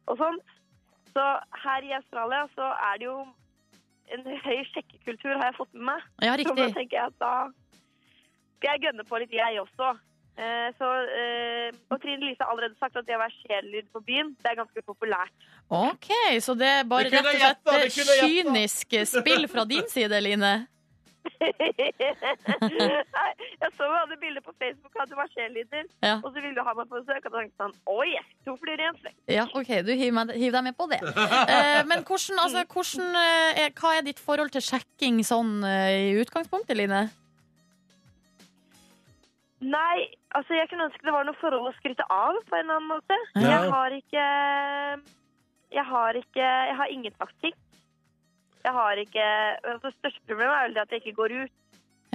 S10: og sånt. Så her i Australia så er det jo en høy sjekkekultur, har jeg fått med meg. Så da
S3: Ja, riktig.
S10: tenker jeg at da skal jeg gønne på litt, jeg også. Eh, så, eh, og Trine Lise har allerede sagt at det å være cheerleader på byen, det er ganske populært.
S3: OK, så det er bare
S10: Vi kunne
S3: rett og
S10: gjetta, vi
S3: slett
S10: kunne gjetta.
S3: kynisk spill fra din side, Line.
S10: Nei, jeg så hun hadde bilder på Facebook at du var cheerleader,
S3: Ja.
S10: og så ville du ha meg på besøk. Og da tenkte jeg sånn Oi, to fluer i en flekk.
S3: Ja, OK, du hiver, meg, hiver deg med på det. Eh, men hvordan, altså, hvordan eh, er, hva er ditt forhold til sjekking sånn eh, i utgangspunktet, Line?
S10: Nei, altså jeg kunne ønske det var noe forhold å skryte av på en eller annen måte.
S2: Ja.
S10: Jeg har ikke Jeg har ikke Jeg har ingen taktikk. Jeg har ikke altså, Det største problemet er vel det at jeg ikke går ut.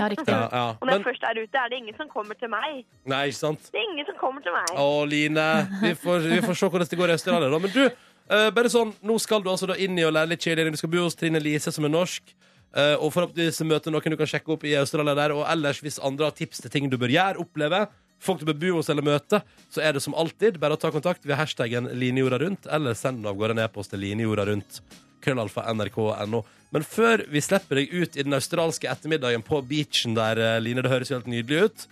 S3: Ja,
S2: riktig. Ja, ja.
S10: Og når
S2: Men-
S10: jeg først er ute, er det ingen som kommer til meg.
S2: Nei, ikke sant?
S10: Det er ingen som kommer til meg.
S2: Å, Line. Vi får, vi får se hvordan det går i Australia, da. Men du, eh, bare sånn, nå skal du altså da inn i å lære litt cheerleading. Du skal bo hos Trine Lise, som er norsk. eh, og forhåpentligvis møte noen du kan sjekke opp i Australia der. Og ellers, hvis andre har tips til ting du bør gjøre, oppleve, folk du bør bo hos eller møte, så er det som alltid bare å ta kontakt ved hashtaggen linjorda rundt, eller send den av gårde en e-post til linjorda rundt. Krøllalfa nrk.no. Men før vi slipper deg ut i den australske ettermiddagen på beachen der, eh, Line, det høres jo helt nydelig ut,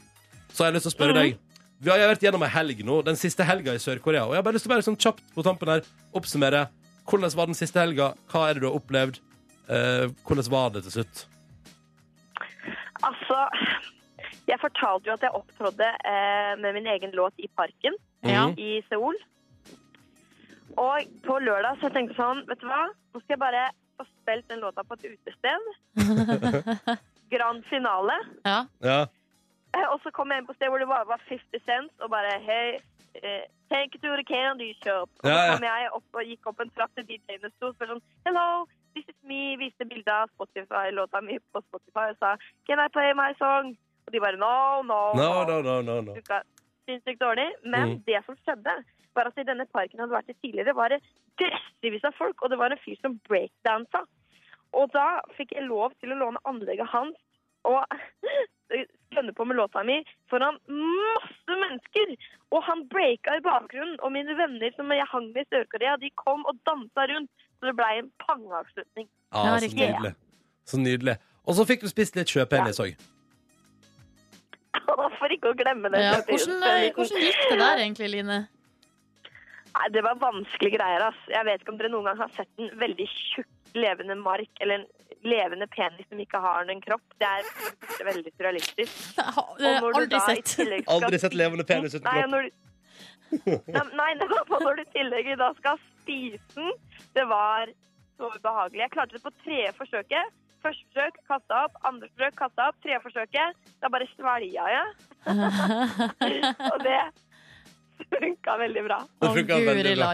S2: så har jeg lyst til å spørre deg. Vi har jo vært gjennom ei helg nå, den siste helga i Sør-Korea. Og jeg har bare lyst til å være sånn kjapt på tampen her oppsummere. Hvordan var den siste helga? Hva er det du har opplevd? Eh, hvordan var det til slutt?
S10: Altså Jeg fortalte jo at jeg opptrådte eh, med min egen låt i parken
S2: Ja.
S10: i Seoul. Og på lørdag så jeg tenkte sånn, vet du hva, nå skal jeg bare få spilt den låta på et utested. Grand finale.
S3: Ja.
S2: Ja.
S10: Eh, Og så kom jeg inn på et sted hvor det bare var 50 cents, og bare hei, eh, take it to the candy shop. Og
S11: Ja,
S10: så
S11: ja.
S10: kom jeg opp og gikk opp en trapp til DJ-ene sto og spurte sånn, hello, this is me, viste bildet av Spotify-låta mi på Spotify og sa, can I play my song? Og de bare, no, no,
S2: No, no, no, no, no.
S10: funka sinnssykt dårlig. Men
S2: Mm.
S10: det som skjedde, var at i denne parken hadde vært i tidligere, var det dressevis av folk, og det var en fyr som breakdansa. Og da fikk jeg lov til å låne anlegget hans og skønne på med låta mi foran masse mennesker. Og han breaka i bakgrunnen, og mine venner som jeg hang med i Sør-Korea, de kom og dansa rundt. Så det blei en pangeavslutning.
S2: Ah, så nydelig. Så nydelig. Og så fikk du spist litt sjøpenis òg.
S10: For ikke å glemme det.
S3: Ja,
S10: Martin.
S3: hvordan, eh, hvordan gikk det der egentlig, Line?
S10: Nei, det var vanskelige greier, ass. Jeg vet ikke om dere noen gang har sett en veldig tjukk levende mark, eller en levende penis som ikke har noen kropp. Det er for det første veldig surrealistisk.
S3: det har jeg
S10: Og når du
S3: eh, aldri
S10: da i
S3: sett.
S10: tillegg skal
S2: Aldri sett levende penis uten
S10: Nei, og
S2: kropp.
S10: når du... Nei, nei, det var på når du i tillegg da skal spise den. Det var så ubehagelig. Jeg klarte det på tredje forsøket. Første forsøk kasta opp, andre forsøk kasta opp, tredje forsøket. Da bare svelga jeg. og det funka veldig bra.
S2: Det funka veldig bra.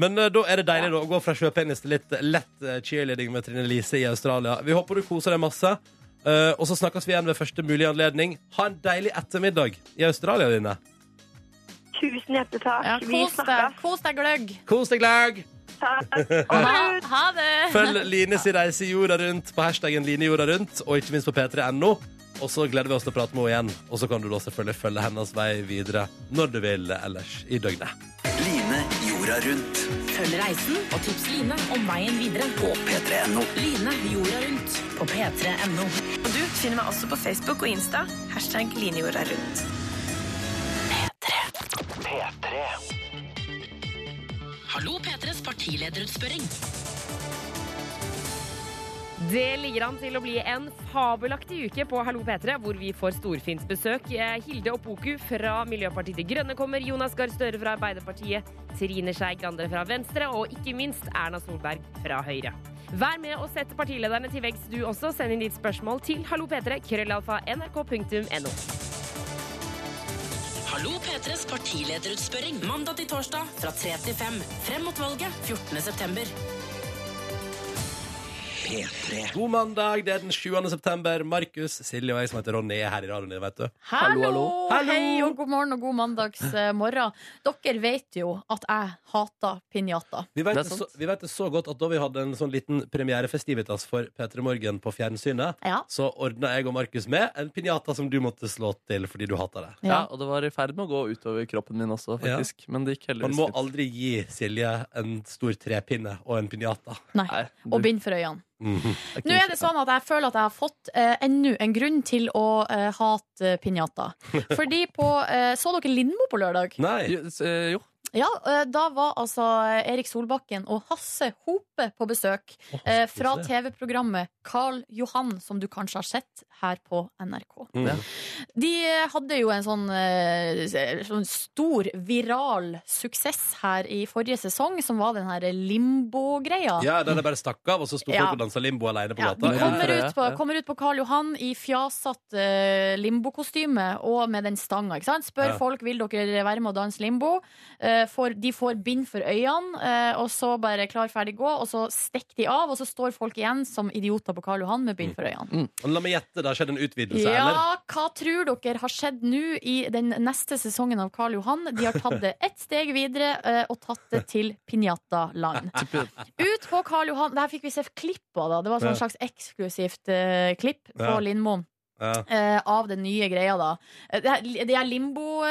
S2: Men eh, da er det deilig da, å gå fra sjøpenis til litt lett eh, cheerleading med Trine Lise i Australia. Vi håper du koser deg masse. Eh, og så snakkes vi igjen ved første mulige anledning. Ha en deilig ettermiddag i Australia, Line.
S10: Tusen hjertelig takk.
S3: Ja,
S10: Vi
S3: kos deg, kos deg gløgg.
S2: Kos deg gløgg.
S10: Takk.
S3: Ha, ha det!
S2: Følg Lines reise jorda rundt på hashtaggen Line jorda rundt, og ikke minst på p3.no. Og så gleder vi oss til å prate med henne igjen. Og så kan du da selvfølgelig følge hennes vei videre når du vil ellers i døgnet.
S6: Line jorda rundt
S11: Følg reisen og tips Line om veien videre på
S6: P3.no.
S11: Line jorda rundt på p3.no.
S12: Og du finner meg også på Facebook og Insta. Hashtag linjorda rundt.
S6: P3
S11: Hallo P3s partilederutspørring.
S13: Det ligger an til å bli en fabelaktig uke på Hallo P3, hvor vi får storfint besøk. Eh, Hilde Opoku fra Miljøpartiet De Grønne kommer, Jonas Gahr Støre fra Arbeiderpartiet, Trine Skei Grande fra Venstre og ikke minst Erna Solberg fra Høyre. Vær med og sett partilederne til veggs du også. Send inn ditt spørsmål til hallo p3, krøllalfa, nrk.no.
S11: Hallo P3s partilederutspørring. Mandag til torsdag fra 3 til 5. Frem mot valget 14. september.
S2: God mandag, det er den 7. september. Markus, Silje og jeg som heter Ronny er her i radioen din, vet du.
S3: Hallo, Hei og god morgen og god mandags eh, morgen. Dere vet jo at jeg hater pinjata.
S2: Vi vet det, så, vi vet det så godt at da vi hadde en sånn liten premierefestivitas for P3 Morgen på fjernsynet,
S3: Ja.
S2: så ordna jeg og Markus med en pinjata som du måtte slå til fordi du hata det.
S4: Ja. og det var i ferd med å gå utover kroppen min også, faktisk. Men det gikk
S2: Man
S4: heldigvis
S2: må
S4: fint.
S2: aldri gi Silje en stor trepinne og en pinjata.
S3: Nei. Og bind for øynene. Nå er det sånn at jeg føler at jeg har fått eh, enda en grunn til å eh, hate eh, pinjata. Fordi på eh, Så dere Lindmo på lørdag?
S4: Jo, s- eh, jo.
S3: Ja, eh, da var altså eh, Erik Solbakken og Hasse Hope på besøk eh, fra
S14: Hope, ja.
S3: TV-programmet Carl Johan, som du kanskje har sett her på NRK.
S14: Ja.
S3: De eh, hadde jo en sånn, eh, sånn stor viral suksess her i forrige sesong, som var den her limbo-greia.
S2: Ja, den er bare stakk av, og så sto folk
S3: Ja.
S2: og dansa limbo alene på
S3: Ja,
S2: gata.
S3: de kommer ut, på, kommer ut på Karl Johan i fjasatt eh, limbokostyme og med den stanga. ikke sant? Spør
S2: Ja.
S3: folk vil dere være med å danse limbo. Eh, får- de får bind for øynene, eh, og så bare klar, ferdig, gå. Og så stikker de av, og så står folk igjen som idioter på Karl Johan med bind for øynene.
S2: Mm. Og La meg gjette, det har skjedd en utvidelse,
S3: Ja,
S2: eller?
S3: hva tror dere har skjedd nå i den neste sesongen av Karl Johan? De har tatt det ett steg videre eh, og tatt det til Pinjata-land. Ut på Karl Johan. Der fikk vi se klipp av, da. Det var
S14: Ja.
S3: sånn slags eksklusivt eh, klipp på
S14: Ja.
S3: Lindmo.
S2: Ja.
S3: eh, av den nye greia, da. Eh, Det her, det her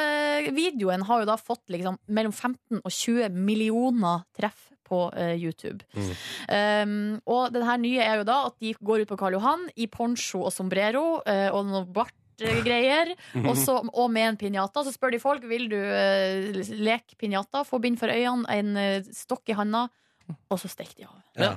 S3: Limbo-videoen har jo da fått liksom mellom 15 og 20 millioner treff på eh, YouTube. Um, og den her nye er jo da at de går ut på Karl Johan i poncho og sombrero eh, og noe bart. eh, Greier,
S2: Mhm.
S3: og, så, og med en pinjata. Så spør de folk Vil du eh, leke pinjata. Få bind for øynene, en eh, stokk i handa, og så stikk de av.
S2: Ja.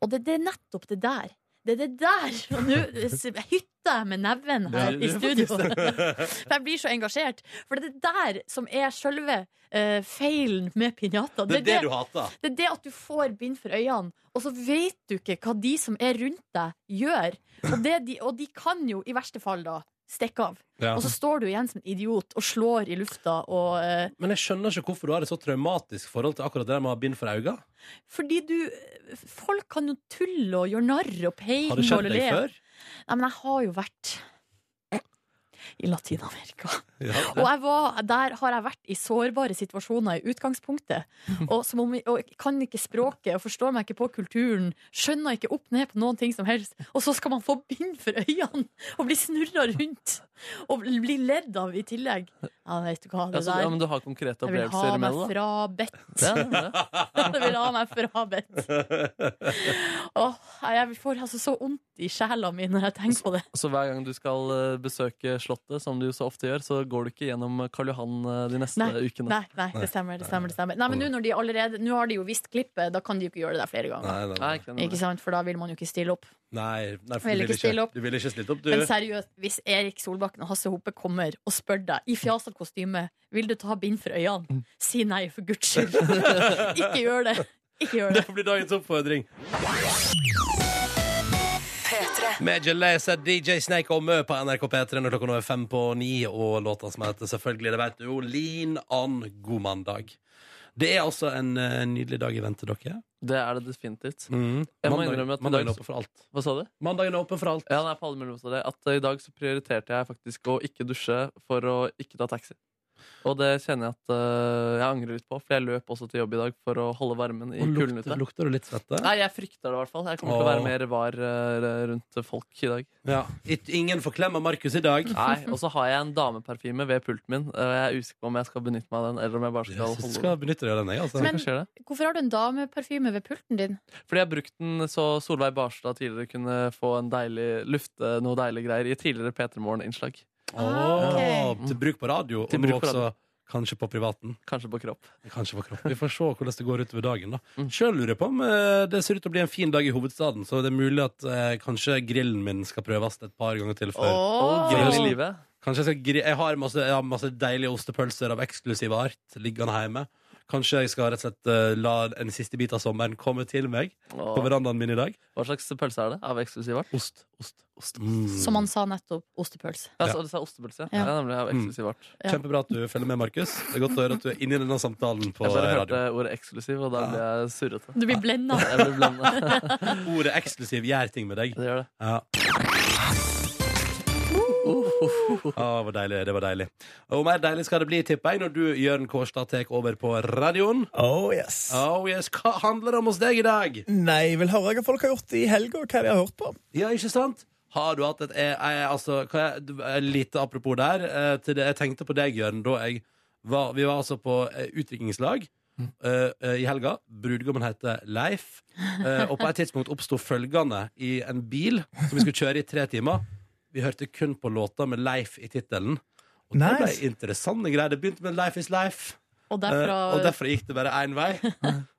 S3: Og det, det er nettopp det der. Det er det der! Og nå s- hytter jeg med neven her i studio. For jeg blir så engasjert. For det er det der som er selve eh, feilen med pinjata.
S2: Det er det du hater.
S3: Det er det at du får bind for øynene, og så vet du ikke hva de som er rundt deg, gjør. Og, det de, og de kan jo i verste fall da stikke av.
S2: Ja.
S3: Og så står du igjen som en idiot og slår i lufta og eh,
S2: Men jeg skjønner ikke hvorfor du har et så traumatisk forhold til akkurat det der med å ha bind for øynene.
S3: Fordi du Folk kan jo tulle og gjøre narr og peke
S2: Har det skjedd
S3: og
S2: deg
S3: le.
S2: før?
S3: Nei, men jeg har jo vært i Latin-Amerika.
S2: Ja.
S3: Og jeg var, der har jeg vært i sårbare situasjoner i utgangspunktet. Og, som om, og jeg kan ikke språket og forstår meg ikke på kulturen. Skjønner ikke opp ned på noen ting som helst. Og så skal man få bind for øynene og bli snurra rundt! Og bli ledd av i tillegg. Ja, vet du hva,
S4: Ja,
S3: det
S4: så, ja, men
S3: der
S4: du har konkrete
S3: Jeg vil ha
S4: opplevelser med
S3: meg
S4: det, da?
S3: frabedt.
S4: Ja, det er det.
S3: Jeg vil ha meg frabedt. Åh, jeg får altså så vondt i sjela mi når jeg tenker på det.
S4: Så hver gang du skal eh, besøke Slottet, som du så ofte gjør, så går du ikke gjennom Karl Johan eh, de neste
S3: Nei,
S4: ukene.
S3: nei, nei, det stemmer. det stemmer, det stemmer Nei, men Nå når de allerede Nå har de jo visst klippet, da kan de jo ikke gjøre det der flere ganger.
S2: Nei, nei, nei. Nei, ikke sant.
S3: Ikke sant, For da vil man jo ikke stille opp.
S2: Nei, nei for
S3: Vil
S2: du
S3: ikke
S2: ville
S3: stille
S2: ikke,
S3: opp.
S2: du vil ikke stille opp, du.
S3: Men seriøst, hvis Erik Solbakken og Hasse Hope kommer og spør deg i fjasete kostyme Vil du ta bind for øynene, si nei, for guds skyld. ikke gjør det. Ikke gjør det.
S2: Det blir dagens oppfordring. Major Lazer, DJ Snake og Mø på NRK P3 når klokka nå er fem på ni, og låta som heter selvfølgelig, det vet du jo, Lean On, god mandag. Det er altså en eh, nydelig dag i vente, dere.
S4: Det er det definitivt.
S2: Mm.
S4: Jeg må
S2: Mandag-
S4: innrømme at i
S2: mandagen
S4: dag-
S2: er åpen for alt.
S4: Hva sa du?
S2: Mandagen er åpen for alt.
S4: Ja, nei, på alle mulige måter. At eh, I dag så prioriterte jeg faktisk å ikke dusje for å ikke ta taxi. Og det kjenner jeg at eh, jeg angrer litt på, for jeg løp også til jobb i dag for å holde varmen i
S2: Og
S4: kulden
S2: lukter,
S4: ute.
S2: lukter du litt svette?
S4: Nei, jeg frykter det i hvert fall. Jeg kommer til å
S2: Åh.
S4: være mer var eh, rundt folk i dag.
S2: Ja. It- Ingen får klem av Markus i dag.
S4: Nei, Og så har jeg en dameparfyme ved pulten min. og Jeg er usikker på om jeg skal benytte meg av den, eller om jeg bare skal
S2: Jeg synes
S4: holde
S2: jeg skal benytte deg av den, jeg. Altså.
S4: Men- Kanskje det.
S3: Hvorfor har du en dameparfyme ved pulten din?
S4: Fordi jeg brukte den så Solveig Barstad tidligere kunne få en deilig lufte noe deilig greier i tidligere P3 Morgen-innslag.
S2: Åh, Til bruk på radio,
S4: Til
S2: og nå
S4: bruk på
S2: også
S4: radio.
S2: kanskje på privaten.
S4: Kanskje på kropp.
S2: Kanskje på Mm. kropp. Vi får se hvordan det går utover dagen. da. Selv lurer jeg på om eh, det ser ut til å bli en fin dag i hovedstaden, så det er mulig at eh, kanskje grillen min skal prøves et par ganger til. før.
S4: Åh.
S2: Før
S4: Grill i
S2: høsten.
S4: livet.
S2: Kanskje jeg skal gri jeg har masse, jeg har masse deilige ostepølser av eksklusiv art liggende hjemme. Kanskje jeg skal rett og slett eh, la en siste bit av sommeren komme til meg
S4: Åh.
S2: på verandaen min i dag.
S4: Hva slags pølse er det? Av eksklusiv art?
S2: Ost. ost, ost. Mm.
S3: Som han sa nettopp, ostepølse.
S4: Ja, så, du sa ostepølse. Ja.
S3: Ja.
S4: Ja, nemlig, av eksklusiv art.
S3: Ja.
S2: Kjempebra at du følger med, Markus. Det er godt å høre at du er inne i denne samtalen på
S4: Jeg bare hørte
S2: radio.
S4: ordet eksklusiv, og da ble jeg surrete.
S3: Du blir blenda.
S4: Jeg blir blendet.
S2: Ordet eksklusiv gjør ting med deg.
S4: Det gjør det.
S2: Ja. Ah, det var deilig, det var deilig. Og mer deilig skal det bli, tipper jeg, når du, Jørn Kårstad, tar over på radioen.
S14: Oh yes.
S2: Oh yes. Hva handler det om hos deg i dag?
S14: Nei, vil høre hva folk har gjort i helga, og hva de har hørt på.
S2: Ja, ikke sant? Har du hatt et eh, eh, altså, hva er- du- eh, Lite apropos der. eh, Til det, jeg tenkte på deg, Jørn, da jeg var, vi var altså på eh, utdrikningslag
S14: Mm.
S2: eh, eh, i helga. Brudgommen heter Leif. eh, og på et tidspunkt oppsto følgende i en bil som vi skulle kjøre i tre timer. Vi hørte kun på låter med Leif i tittelen. Og det ble
S14: Nice.
S2: interessante greier. Det begynte med Life is life.
S3: Og
S2: Eh,
S3: derfra
S2: og derfra gikk det bare én vei.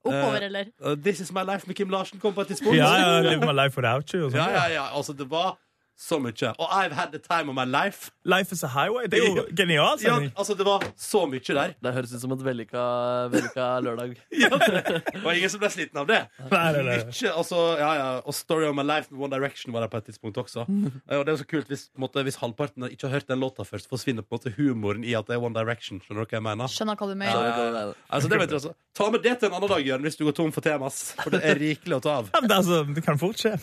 S3: oppover,
S2: Eh,
S3: eller?
S2: og This is my life med Kim Larsen kom på et tidspunkt.
S14: Ja, ja, Live my life without you. Og sånt.
S2: Ja, ja, ja. Altså, det var så mye. Og I've had the time of my life.
S14: Life is a highway. Det er jo genialt.
S2: Ja,
S14: sending.
S2: altså, det var så mye der.
S4: Det høres ut som et vellykka, vellykka lørdag.
S2: Og ingen som ble sliten av det.
S14: Nei, nei, nei.
S2: Mye, altså, ja, ja. Og Story of my life med One Direction var der på et tidspunkt også.
S14: Mm.
S2: Eh, Og det er jo så kult hvis, på en måte, hvis halvparten ikke har hørt den låta først, forsvinner på en måte humoren i at det er One Direction. Skjønner dere hva jeg mener?
S3: Skjønner hva du mener.
S2: Ja, ja, ja. Altså, det var interessant. Ta med det til en annen dag, Jørn, hvis du går tom for temas. For det er rikelig å ta av.
S14: Ja, men det, altså, det kan fort skje.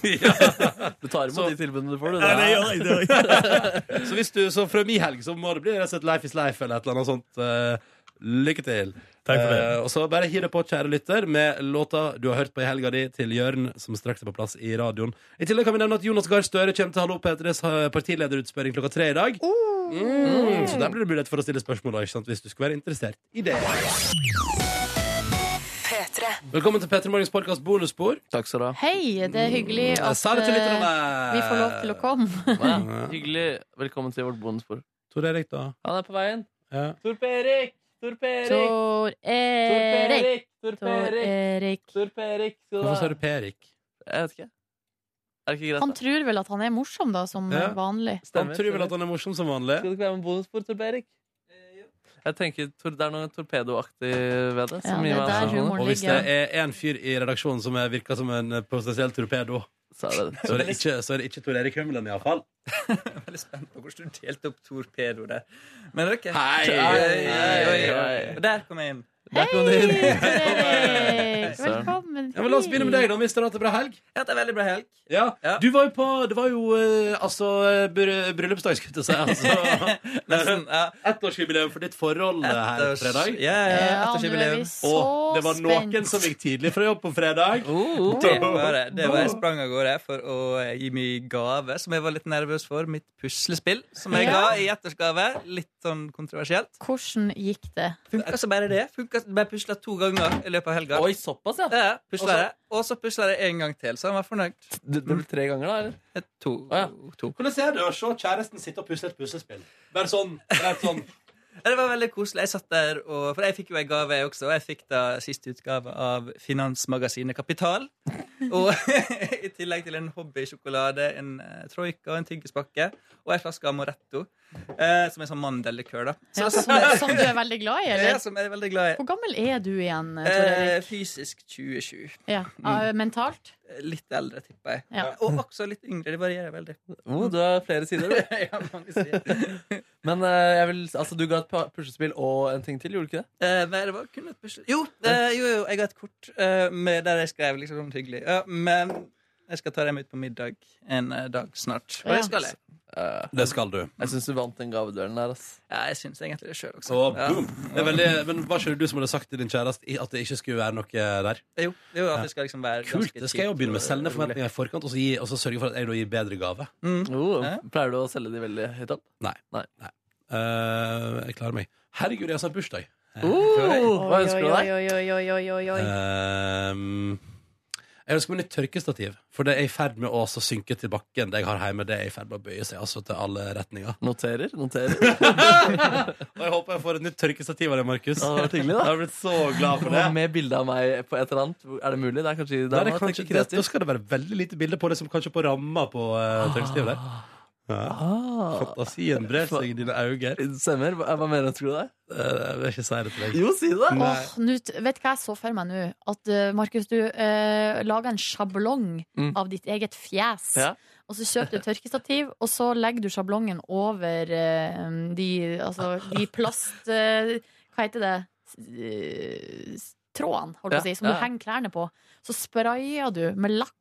S4: Du tar imot de tilbudene du får, du.
S14: Ja, det gjør jeg, det gjør jeg.
S2: Så hvis du, så fra min helg så må det bli rett og slett Life is life eller et eller annet sånt. Eh, lykke til.
S14: Takk for det.
S2: Eh, og så bare hiv det på, kjære lytter, med låta du har hørt på i helga di til Jørn, som straks er på plass i radioen. I tillegg kan vi nevne at Jonas Gahr Støre kommer til Hallo P3s eh, partilederutspørring klokka tre i dag.
S14: Oh!
S2: Mm. Så der blir det mulighet for å stille spørsmål da, ikke sant, hvis du skulle være interessert i det. Velkommen til P3 Morgens podkast bonusspor.
S4: Takk skal du ha.
S3: Hei, det er hyggelig
S2: Mm, Jeg
S3: at
S2: sa det til
S3: eh,
S2: lytterne.
S3: vi får lov til å komme.
S4: Ja, hyggelig. Velkommen til vårt bonusbord.
S2: Tor Erik, da.
S4: Han er på veien.
S2: Ja.
S4: Torp-Erik! Torp-Erik!
S3: Tor Erik. Tor Erik.
S4: Torp-Erik!
S2: Hvorfor sa du Perik?
S4: Jeg vet ikke. Er det ikke greit?
S3: Han tror vel at han er morsom, da, som
S2: Ja.
S3: vanlig.
S2: Han tror vel at han er morsom som vanlig.
S4: Skal du ikke være med bonusbord, Torp-Erik? Jeg tenker tor Det er noe torpedoaktig ved det.
S3: Ja,
S4: som gir
S3: det er
S4: meg
S3: der
S4: en sånn-
S3: humoren
S2: Og hvis det er en fyr i redaksjonen som er- virker som en eh, potensiell torpedo,
S4: så er det
S2: så er det ikke, så er det ikke Tor Erik Humlen, iallfall.
S15: veldig spent på hvordan du delte opp torpedo der. Men ok.
S2: Hei!
S15: Oi, oi, oi.
S2: Hei!
S15: Og der kom jeg inn.
S2: Der kom du inn. Hei,
S3: Erik!
S15: Søren.
S3: Velkommen.
S2: Sånn. Ja, men la oss begynne med deg, da. Hvis dere har hatt en bra helg?
S15: Ja, det er veldig bra helg.
S2: Ja. Du var jo på Det var jo eh, altså bry- bryllupsdag, skulle jeg si. Altså,
S15: Nesten, ja.
S2: Ettårsjubileum for ditt forhold eh, her
S15: Ettårs-
S2: fredag.
S15: ja, ja, ja,
S2: Eh,
S15: Ja, nå er vi ettårsjubileum. så
S2: Og det var noen
S15: spent.
S2: som gikk tidlig fra jobb på fredag. oh.
S15: Det var det. det var jeg sprang av gårde for å eh, gi meg gave, som jeg var litt nervøs for. Mitt puslespill, som jeg ga
S3: Ja.
S15: i ettårsgave. Litt sånn kontroversielt.
S3: Hvordan gikk det?
S15: Funka så bare det. Funka, ble pusla to ganger i løpet av helga.
S4: Oi, såpass, ja.
S15: Ja, pusla jeg. Og så pusla jeg en gang til, så han var fornøyd.
S4: Det, ble tre ganger, da? eller?
S15: To.
S2: Hvordan er det å se kjæresten sitte og pusle et puslespill? Bare sånn. Rett sånn.
S15: Ja, Det var veldig koselig. Jeg satt der, og, For jeg fikk jo en gave, jeg også. Og jeg fikk da siste utgave av finansmagasinet Kapital. Og i tillegg til en hobbysjokolade, en eh, troika og en tyggispakke. Og en flaske Amoretto, eh, som er sånn mandellikør, da. Så
S3: Ja,
S15: jeg satt
S3: som,
S15: der-
S3: som du er veldig glad i, eller?
S15: Ja, som jeg er veldig glad i.
S3: Hvor gammel er du igjen, Tor Erik?
S15: Eh, fysisk 2020.
S3: Ja.
S2: mm.
S3: eh, mentalt?
S15: Litt eldre, tipper jeg.
S3: Ja.
S15: Og også litt yngre. Det varierer veldig.
S4: Oh, du har flere sider, du.
S15: ja, mange sider.
S4: Men eh, jeg vil, altså, du ga et pa- puslespill og en ting til, gjorde du ikke det?
S15: Eh, nei, det var kun et pusle... Jo, eh, jo, jo, jeg har et kort eh, med der jeg skrev liksom sånn hyggelig. Ja, men Jeg skal ta dem ut på middag en eh, dag snart. Og det skal jeg.
S2: Det skal du.
S4: Jeg syns du vant den gavedøren der. ass.
S15: Ja, jeg syns egentlig det sjøl også.
S2: Og boom!
S15: Ja.
S2: Det er veldig, men Var ikke det du som hadde sagt til din kjæreste i- at det ikke skulle være noe der?
S15: Jo, jo at det skal liksom være
S2: Kult! Det skal jeg jo begynne med. Selge ned forventninger i forkant, og så, gi, og så sørge for at jeg da gir bedre gave.
S4: Oh, pleier du å selge de veldig høyt opp?
S2: Nei. Nei. Eh, jeg klarer meg. Herregud, jeg har snart bursdag.
S4: Oh, hva ønsker du deg?
S3: Oi, oi, oi, oi, oi, oi.
S2: Ehm, jeg ønsker meg nytt tørkestativ, for det er i ferd med å også synke til bakken. Det jeg har hjemme, det er i ferd med å bøye seg altså, til alle retninger.
S4: Noterer, noterer.
S2: og jeg håper jeg får et nytt tørkestativ av deg, Markus.
S4: Ja, det hadde vært hyggelig, da.
S2: Jeg har blitt så glad for det.
S4: Og Med bilde av meg på et eller annet. Er det mulig? Det er kanskje
S2: Nei, det
S4: må
S2: er
S4: jeg
S2: kanskje,
S4: tenke
S2: det,
S4: kreativt.
S2: da skal det være veldig lite bilde på det, som kanskje på ramma på uh, tørkestativet der. Ja. Fantasien brer seg i dine øyne.
S4: Ah.
S2: Eh,
S4: Stemmer. Hva hva mener du ønsker du deg?
S2: Jeg vil ikke si det til deg.
S4: Jo, si det!
S2: Nei.
S3: Åh, nå t- vet du hva jeg så for meg nå? At eh, Markus, du eh, lager en sjablong
S4: Mm.
S3: av ditt eget fjes.
S4: Ja.
S3: Og så kjøper du tørkestativ, og så legger du sjablongen over eh, de, altså, de plast... eh, hva heter det? S- eh, s- Trådene, holdt jeg på
S12: Ja,
S3: å si, som
S12: ja.
S3: du henger klærne på. Så sprayer du med lakk,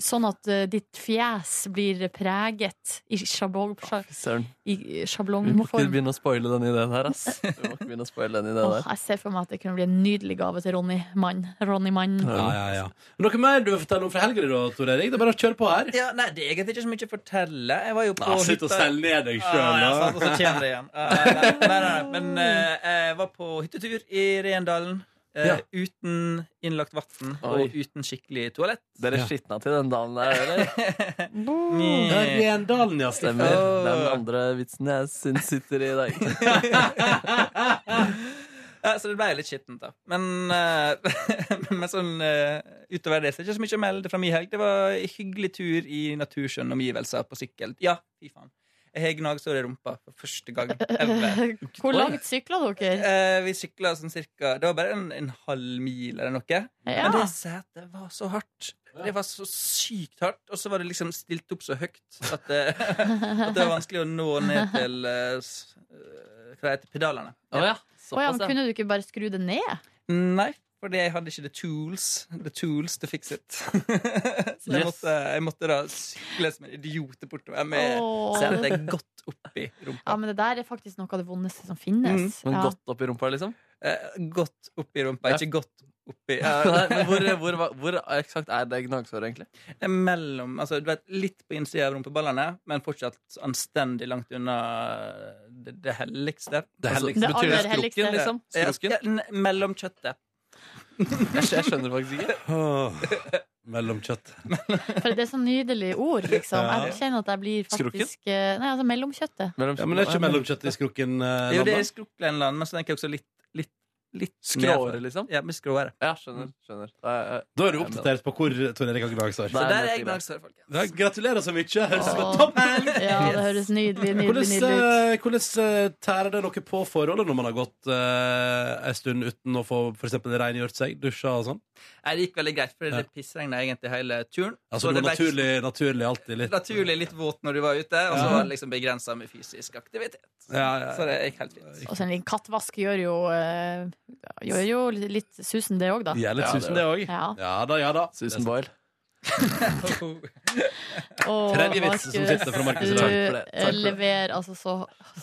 S3: sånn at eh, ditt fjes blir preget i sjablong...
S4: Søren.
S3: I
S4: Vi må ikke
S3: sjablongform.
S4: begynne å spoile den ideen her, ass. Vi må ikke begynne å spoile den ideen
S3: Åh,
S4: der.
S3: jeg ser for meg at det kunne bli en nydelig gave til Ronny Mann. Ronny Mann.
S2: Ja, ja, ja. Men noe mer du vil fortelle om fra helga da, Tor Erik? Det er bare å kjøre på her.
S15: Ja, nei, det er egentlig ikke så mye å fortelle. Jeg var jo på
S2: Nei, slutt å
S15: hytta-
S2: selge ned deg selv,
S15: Ah, ja,
S2: da.
S15: sant, og så kommer det igjen. Ah, nei, nei, nei, nei. Men eh, jeg var på hyttetur i Rendalen. eh,
S4: Ja.
S15: Uten innlagt vann
S4: Oi.
S15: og uten skikkelig toalett.
S4: Dere
S15: Ja.
S4: skitna til den dalen der, eller?
S2: Det er Rendalen, ja.
S4: Stemmer. Det er den andre vitsen jeg syns sitter i dag.
S15: Ja, så det ble litt skittent, da. Men, eh, men sånn, eh, utover det så er det ikke så mye å melde fra min helg. Det var en hyggelig tur i naturskjønne omgivelser på sykkel. Ja, fy faen. Jeg har gnagsår i rumpa for første gang ever.
S3: Hvor langt sykla dere?
S15: Eh, vi sykla sånn cirka Det var bare en, en halv mil eller noe.
S3: Ja.
S15: Men det setet var så hardt. Det var så sykt hardt. Og så var det liksom stilt opp så høyt at det, at det var vanskelig å nå ned til eh, s- eh, Hva heter det, pedalene.
S4: Å ja.
S3: Å ja, men kunne du ikke bare skru det ned?
S15: Nei, fordi jeg hadde ikke the tools The tools to fix it. så jeg,
S4: Yes.
S15: måtte, jeg måtte da sykle som en idiot bortover med
S3: Åh.
S15: setet godt oppi rumpa.
S3: Ja, men det der er faktisk noe av det vondeste som finnes.
S15: Mm, men
S3: ja.
S15: godt.
S4: Oppi rumpa, liksom?
S15: Eh, godt oppi rumpa, ikke godt oppi
S4: Nei, men hvor, hvor, hvor eksakt er det gnagsåret, egentlig?
S15: Mellom, altså du vet, Litt på innsida av rumpeballene, men fortsatt anstendig langt unna det, det helligste.
S4: Det helligste Det betyr aller det skrukken, helligste. liksom?
S15: Ja,
S4: Skrukken?
S15: ja, n- mellom kjøttet.
S4: Jeg skjønner faktisk ikke.
S2: Mellomkjøtt.
S3: For det er så nydelig ord, liksom.
S2: Ja.
S3: Jeg kjenner at jeg blir faktisk eh, Nei, altså mellomkjøttet.
S2: Ja, men det er ikke mellomkjøtt i skrukken? eh,
S15: Jo, det er
S2: Nanna?
S15: Skruklenland, men så tenker jeg også litt, litt, litt
S4: Skråere,
S15: nedfor.
S4: liksom?
S15: Ja, med skråere.
S4: Ja, skjønner. skjønner.
S2: Da er du oppdatert på hvor Tor Erik har gnagsår.
S15: Så der er jeg gnagsår, folkens.
S2: Ja, gratulerer så mye. Høres ut som
S3: Åh.
S2: topp!
S3: Ja, det høres nydelig, nydelig,
S2: Hvordan,
S3: nydelig ut.
S2: eh, hvordan eh, tærer det noe på forholdet når man har gått eh, en stund uten å få for eksempel rengjort seg, dusja og sånn?
S15: Nei, det gikk veldig greit, for det pissregna egentlig hele turen.
S2: Altså,
S15: Så
S2: det var
S15: ble
S2: naturlig, naturlig alltid litt
S15: naturlig litt våt når du var ute, og så
S2: Ja.
S15: var det liksom begrensa med fysisk aktivitet.
S2: Ja, ja.
S15: Så det gikk helt fint.
S3: Og så en liten kattvask gjør jo, eh, gjør jo litt susen, det òg, da.
S2: Gjør litt susen, det òg.
S3: Ja.
S2: Ja da, ja da. Susan
S4: Boyle.
S3: Åh,
S2: Tredje vitsen som
S3: Markus,
S2: sitter fra Markus i
S3: Du
S2: dag. Takk for det. Takk
S3: eh,
S2: for det.
S3: leverer altså så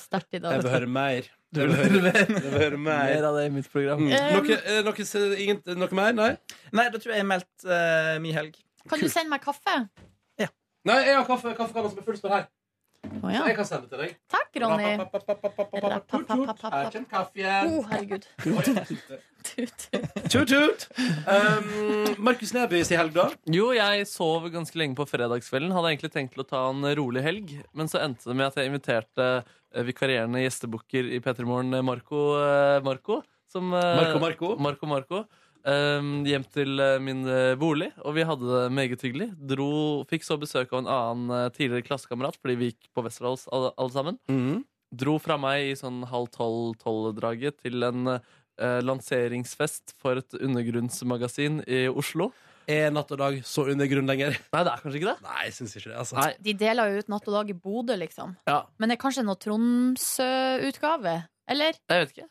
S3: sterkt i dag.
S2: sånn, Jeg vil høre mer. Jeg vil høre, jeg vil høre mer.
S4: Mer av det i mitt program.
S2: Mm.
S3: Eh,
S2: Noe, eh, noe, s- ingen- noe mer? Nei?
S15: Nei, da tror jeg jeg meldte uh, mi helg.
S3: Kan du sende meg kaffe?
S2: Nei, jeg har kaffe, kaffekanna som er full, står her.
S3: Å, ja.
S2: Så jeg kan sende til deg.
S3: Takk, Ronny. Uh.
S2: Her kommer kaffen.
S3: Å, herregud.
S2: Tut-tut. Um, Markus Neby sier helg, da.
S4: Jo, jeg sov ganske lenge på fredagskvelden. Hadde egentlig tenkt til å ta en rolig helg, men så endte det med at jeg inviterte eh, vikarierende gjestebukker i P3 Morgen, eh, Marco, eh, Marco, som, eh,
S2: Marco Marco.
S4: Marco, Marco, eh, hjem til eh, min eh, bolig, og vi hadde det meget hyggelig. Dro, fikk så besøk av en annen eh, tidligere klassekamerat, fordi vi gikk på Westerdals alle, alle sammen.
S2: mm.
S4: Dro fra meg i sånn halv tolv-tolv-draget til en eh, lanseringsfest for et undergrunnsmagasin i Oslo.
S2: Er natt og dag så undergrunn lenger?
S4: Nei, det er kanskje ikke det.
S2: Nei, jeg syns ikke det. altså
S3: De deler jo ut Natt og dag i Bodø, liksom.
S4: Ja.
S3: Men det er kanskje noe Tromsø-utgave? Eller?
S4: Jeg vet ikke.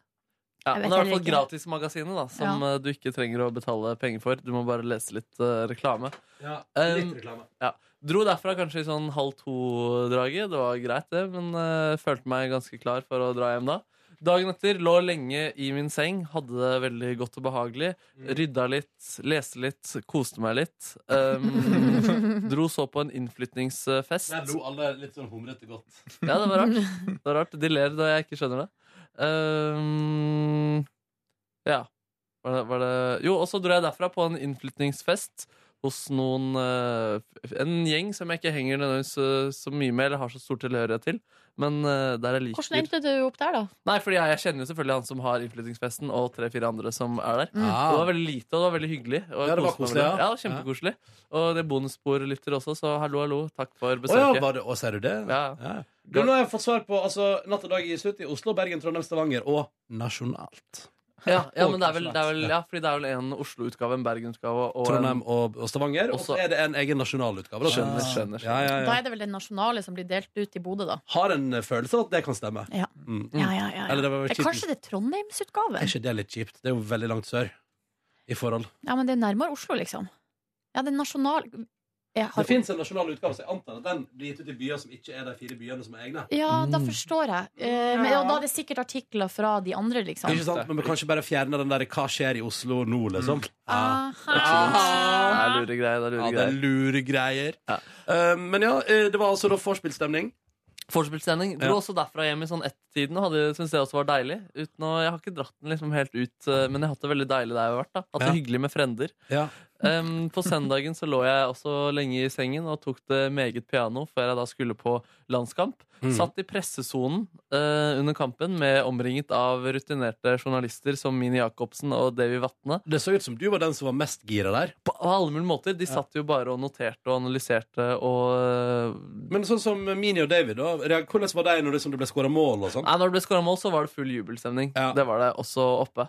S4: Ja,
S3: Jeg vet
S4: men det er i hvert
S3: heller
S4: fall
S3: ikke.
S4: gratismagasinet, da, som eh, du ikke trenger å betale penger for. Du må bare lese litt eh, reklame.
S2: Ja,
S4: Um, ja. Dro derfra kanskje i sånn halv to-draget. Det var greit, det, men eh, følte meg ganske klar for å dra hjem da. Dagen etter lå lenge i min seng, hadde det veldig godt og behagelig.
S2: Mm.
S4: Rydda litt, leste litt, koste meg litt. Um, dro så på en innflytningsfest.
S2: Der lo alle litt sånn humrete godt.
S4: Ja, det var rart. Det var rart. De ler da jeg ikke skjønner det. Ehm, ja. Var det, var det Jo, og så dro jeg derfra på en innflytningsfest hos noen eh, f- En gjeng som jeg ikke henger nødvendigvis eh, så mye med, eller har så stor tilhørighet til. Men eh, der jeg liker
S3: Hvordan endte du opp der, da?
S4: Nei, fordi jeg, jeg kjenner jo selvfølgelig han som har innflyttingsfesten, og tre-fire andre som er der.
S3: Mm.
S4: Og Det var veldig lite, og det var veldig hyggelig. Og jeg
S2: Ah. Ja, det var
S4: koste meg
S2: koselig,
S4: med
S2: ja.
S4: ja kjempekoselig. Og det er bonusbordlytter også, så hallo, hallo. Takk for
S2: Å ja,
S4: besøket.
S2: var det, å, ser du det?
S4: Ja.
S2: Du, nå har jeg fått svar på altså, Natt og dag i slutt i Oslo, Bergen, Trondheim, Stavanger og nasjonalt.
S4: Ja, ja,
S2: Og
S4: men det er vel, det er vel,
S2: nasjonalt.
S4: ja, fordi det er vel en Oslo-utgave, en Bergen-utgave og
S2: Trondheim
S4: en
S2: og, og Stavanger. Og
S4: Også-
S2: så er det en egen nasjonalutgave. da.
S4: Skjønner, skjønner, skjønner.
S2: Ja, ja,
S3: Da
S2: ja.
S3: er det vel den nasjonale som blir delt ut i Bodø, da.
S2: Har en følelse av at det kan stemme.
S3: Ja.
S2: Mm.
S3: Ja, ja, ja, ja.
S2: Eller det var vel
S3: Eh,
S2: kjipt.
S3: Kanskje det er Trondheimsutgaven?
S2: Er ikke det litt kjipt? Det er jo veldig langt sør i forhold.
S3: Ja, men det er nærmere Oslo, liksom. Ja, det er nasjonal... Jeg
S2: Det
S3: har...
S2: fins en nasjonal utgave, så jeg antar at den blir gitt ut i byer som ikke er de fire byene som er egne.
S3: Ja, da forstår jeg. Eh, men, og da er det sikkert artikler fra de andre, liksom.
S2: Ikke sant? Men vi kanskje bare fjerne den der 'Hva skjer i Oslo nå?' liksom.
S4: Mm.
S3: Aha.
S4: Aha. Ah! Det er lure greier. Det er lure
S2: Ja, det er
S4: greier.
S2: lure greier. Eh, men ja, eh, det var altså da vorspielstemning.
S4: Vorspielstemning. Dro
S2: Ja.
S4: også derfra hjem i sånn ett-tiden og hadde- syntes det også var deilig. Uten å, jeg har ikke dratt den liksom helt ut, eh, men jeg har hatt det veldig deilig der jeg har vært. da Hatt det
S2: Ja.
S4: hyggelig med frender. Em, på søndagen så lå jeg også lenge i sengen og tok det meget piano før jeg da skulle på landskamp.
S2: Mm.
S4: Satt i pressesonen eh, under kampen med omringet av rutinerte journalister som Mini Jacobsen og Davy Vatne.
S2: Det så ut som du var den som var mest gira der.
S4: På alle mulige måter. De satt jo bare og noterte og analyserte og eh,
S2: Men sånn som Mini og David, da, rea- hvordan var de når det, som det ble skåra mål og sånn?
S4: Nei, når det ble skåra mål, så var det full jubelstemning. Det var det også oppe.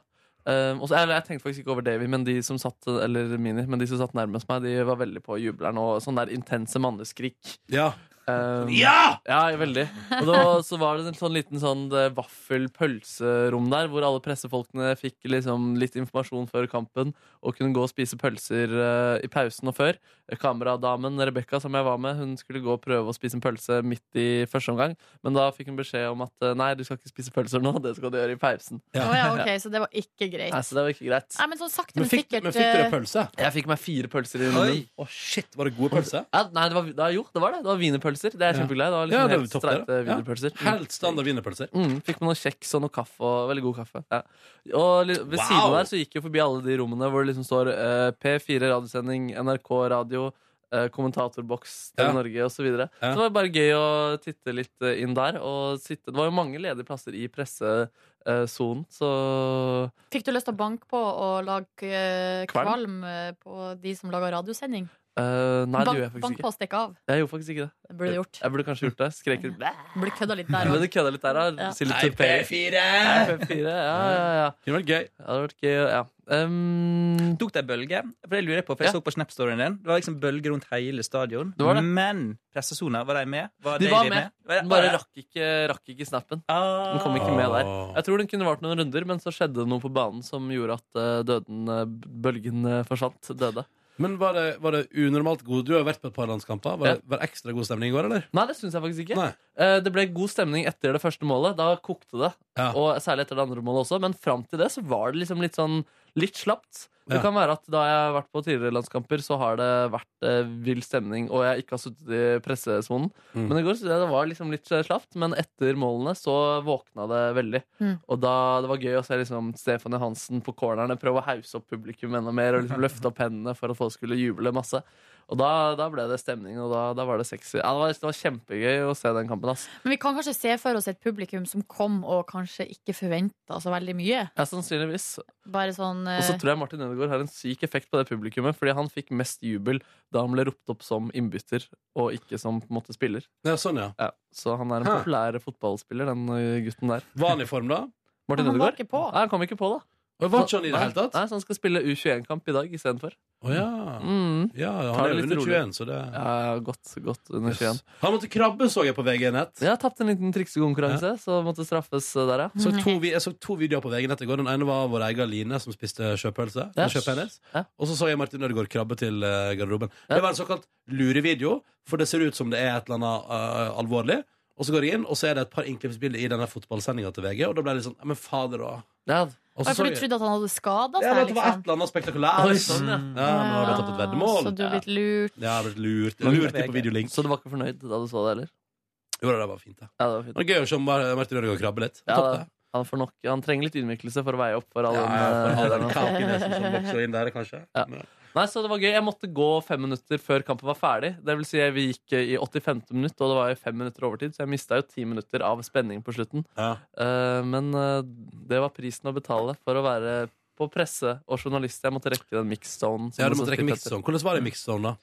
S4: Um, også, eller, jeg tenkte faktisk ikke over Davy, men de som satt Eller Mini, men de som satt nærmest meg, De var veldig på jubleren og sånn der intense manneskrik.
S2: Ja!
S4: Um,
S2: Ja!
S4: veldig. Og da, så var det en sånn liten sånn eh, vaffel-pølserom der, hvor alle pressefolkene fikk liksom litt informasjon før kampen og kunne gå og spise pølser eh, i pausen og før. Kameradamen Rebekka, som jeg var med, hun skulle gå og prøve å spise en pølse midt i første omgang, men da fikk hun beskjed om at eh, nei, du skal ikke spise pølser nå, det skal du gjøre i pausen.
S3: Å ja, ok, så det var ikke greit.
S4: Nei, så det var ikke greit.
S3: Nei, men sånn sakte, men, sikkert eh,
S2: pølse?
S4: Jeg fikk meg fire pølser i munnen.
S2: Å, shit, Var det gode pølser?
S4: Ja, nei, det var, da, jo, det var det. Det var wienerpølser. Det er jeg
S2: Ja.
S4: kjempeglad i. Det var
S2: Ja,
S4: liksom
S2: det er
S4: helt
S2: topp, det,
S4: streite
S2: da. Ja.
S4: wienerpølser.
S2: Helt standard wienerpølser.
S4: Mm, fikk med noe kjeks og noe kaffe. Og, veldig god kaffe. Ja. Og li- ved
S2: Wow!
S4: siden av der så gikk jeg forbi alle de rommene hvor det liksom står eh, P4 radiosending, NRK radio, eh, kommentatorboks til
S2: Ja.
S4: Norge osv. Så, videre.
S2: Ja.
S4: så det var bare gøy å titte litt eh, inn der. Og sitte. Det var jo mange ledige plasser i pressesonen, så
S3: eh, Fikk du lyst til å banke på og lage eh,
S4: Kvalm?
S3: kvalm eh, på de som lager radiosending?
S4: eh, Nei, det
S3: bank,
S4: gjorde jeg faktisk
S3: bank på
S4: ikke.
S3: og stikk av.
S4: Jeg gjorde faktisk ikke det.
S3: Det burde du gjort.
S4: Jeg burde kanskje gjort det. Skrek litt bæ!
S3: Ble kødda litt der
S4: Ble
S3: òg.
S4: det kødda litt der, da?
S3: Ja.
S4: Si litt
S2: Nei,
S4: til Per.
S2: P4!
S4: Nei, P4, ja, ja, ja.
S2: Det hadde vært gøy.
S4: Det hadde vært gøy, ja. Um,
S15: Tok det bølge? For det lurer jeg på, for jeg
S4: Ja.
S15: så på Snap-storyen din. Det var liksom bølger rundt hele stadion.
S4: Det var det.
S15: Men pressesona, var de med? Var
S4: de
S15: Davy
S4: var med,
S15: Var-
S4: den
S15: var
S4: bare
S15: det? Ah.
S4: rakk ikke, rakk ikke snappen. Den kom ikke med der. Jeg tror den kunne vært noen runder, men så skjedde det noe på banen som gjorde at eh, døden, eh, bølgen eh, forsvant. Døde.
S2: Men var det, var det unormalt god Du har jo vært på et par landskamper. Var, det, var det ekstra god stemning i går, eller?
S4: Nei, det syns jeg faktisk ikke.
S2: Nei.
S4: Eh, Det ble god stemning etter det første målet. Da kokte det.
S2: Ja.
S4: Og særlig etter det andre målet også. Men fram til det så var det liksom litt sånn litt slapt. Det
S2: Ja.
S4: kan være at da jeg har vært på tidligere landskamper, så har det vært eh, vill stemning, og jeg ikke har sittet i pressesonen.
S2: Mm.
S4: Men i går synes jeg det var liksom litt eh, slapt. Men etter målene så våkna det veldig.
S3: Mm.
S4: Og da det var gøy å se liksom Stefan Johansen på cornerne prøve å hause opp publikum enda mer og liksom løfte opp hendene for at folk skulle juble masse. Og da, da ble det stemning, og da, da var det sexy. Ja, det, var, det var kjempegøy å se den kampen. ass
S3: Men vi kan kanskje se for oss et publikum som kom og kanskje ikke forventa så veldig mye.
S4: Ja, sannsynligvis.
S3: Bare sånn eh,
S4: Og så tror jeg Martin Ødegaard har en syk effekt på det publikummet, fordi han fikk mest jubel da han ble ropt opp som innbytter, og ikke som på en måte spiller.
S2: Ja, sånn, ja.
S4: Ja, så han er en
S2: Hæ.
S4: populær fotballspiller, den ø, gutten der.
S2: Var han i form, da?
S4: Martin
S3: Han var
S4: Ødegaard?
S3: ikke på.
S4: Nei, han kom ikke på, da.
S2: Og var ikke han i det
S4: Nei,
S2: hele tatt?
S4: Nei, så han skal spille U21-kamp i dag istedenfor.
S2: Å ja.
S4: Mm.
S2: Ja, han
S4: Ta
S2: er
S4: det
S2: jo
S4: litt
S2: under
S4: rolig.
S2: 21, så det
S4: Ja, godt, godt under
S2: Yes.
S4: 21.
S2: Han måtte krabbe, så jeg på VG-nett.
S4: Ja, tapte en liten triksekonkurranse, så måtte straffes eh, der, ja.
S2: Så to, vi- jeg så to videoer på VG-nett i går. Den ene var vår egen Line, som spiste sjøpølse.
S4: Ja.
S2: Med kjøphennes. Og så så jeg Martin Ødegaard krabbe til eh, garderoben. Det var en såkalt lurevideo, for det ser ut som det er et eller annet eh, alvorlig. Og så går jeg inn, og så er det et par innklippsbilder i denne fotballsendinga til VG, og da ble jeg litt sånn Ja, men fader, da. Og så
S3: Var det
S2: så
S3: fordi
S2: jeg-
S3: du trodde at han hadde skada
S2: Ja,
S3: seg?
S2: men det var et eller annet spektakulært.
S4: Oi,
S2: liksom.
S4: sånn, ja.
S2: men da har jeg tatt et veddemål.
S3: liksom? Så du har blitt lurt.
S2: Ja, jeg har blitt lurt.
S4: Men-
S2: Lurt inn på videolink.
S4: Så du var ikke fornøyd da du så det, heller?
S2: Jo, det var fint, det.
S4: Ja, det var fint.
S2: Det var gøy å se Mar- Martin Ødegaard krabbe litt.
S4: Ja,
S2: Han tapte.
S4: han, får nok, han trenger litt ydmykelse for å veie opp for all
S2: Ja,
S4: den,
S2: ja, for
S4: eh,
S2: all den
S4: den-
S2: kakenesen som vokser inn der, kanskje.
S4: Ja. Nei, så det var gøy. Jeg måtte gå fem minutter før kampen var ferdig. Det vil si, vi gikk eh, i 85. minutt, og det var jo fem minutter overtid, så jeg mista jo ti minutter av spenning på slutten. Eh, men eh, det var prisen å betale for å være på presse og journalist. Jeg måtte rekke den mixzone.
S2: Ja, du måtte rekke mixed zone. Hvordan var det i mixed zone, da?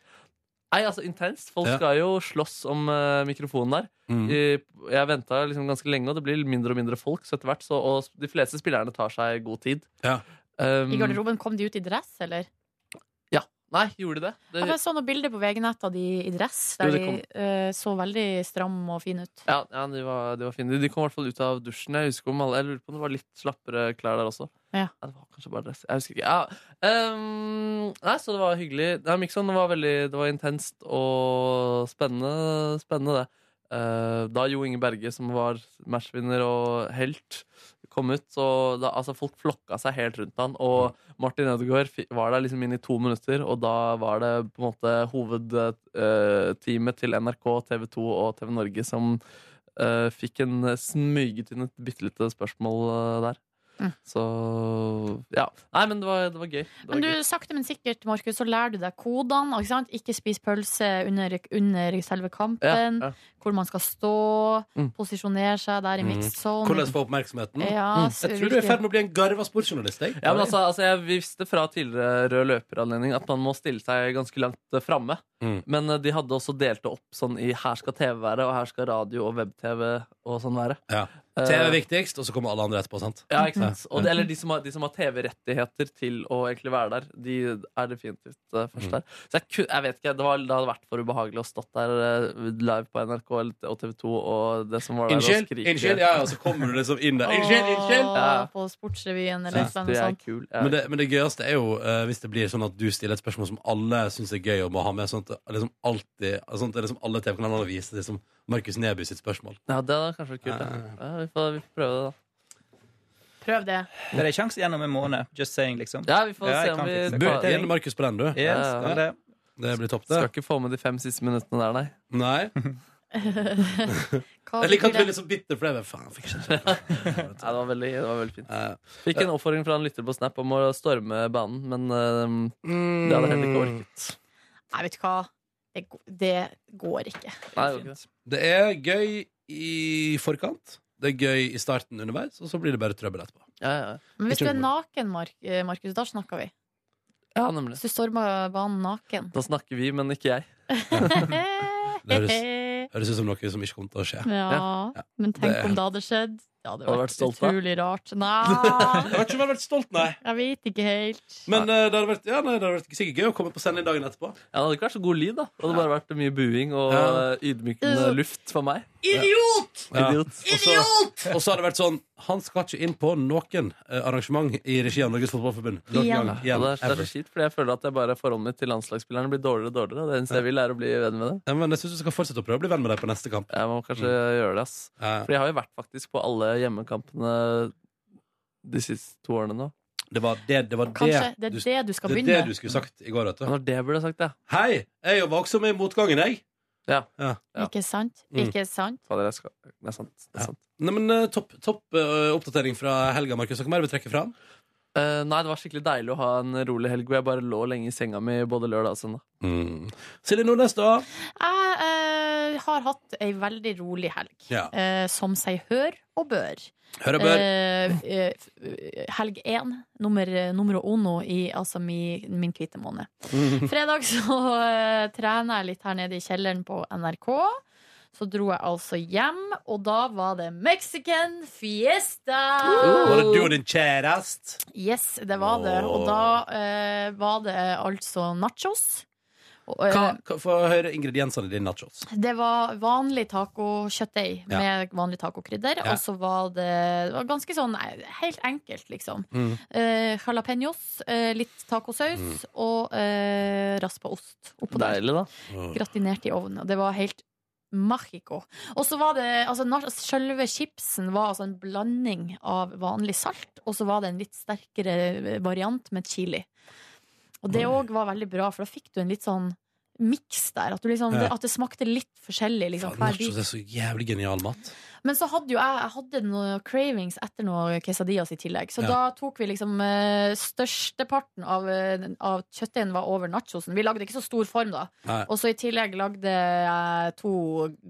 S4: Nei, altså intenst. Folk
S2: Ja.
S4: skal jo slåss om eh, mikrofonen der.
S2: Mm.
S4: I- Jeg venta liksom ganske lenge, og det blir mindre og mindre folk. Så etter hvert, så, og de fleste spillerne tar seg god tid. Um,
S2: Mm.
S3: I garderoben kom de ut i dress, eller?
S4: Ja. Nei, gjorde de det?
S3: Ja, for Jeg så noen bilder på VG-nett av de i dress,
S4: Jo,
S3: der
S4: det
S3: de
S4: kom.
S3: eh, så veldig stram og fin ut.
S4: Ja, ja de, var, de var fine. De kom i hvert fall ut av dusjen. Jeg husker om alle, jeg lurer på om det var litt slappere klær der også.
S3: Ja.
S4: det var kanskje bare dress. Jeg husker ikke. Ja. ehm, nei, så det var hyggelig. Nei, Mixon var veldig det var intenst og spennende, spennende det. Eh, da Jo Inge Berge, som var matchvinner og helt, kom ut, så da, altså, folk flokka seg helt rundt han. Og Martin Ødegaard fi- var der liksom inn i to minutter, og da var det på en måte hovedteamet til NRK, TV 2 og TV Norge som eh, fikk en smyget inn et bitte lite spørsmål eh, der.
S3: Mm.
S4: Så ja. Nei, men det var, det var gøy. Det var
S3: Men du,
S4: gøy.
S3: sakte, men sikkert, Markus, så lærer du deg kodene. Ikke, sant? ikke spis pølse under, under selve kampen.
S2: Ja, ja.
S3: Hvor man skal stå, posisjonere seg der i mixed zone.
S2: Mm. Hvordan få oppmerksomheten?
S3: Ja,
S2: Mm. jeg tror du er i
S3: riktig.
S2: ferd med å bli en garva sportsjournalist. Jeg.
S4: Ja, men altså, altså Jeg visste fra tidligere rød løperanledning at man må stille seg ganske langt eh, framme.
S2: Mm.
S4: Men eh, de hadde også delt det opp sånn i her skal TV være, og her skal radio og web-TV og sånn være.
S2: Ja. TV er viktigst, og så kommer alle andre etterpå, sant?
S4: Ja, ikke sant? Og det, eller de som har, de som har TV-rettigheter til å egentlig være der, de er definitivt eh, først der. Så jeg, ku- jeg vet ikke, det, var, det hadde vært for ubehagelig å stått der eh, live på NRK eller- og TV 2 og det som var der
S2: Unnskyld,
S4: og skrike.
S2: unnskyld, ja, og så kommer du liksom inn der. Unnskyld, unnskyld!
S3: Åh, På Sportsrevyen eller
S15: Sånn,
S2: Ja.
S3: noe sånt.
S2: Men, det, men det gøyeste er jo eh, hvis det blir sånn at du stiller et spørsmål som alle syns er gøy, og må ha med sånn at det liksom alltid sånn at det liksom alle TV-kanalene viser liksom Markus Neby sitt spørsmål.
S4: Ja, det hadde kanskje vært kult. Ja. Ja, vi, får, vi får prøve det, da.
S3: Prøv det.
S15: Det er en sjanse gjennom en måned. Just saying, liksom.
S4: Ja, vi får se
S15: jeg
S4: om
S15: kan
S4: vi-
S15: fikse det.
S4: Bør-
S2: Gjerne Markus på den, du.
S15: Ja, skal det.
S2: Det blir topp, det.
S4: Skal ikke få med de fem siste minuttene der, nei.
S2: Nei.
S3: Hva
S2: Jeg
S3: betyr
S2: liker at du er
S3: det?
S2: litt sånn bitter for det. men Faen, fikk ikke det.
S4: Nei, det, var veldig, det var veldig fint.
S2: Eh,
S4: Fikk en oppfordring fra en lytter på Snap om å storme banen, men eh, det hadde jeg heller ikke orket.
S3: Nei, vet du hva. Det, go- det går ikke.
S2: Det er gøy i forkant, det er gøy i starten underveis, og så blir det bare trøbbel etterpå.
S3: Men hvis
S2: Jeg
S3: du
S2: tror
S3: er
S2: det.
S3: naken, Mark, eh, Markus, da snakker vi.
S4: Ja, nemlig.
S3: Hvis du stormer banen naken.
S4: Da snakker vi, men ikke jeg.
S2: Det høres, høres ut som noe som ikke kommer til å skje.
S3: Ja, men tenk
S2: Det-
S3: om det hadde skjedd. Det hadde
S2: Hadde
S3: vært,
S2: vært stolt, da?
S3: utrolig rart. Nei,
S2: Jeg har ikke vært stolt, nei.
S3: jeg vet ikke helt.
S2: Men eh, det hadde vært, ja, nei, det hadde vært sikkert gøy å komme på sending dagen etterpå.
S4: Ja, det hadde ikke vært så god lyd, da. Det hadde bare vært mye buing og eh, ydmykende luft for meg.
S2: Idiot! Ja.
S4: Idiot!
S2: Og så- Og så hadde det vært sånn Han skal ikke inn på noen eh, arrangement i regi av Norges Fotballforbund. Noen
S4: Igjen.
S2: gang.
S4: Ja,
S2: Igjen.
S4: det er, det er
S2: Ever.
S4: så kjipt, fordi jeg føler at jeg bare forholdet mitt til landslagsspillerne blir dårligere og dårligere. Og det eneste jeg vil, er å bli venn med dem.
S2: Ja, men jeg syns du skal fortsette å prøve å bli venn med dem på neste kamp.
S4: Jeg må kanskje gjøre det, ass. Fordi jeg har jo vært faktisk på alle hjemmekampene de siste to årene nå.
S2: Det var det, det, var
S3: Kanskje det er det du skal
S2: det er
S3: begynne
S2: det du skulle sagt i går. Vet du.
S4: Det var det jeg burde sagt, ja.
S2: Hei! Jeg var også med i motgangen, jeg.
S4: Ja.
S3: Ikke sant?
S2: Mm.
S3: Ikke sant?
S4: Fader, jeg skal... Det er sant. Det er sant.
S2: Nei, men eh, Topp topp, eh, oppdatering fra helga, Markus. Hva mer vil du trekke fram?
S4: Eh, nei, det var skikkelig deilig å ha en rolig helg hvor jeg bare lå lenge i senga mi både lørdag og søndag.
S2: Mm. Silje Nordnes, da?
S3: Jeg eh, har hatt ei veldig rolig helg,
S2: Ja.
S3: eh, som seg hør og bør.
S2: Hør og bør.
S3: Eh, eh, f- helg én, nummer, eh, nummer ono i altså mi, min hvite måned. Fredag så eh, trener jeg litt her nede i kjelleren på NRK. Så dro jeg altså hjem, og da var det Mexican fiesta!
S2: Var
S3: oh.
S2: det du og din kjæreste?
S3: Yes, det var det. Og da eh, var det altså nachos. Og, eh,
S2: Hva- hva- Få høre ingrediensene i din nachos.
S3: Det var vanlig tacokjøttdeig
S2: Ja.
S3: med vanlig tacokrydder.
S2: Ja.
S3: Og så var det, det var ganske sånn eh, helt enkelt, liksom.
S2: Mm.
S3: Eh, jalapeños, eh, litt tacosaus og eh, raspa ost oppå der.
S4: Deilig, da.
S2: Mm.
S3: Gratinert i ovnen. Og det var helt Magico. Og så var det altså, nach- Selve chipsen var altså en blanding av vanlig salt, og så var det en litt sterkere eh, variant med chili. Og det òg var veldig bra, for da fikk du en litt sånn miks der. At, du liksom,
S2: Ja.
S3: det, at det smakte litt forskjellig. Liksom, hver
S2: Nachos
S3: bit.
S2: er så jævlig genial mat.
S3: Men så hadde jo jeg, jeg hadde noen cravings etter noe quesadillas i tillegg. Så
S2: Ja.
S3: da tok vi liksom eh, størsteparten av, eh, av kjøttdeigen var over nachosen. Vi lagde ikke så stor form da.
S2: Nei.
S3: Og så i tillegg lagde jeg to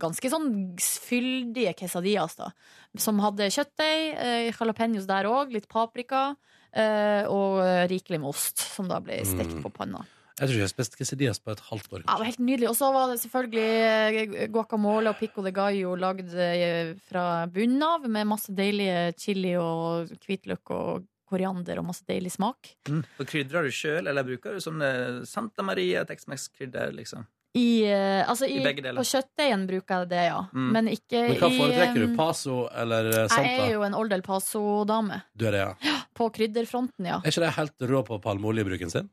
S3: ganske sånn fyldige quesadillas da. Som hadde kjøttdeig, eh, jalapeños der òg, litt paprika. eh, og rikelig med ost, som da ble stekt
S2: Mm.
S3: på panna.
S2: Jeg tror ikke jeg har spist quesadillas på et halvt år.
S3: Ja, det var helt nydelig. Og så var det selvfølgelig eh, guacamole og pico de gallo lagd eh, fra bunnen av, med masse deilige chili og hvitløk og koriander og masse deilig smak.
S4: Mm.
S15: Og krydrer du sjøl, eller bruker du sånn eh, Santa Maria Tex-Mex-krydder, liksom?
S3: I, eh, altså i,
S15: I begge
S3: På
S15: deler.
S3: kjøttdeigen bruker jeg det, ja.
S2: Mm.
S3: Men ikke
S2: Men hva
S3: i,
S2: foretrekker
S3: eh,
S2: du? Paso eller eh, Santa?
S3: Jeg er jo en Old El Paso-dame.
S2: Du er det, ja.
S3: På krydderfronten, ja.
S2: Er ikke de helt rå på palmeoljebruken sin?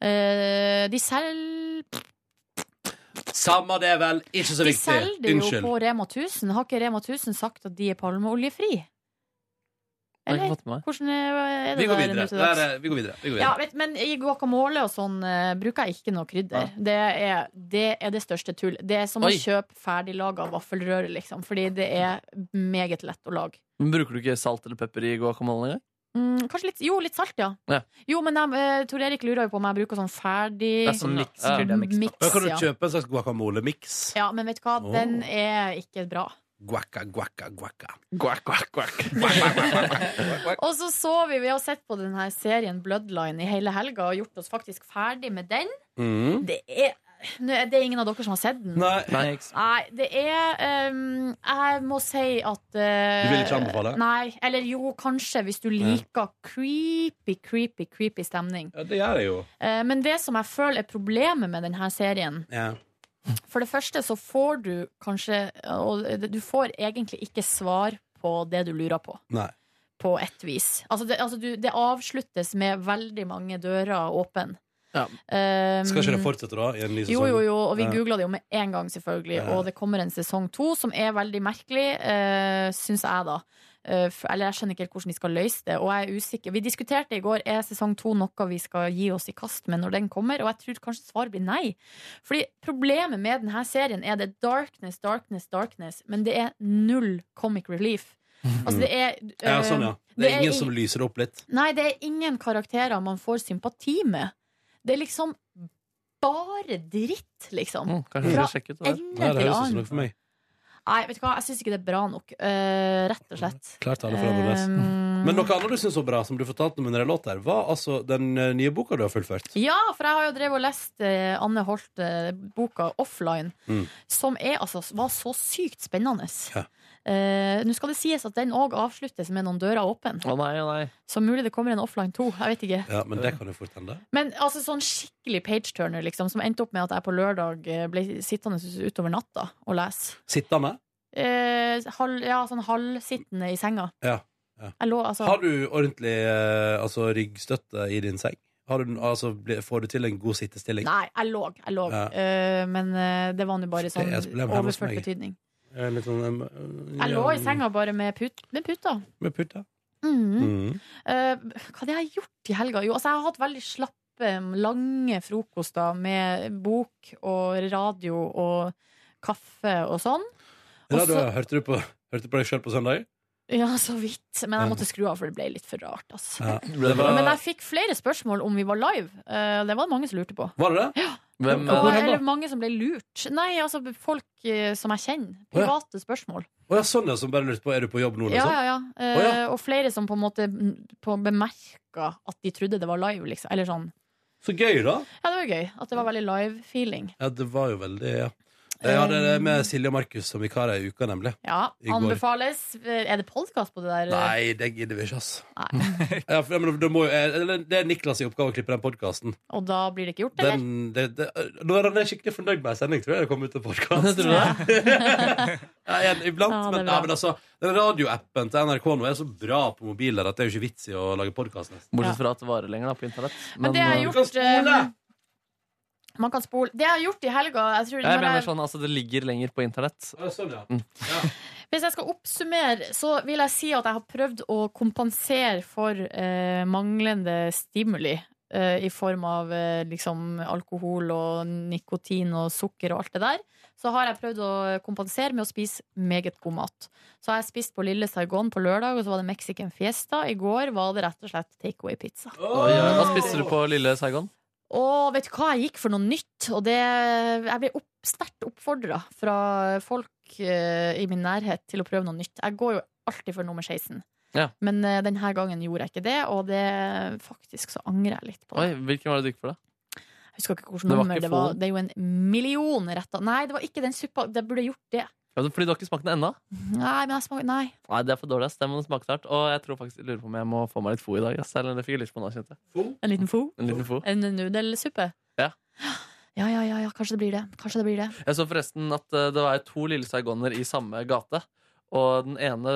S3: Eh, de selger
S2: Samme det, vel. Ikke så
S3: de
S2: viktig.
S3: selger det jo
S2: Unnskyld.
S3: på Rema 1000. Har ikke Rema 1000 sagt at de er palmeoljefri?
S2: har jeg ikke
S3: Eller?
S2: fått med meg.
S3: Hvordan eh, er det
S2: Vi går
S3: der
S2: videre.
S3: nå til dags?
S2: Nei, nei, vi går videre. Vi går videre.
S3: Ja, vet, men i guacamole og sånn eh, bruker jeg ikke noe krydder. Det, er, det er det største tull. Det er som
S4: Oi.
S3: å kjøpe ferdiglaga vaffelrøre, liksom. Fordi det er meget lett å lage.
S4: Men Bruker du ikke salt eller pepper i guacamole engang?
S3: Mm, kanskje litt Jo, litt salt, ja.
S4: Ja.
S3: Jo, men jeg, eh, Tor Erik lurer jo på om jeg bruker sånn ferdig
S2: Det er sånn miks, krydder, miks.
S3: miks,
S2: Da kan du
S3: ja.
S2: kjøpe en slags guacamole-miks.
S3: Ja, men vet du hva,
S2: Åh.
S3: den er ikke bra.
S2: Guaca, guaca, guaca.
S3: Og så så vi, vi har sett på denne serien Bloodline i hele helga og gjort oss faktisk ferdig med den.
S2: Mhm.
S3: Det er Nå er det ingen av dere som har sett den.
S2: Nei. Nei.
S3: Nei, det er ehm, Jeg må si at eh,
S2: Du vil ikke anbefale?
S3: Nei. Eller jo, kanskje, hvis du
S2: Ja.
S3: liker creepy, creepy, creepy stemning.
S2: Ja, det gjør jeg jo.
S3: Eh, Men det som jeg føler er problemet med denne serien
S2: Ja.
S3: For det første så får du kanskje Og du får egentlig ikke svar på det du lurer på
S2: Nei.
S3: på et vis. Altså det, altså du, det avsluttes med veldig mange dører åpne. Um,
S2: Skal ikke det fortsette, da? I en ny sesong?
S3: Jo, jo, jo, og vi
S2: Ja.
S3: googla det jo med en gang, selvfølgelig.
S2: Ja.
S3: Og det kommer en sesong to som er veldig merkelig, uh, syns jeg, da. Eh, f- eller jeg skjønner ikke helt hvordan de skal løse det. Og jeg er usikker Vi diskuterte i går er sesong to noe vi skal gi oss i kast med når den kommer, og jeg tror kanskje svaret blir nei. Fordi problemet med denne serien er det darkness, darkness, darkness, men det er null comic relief. Altså det er
S2: Ja, sånn, ja. Det er ingen
S3: Eh, i-
S2: som lyser opp litt.
S3: Nei, det er ingen karakterer man får sympati med. Det er liksom bare dritt, liksom.
S4: Mm, kanskje jeg
S3: Fra
S4: skal sjekke ut det der.
S2: Nei,
S3: ende
S2: det
S3: til
S2: høres ut som noe
S3: annen.
S2: for meg.
S3: Nei, vet du hva, jeg syns ikke det er bra nok. eh, rett og slett.
S2: Klart alle får abonnes.
S3: Um,
S2: Men noe annet du syns var bra, som du fortalte om under en låt der, var altså den eh, nye boka du har fullført.
S3: Ja, for jeg har jo drevet og lest eh, Anne Holt-boka offline,
S2: Mm.
S3: som er, altså, var så sykt spennende.
S2: Ja.
S3: Eh, Nå skal det sies at den òg avsluttes med noen dører åpne.
S4: Å nei, å nei.
S3: Så mulig det kommer en offline 2. Jeg vet ikke.
S2: Ja, men det kan jo fort hende.
S3: Men altså sånn skikkelig page-turner, liksom, som endte opp med at jeg på lørdag eh, ble sittende utover natta og lese.
S2: Sittende?
S3: Eh, halv, ja, sånn halvsittende i senga.
S2: Ja. ja.
S3: Jeg lå, altså,
S2: Har du ordentlig eh, altså, ryggstøtte i din seng? Har du, den- altså, blir- får du til en god sittestilling?
S3: Nei, jeg lå. Jeg lå.
S2: Ja.
S3: Eh, men eh, det var nå bare
S2: Det er
S3: sånn
S2: et problem her hos
S3: overført
S2: meg.
S3: betydning.
S2: Eh, Litt sånn eh, mm,
S3: Jeg lå i senga bare med, put, med puta.
S2: Med putt, ja.
S3: Mhm.
S2: Mhm.
S3: Eh, hva hadde jeg gjort i helga? Jo, altså, jeg har hatt veldig slappe, lange frokoster med bok og radio og kaffe og sånn. Og
S2: Radio,
S3: så-
S2: hørte, du på, hørte du på deg sjøl på søndag?
S3: Ja, så vidt. Men jeg
S2: Ja.
S3: måtte skru av, for det ble litt for rart. Altså.
S2: Ja. Det var,
S3: Men jeg fikk flere spørsmål om vi var live. Eh, Det var det mange som lurte på.
S2: var det det?
S4: Hvem,
S3: Og,
S2: Hvor hen da?
S3: eller mange som ble lurt. Nei, altså folk eh, som jeg kjenner. Private spørsmål.
S2: Å ja, sånn ja, som bare lurte på Er du på jobb nå? liksom?
S3: Ja, ja, ja. Eh,
S2: Å, ja.
S3: Og flere som på en måte mm, på bemerka at de trodde det var live, liksom. Eller sånn.
S2: Så gøy, da!
S3: Ja, det var gøy. At det var veldig live-feeling.
S2: Ja, det var jo veldig ja. Jeg hadde det med Silje og Markus som vikarer i uka, nemlig.
S3: Ja,
S2: I går.
S3: anbefales. Eh, Er det podkast på det der? eh?
S2: Nei, det gidder vi ikke, ass. ja, for, men, da må, jo- eh, eller, det er Niklas' i oppgave å klippe den podkasten.
S3: Og da blir det ikke gjort, eller?
S2: Den, det, det, nå er han skikkelig fornøyd med ei sending, tror jeg. Det kom ut en podkast. ja, en- iblant,
S3: Ja, det er
S2: men,
S3: bra.
S2: ja, men altså, den radioappen til NRK nå er så bra på mobiler at det er jo ikke vits i å lage podkast.
S4: Bortsett fra at det varer lenger da, på internett.
S3: Men det jeg har gjort eh, Man kan spole. Det jeg har gjort i helga jeg tror,
S4: Ja, Jeg
S3: når jeg-
S4: mener sånn, altså Det ligger lenger på internett. Mm.
S3: Hvis jeg skal oppsummere, så vil jeg si at jeg har prøvd å kompensere for eh, manglende stimuli. eh, I form av eh, liksom alkohol og nikotin og sukker og alt det der. Så har jeg prøvd å kompensere med å spise meget god mat. Så har jeg spist på Lille Saigon på lørdag, og så var det Mexican Fiesta. I går var det rett og slett takeaway-pizza.
S4: Oi, ja. Hva spiste du på Lille Saigon?
S3: Og vet du hva, jeg gikk for noe nytt, og det, jeg ble opp, sterkt oppfordra fra folk eh, i min nærhet til å prøve noe nytt. Jeg går jo alltid for nummer 16,
S4: Ja.
S3: men eh, denne gangen gjorde jeg ikke det, og det, faktisk så angrer jeg litt på
S4: Oi,
S3: det.
S4: Hvilken var det du gikk for, da?
S3: Jeg husker ikke
S4: Det
S3: hvilket
S4: var
S3: nummer
S4: ikke
S3: det var.
S4: Folen?
S3: Det er jo en million retter. Nei, det var ikke den suppa. Det burde jeg gjort det.
S4: Ja, du- fordi du har ikke smakt den ennå?
S3: Nei, men jeg smaker Nei.
S4: Nei, det er for dårlig. ass. Det må du smake snart. Og jeg tror faktisk, jeg lurer på om jeg må få meg litt fo i dag. ass. Eller det fikk jeg lyst på nå, kjente jeg.
S3: En liten fo?
S4: En liten fo.
S3: En nudelsuppe?
S4: Ja.
S3: Ja, ja, ja, ja, kanskje det blir det. Kanskje det blir det.
S4: Jeg så forresten at eh, det var to lille saigoner i samme gate. Og den ene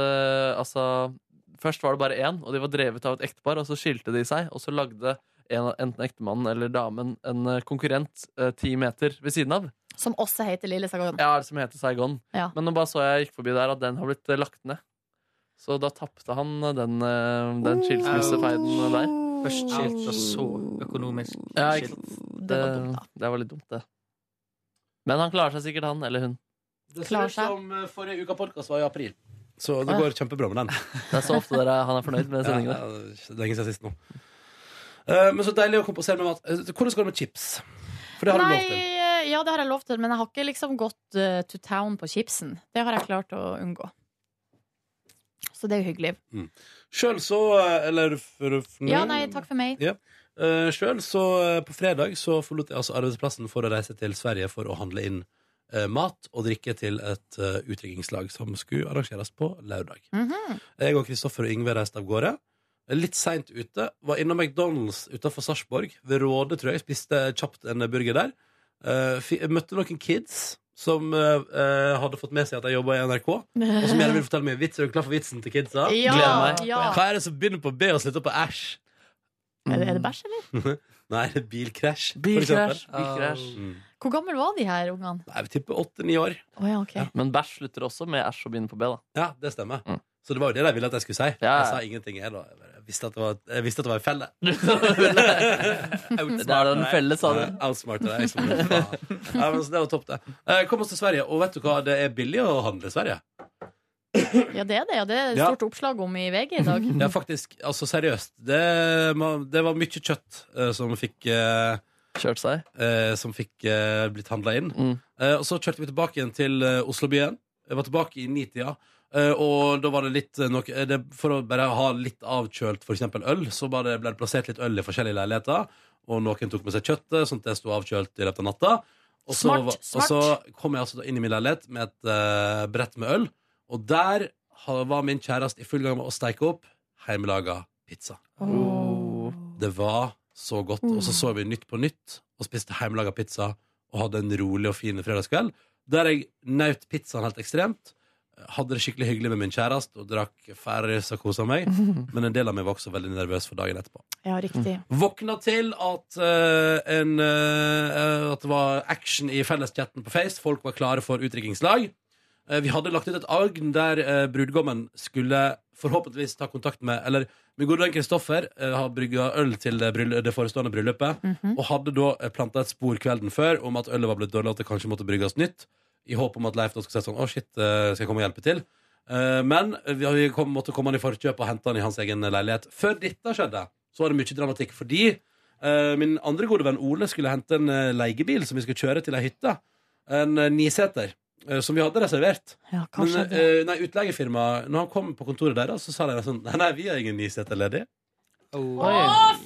S4: Altså, først var det bare én, og de var drevet av et ektepar. Og så skilte de seg, og så lagde en, enten ektemannen eller damen en eh, konkurrent eh, ti meter ved siden av.
S3: Som også heter Lille Sagan.
S4: Ja, som heter Saigon.
S3: Ja.
S4: Men nå bare så jeg gikk forbi der at den har blitt eh, lagt ned. Så da tapte han eh, den, eh, den skilsmissefeiden der.
S15: Først skilt, og så økonomisk
S4: Ja, ikke
S15: skilt.
S4: Det, det var litt dumt, det. Men han klarer seg sikkert, han eller hun.
S2: Det ser
S4: Klarer
S2: ut som eh, forrige uka podkast var i april. Så
S4: Å, ja.
S2: det går kjempebra med den.
S4: Det er så ofte dere, han er fornøyd med sendingene.
S2: Ja, det er lenge siden sist nå. Eh, men så deilig å kompensere med mat. Eh, Hvordan går det med chips? For det har du
S3: Nei,
S2: lov til.
S3: eh, ja, det har jeg lov til, men jeg har ikke liksom gått eh, to town på chipsen. Det har jeg klart å unngå. Så det er jo hyggelig.
S2: Mm. Sjøl så eh, Eller for, for
S3: Ja, nei, takk for meg.
S2: Ja. Eh, Sjøl så eh, på fredag så forlot jeg altså arbeidsplassen for å reise til Sverige for å handle inn eh, mat og drikke til et uh, utdrikningslag som skulle arrangeres på lørdag. Jeg og Kristoffer og Yngve reiste av gårde. Eh, Litt seint ute. Var innom McDonald's utenfor Sarpsborg. Ved Råde, tror jeg. Spiste kjapt en burger der. Eh, fi- møtte noen kids som eh, eh, hadde fått med seg at jeg jobba i NRK. Og som gjerne vil fortelle meg vits. Er du klar for vitsen til kidsa?
S3: Ja, Gleder meg. ja.
S2: Hva er det som begynner på B og slutter på æsj?
S3: Er det, er det bæsj, eller?
S2: Nei, det er bilkrasj. for
S4: Bilkrasj,
S2: eksempel.
S4: bilkrasj.
S2: Mm.
S3: Hvor gammel var de her ungene?
S2: Nei, vi tipper åtte-ni år.
S3: Å ja, ok.
S4: Men bæsj slutter også med æsj og begynner på B, da.
S2: Ja, det stemmer.
S4: Mm.
S2: Så det var jo det de ville at jeg skulle si. Jeg sa ingenting. Jeg, da. jeg, visste, at det var, jeg visste at det var en felle.
S4: Det er da en felle, sa du.
S2: Ja, Outsmarta deg. Eh, jeg som en faen. Ja, men så det var topp, det. Eh, Kom oss til Sverige, og vet du hva? Det er billig å handle i Sverige.
S3: Ja, det er det. Ja, det er
S2: Ja.
S3: stort oppslag om i VG i dag.
S2: Det
S4: Mm.
S2: er faktisk, altså seriøst Det, man- det var mye kjøtt eh, som fikk eh,
S4: Kjørt seg?
S2: som fikk eh, blitt handla inn. Eh, og så kjørte vi tilbake igjen til eh, Oslobyen. Jeg var tilbake i nitida. Eh, og da var det litt eh, noe eh, det, For å bare ha litt avkjølt f.eks. øl, så bare ble det plassert litt øl i forskjellige leiligheter. Og noen tok med seg kjøttet, sånn at det sto avkjølt i løpet av natta. Og så,
S16: Smart,
S2: var-
S16: smart.
S2: Og så kom jeg altså da inn i min leilighet med et eh, brett med øl. Og der ha- var min kjæreste i full gang med å steike opp hjemmelaga pizza. Det var så godt. Og så så vi Nytt på Nytt og spiste hjemmelaga pizza og hadde en rolig og fin fredagskveld. Der jeg nøt pizzaen helt ekstremt. Hadde det skikkelig hyggelig med min kjæreste og drakk Farris og kosa meg. Men en del av meg var også veldig nervøs for dagen etterpå.
S3: Ja, riktig.
S2: Våkna til at, eh, en, eh, at det var action i felleschatten på Face. Folk var klare for utdrikningslag. Eh, vi hadde lagt ut et agn der eh, brudgommen skulle forhåpentligvis ta kontakt med Eller min gode venn Kristoffer eh, har brygga øl til det, bryll- det forestående bryllupet. Og hadde da eh, planta et spor kvelden før om at ølet var blitt dårlig, og at det kanskje måtte brygges nytt. I håp om at Leif da skulle si sånn Å, shit, eh, skal jeg komme og hjelpe til? Eh, Men vi vi kom, måtte komme han i forkjøp og hente han i hans egen leilighet. Før dette skjedde, så var det mye dramatikk, fordi eh, min andre gode venn Ole skulle hente en eh, leiebil som vi skulle kjøre til ei hytte. En eh, niseter. eh, Som vi hadde reservert.
S3: hva skjedde?
S2: eh, nei, Utleiefirmaet Når han kom på kontoret deres, så sa de sånn Nei, nei vi har ingen niseter ledig.
S3: Å,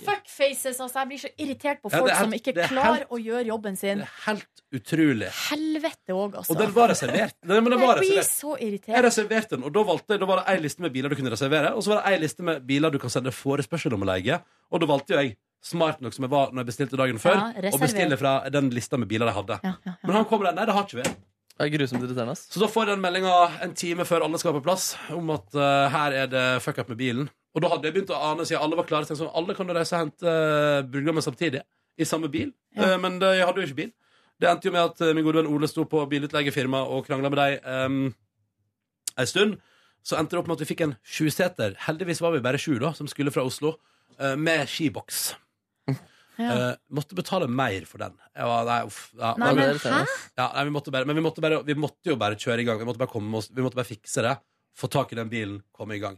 S3: fuckfaces! Altså, jeg blir så irritert på
S2: Ja,
S3: folk
S2: det er helt-
S3: som ikke
S2: det er
S3: klarer
S2: helt-
S3: å gjøre jobben sin.
S2: Helt utrolig.
S3: Helvete òg, altså.
S2: Og den var reservert. Nei, men den var
S3: jeg blir
S2: reservert.
S3: så
S2: Jeg
S3: irritert.
S2: reserverte den, og da, valgte, da var det ei liste med biler du kunne reservere, og så var det ei liste med biler du kan sende forespørsel om å leie. Og da valgte jo jeg, smart nok som jeg var når jeg bestilte dagen før,
S4: Ja, reserver.
S2: å bestille fra den lista med biler jeg hadde. Men han kommer der. Nei, det har ikke vi.
S4: Det er grusomt irriterende. ass.
S2: Så da får jeg den meldinga en time før alle skal på plass, om at eh, her er det fuck up med bilen. Og da hadde jeg begynt å ane, siden alle var klare, så tenkte jeg sånn, alle kan da reise og hente eh, brudgommen samtidig, i samme bil. Eh, men det, jeg hadde jo ikke bil. Det endte jo med at eh, min gode venn Ole sto på bilutleiefirma og krangla med dem em, en stund. Så endte det opp med at vi fikk en sjuseter. Heldigvis var vi bare sju, da, som skulle fra Oslo, eh, med skiboks.
S3: Ja.
S2: Eh, måtte betale mer for den. Jeg var, nei, uff, ja,
S3: Nei, men hæ?
S2: Ja, nei, vi måtte bare, men vi måtte, bare, vi måtte jo bare kjøre i gang. Vi måtte bare, komme med oss, vi måtte bare fikse det. Få tak i den bilen, komme i gang.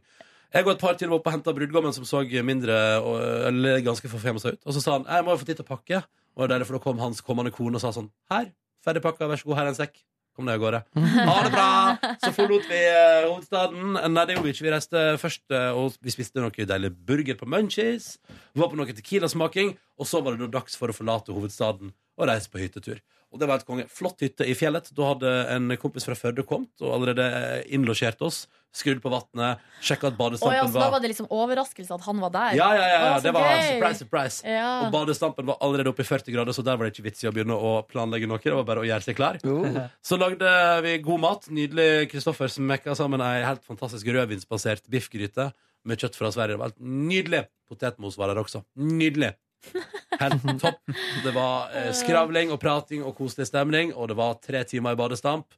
S2: Jeg og et par til var oppe og henta brudgommen som så mindre og, eller ganske forfjemmet seg ut. Og så sa han jeg må jo få tid til å pakke. Og det var deilig, for da kom hans kommende kone og sa sånn Her, ferdig pakka, vær så god, her er en sekk. Kom deg av gårde. Ha det bra! Så forlot vi eh, hovedstaden. Nei, det gjorde vi ikke. Vi reiste først eh, og vi spiste noe deilig burger på Munchies. Vi var på noe tequila-smaking, og så var det da dags for å forlate hovedstaden og reise på hyttetur. Og det var et konge. Flott hytte i fjellet. Da hadde en kompis fra Førde kommet og allerede eh, innlosjert oss. Skrudd på vannet, sjekka at
S3: Å ja,
S2: badestampen
S3: så altså, da var det liksom overraskelse at han var der.
S2: ja, ja, ja,
S3: Å,
S2: ja.
S3: så
S2: Det var
S3: gøy.
S2: surprise, surprise.
S3: Ja.
S2: Og badestampen var allerede oppe i 40 grader, så der var det ikke vits i å begynne å planlegge noe. Det var bare å gjøre seg klar.
S4: Oh.
S2: Så lagde vi god mat. Nydelig Kristoffer som mekka sammen ei helt fantastisk rødvinsbasert biffgryte med kjøtt fra Sverige. Det var helt nydelig. Potetmos var der også. Nydelig. Helt topp. Det var eh, skravling og prating og koselig stemning, og det var tre timer i badestamp.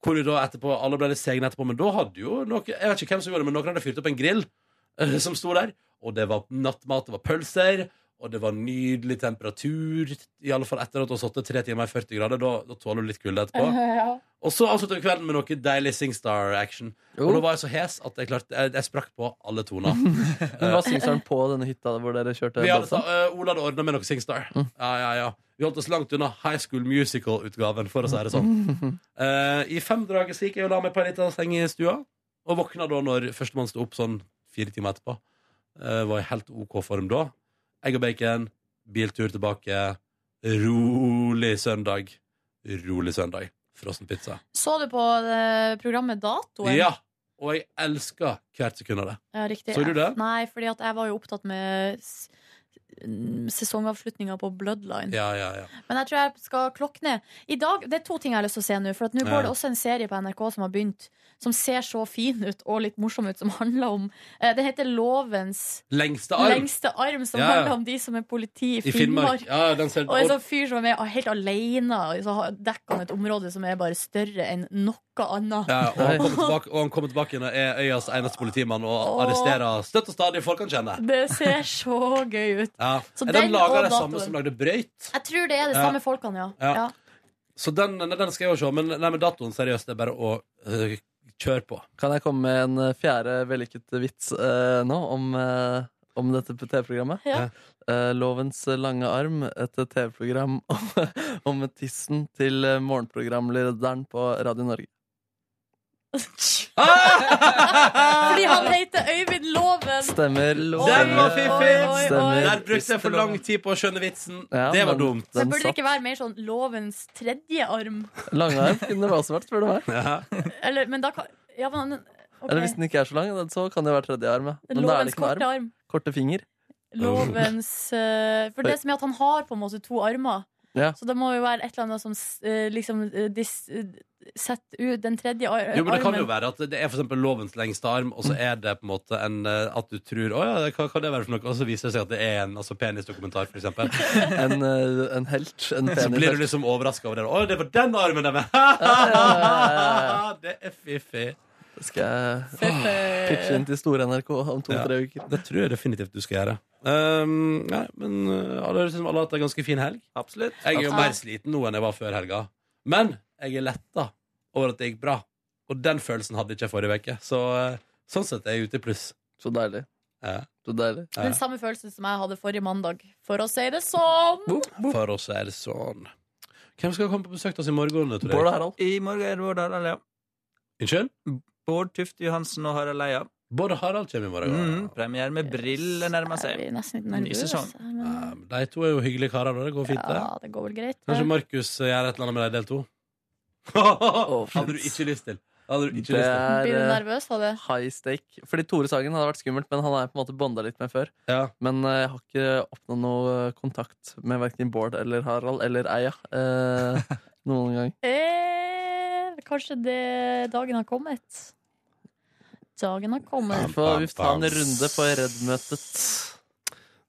S2: Hvor du da etterpå, Alle ble litt segne etterpå, men da hadde jo noe, jeg vet ikke hvem som gjorde det, men noen hadde fyrt opp en grill eh, som sto der. Og det var nattmat, det var pølser, og det var nydelig temperatur. I alle fall etter at du har sittet tre timer i 40 grader. Da, da tåler du litt kulde etterpå.
S3: Ja.
S2: Og så avslutta vi kvelden med noe deilig Singstar-action. Og da var jeg så hes at jeg, klarte, jeg, jeg sprakk på alle toner.
S4: Men hva syns han på denne hytta hvor dere kjørte?
S2: Vi hadde,
S4: båtsamling?
S2: uh, Ola hadde ordna med noe Singstar. Ja, ja, ja. Vi holdt oss langt unna High School Musical-utgaven, for å si det sånn. Eh, I femdraget så gikk jeg og la meg på en liten seng i stua, og våkna da når førstemann sto opp sånn fire timer etterpå. Eh, var i helt OK form da. Egg og bacon, biltur tilbake. Rolig søndag. Rolig søndag. Frossen pizza.
S3: Så du på eh, programmet Datoen?
S2: Ja! Og jeg elsker hvert sekund av det.
S3: Ja, riktig.
S2: Så du det?
S3: Nei, fordi at jeg var jo opptatt med s- mm, sesongavslutninga på Bloodline.
S2: Ja, ja, ja.
S3: Men jeg tror jeg skal klokke ned. I dag, Det er to ting jeg har lyst til å se nå. For at nå
S2: Ja.
S3: går det også en serie på NRK som har begynt, som ser så fin ut og litt morsom ut, som handler om eh, Det heter Lovens
S2: Lengste arm.
S3: lengste arm, som
S2: Ja, ja.
S3: handler om de som er politi i
S2: I
S3: Finnmark.
S2: Finnmark. Ja, den ser,
S3: Og en sånn fyr som er med helt alene, og så har- dekker han et område som er bare større enn noe annet.
S2: Ja, Eh, og han kommer tilbake, og han kommer tilbake igjen og er øyas eneste politimann og
S3: Åh.
S2: arresterer støtt og stadig folk han kjenner.
S3: Det ser så gøy ut.
S2: Ja.
S3: Så
S2: Er
S3: den
S2: den laga
S3: og
S2: de samme
S3: datoen.
S2: som lagde Brøyt?
S3: Jeg tror det er det
S2: Ja.
S3: samme folkene, ja.
S2: Ja.
S3: ja.
S2: Så den, nei, den skal jeg jo se. Men, nei, men datoen, seriøst, det er bare å øh, kjøre på.
S4: Kan jeg komme med en eh, fjerde vellykket vits eh, nå om, eh, om dette TV-programmet?
S3: Ja.
S4: Eh, Lovens lange arm, et TV-program om, om tissen til eh, morgenprogramlederen på Radio Norge.
S3: Fordi han heter Øyvind Loven.
S4: Stemmer.
S2: Den var fiffig!
S3: Oi, oi, oi.
S2: Der brukte jeg for lang tid på å skjønne vitsen. det var dumt.
S3: Men burde det ikke være mer sånn lovens tredje arm?
S4: Lange arm kunne det også vært, spør du meg.
S3: Eller, men da kan ja, men, ok.
S4: Eller hvis den ikke er så lang, så kan det jo være tredje arm. ja. Men da er
S3: Lovens
S4: det ikke noen
S3: korte
S4: arm.
S3: arm.
S4: Korte finger.
S3: Lovens eh, For det som er at han har på en måte to armer.
S4: Ja.
S3: Så det må jo være et eller annet som eh, liksom eh, dis, eh, Sett ut den tredje ar
S2: Jo, men Det kan jo
S3: armen.
S2: være at det er for eksempel lovens lengste arm, og så er det på en måte en, eh, at du tror Å ja, det- hva kan det være for noe? Og så viser det seg at det er en altså, penisdokumentar, for eksempel.
S4: En, eh, en helt. En
S2: så
S4: penis.
S2: blir du liksom overraska over det. Å, det var den armen der! det er fiffig.
S4: Det skal jeg
S3: eh.
S2: Fiffig.
S4: pitche inn til store NRK om to-tre uker.
S2: Det tror jeg definitivt du skal gjøre. Um, nei, men uh, alle høres ut som alle har hatt en ganske fin helg.
S4: Absolutt.
S2: Jeg er jo
S4: Absolutt.
S2: mer sliten nå enn jeg var før helga. Men jeg er letta over at det gikk bra. Og den følelsen hadde ikke jeg forrige uke. Så uh, sånn sett er jeg ute i pluss.
S4: Så deilig.
S2: Ja.
S4: Så deilig.
S3: Den samme følelsen som jeg hadde forrige mandag, for å si det sånn.
S2: For oss er det sånn. Hvem skal komme på besøk til oss i morgen? Tror jeg?
S15: I morgen er det Bård Harald, ja.
S2: Unnskyld?
S15: Bård Tufte Johansen og Harald Eia.
S2: Både Harald kommer i morgen.
S15: Mm, premiere med Brill nærmer seg. Ny sesong.
S2: Ehm, De to er jo hyggelige karer. da. Det går Ah, fint,
S3: Ja, det går vel greit. det.
S2: Kanskje Markus eh, gjør et eller annet med deg i del to? hadde du ikke lyst til. Hadde du ikke
S4: Det
S2: lyst til.
S4: er,
S3: Blir du
S4: eh,
S3: nervøs av det?
S4: High stake. Fordi Tore Sagen hadde vært skummelt, men han har jeg på en måte bonda litt med før. Men eh, jeg har ikke oppnådd noe eh, kontakt med verken Bård eller Harald eller Eia eh, noen gang.
S3: Eh, kanskje det dagen har kommet. Dagen har kommet.
S4: Vi får vi får ta en runde på Redd-møtet.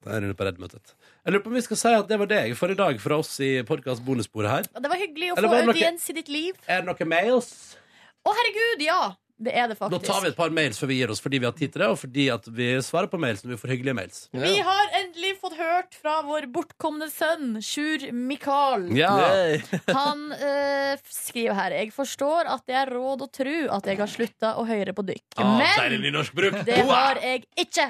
S2: Det er en runde på Redd-møtet. Jeg lurer på om vi skal si at det var deg for i dag fra oss i podkast bonussporet her.
S3: Ja, Det var hyggelig å
S2: Eller
S3: få
S2: var det noe-
S3: audiens i ditt liv.
S2: Er det noen mails?
S3: Å, herregud, ja! Det er det
S2: Da
S3: faktisk.
S2: tar vi et par mails før vi gir oss, fordi vi har tid til det, og fordi at vi svarer på mails når vi får hyggelige mails.
S3: Vi har endelig fått hørt fra vår bortkomne sønn, Sjur Mikael.
S2: Ja.
S3: Han eh, skriver her Jeg forstår at det er råd å tro at jeg har slutta å høre på dykk.
S2: Ah,
S3: Men
S2: Deilig nynorsk bruk.
S3: det har jeg ikke!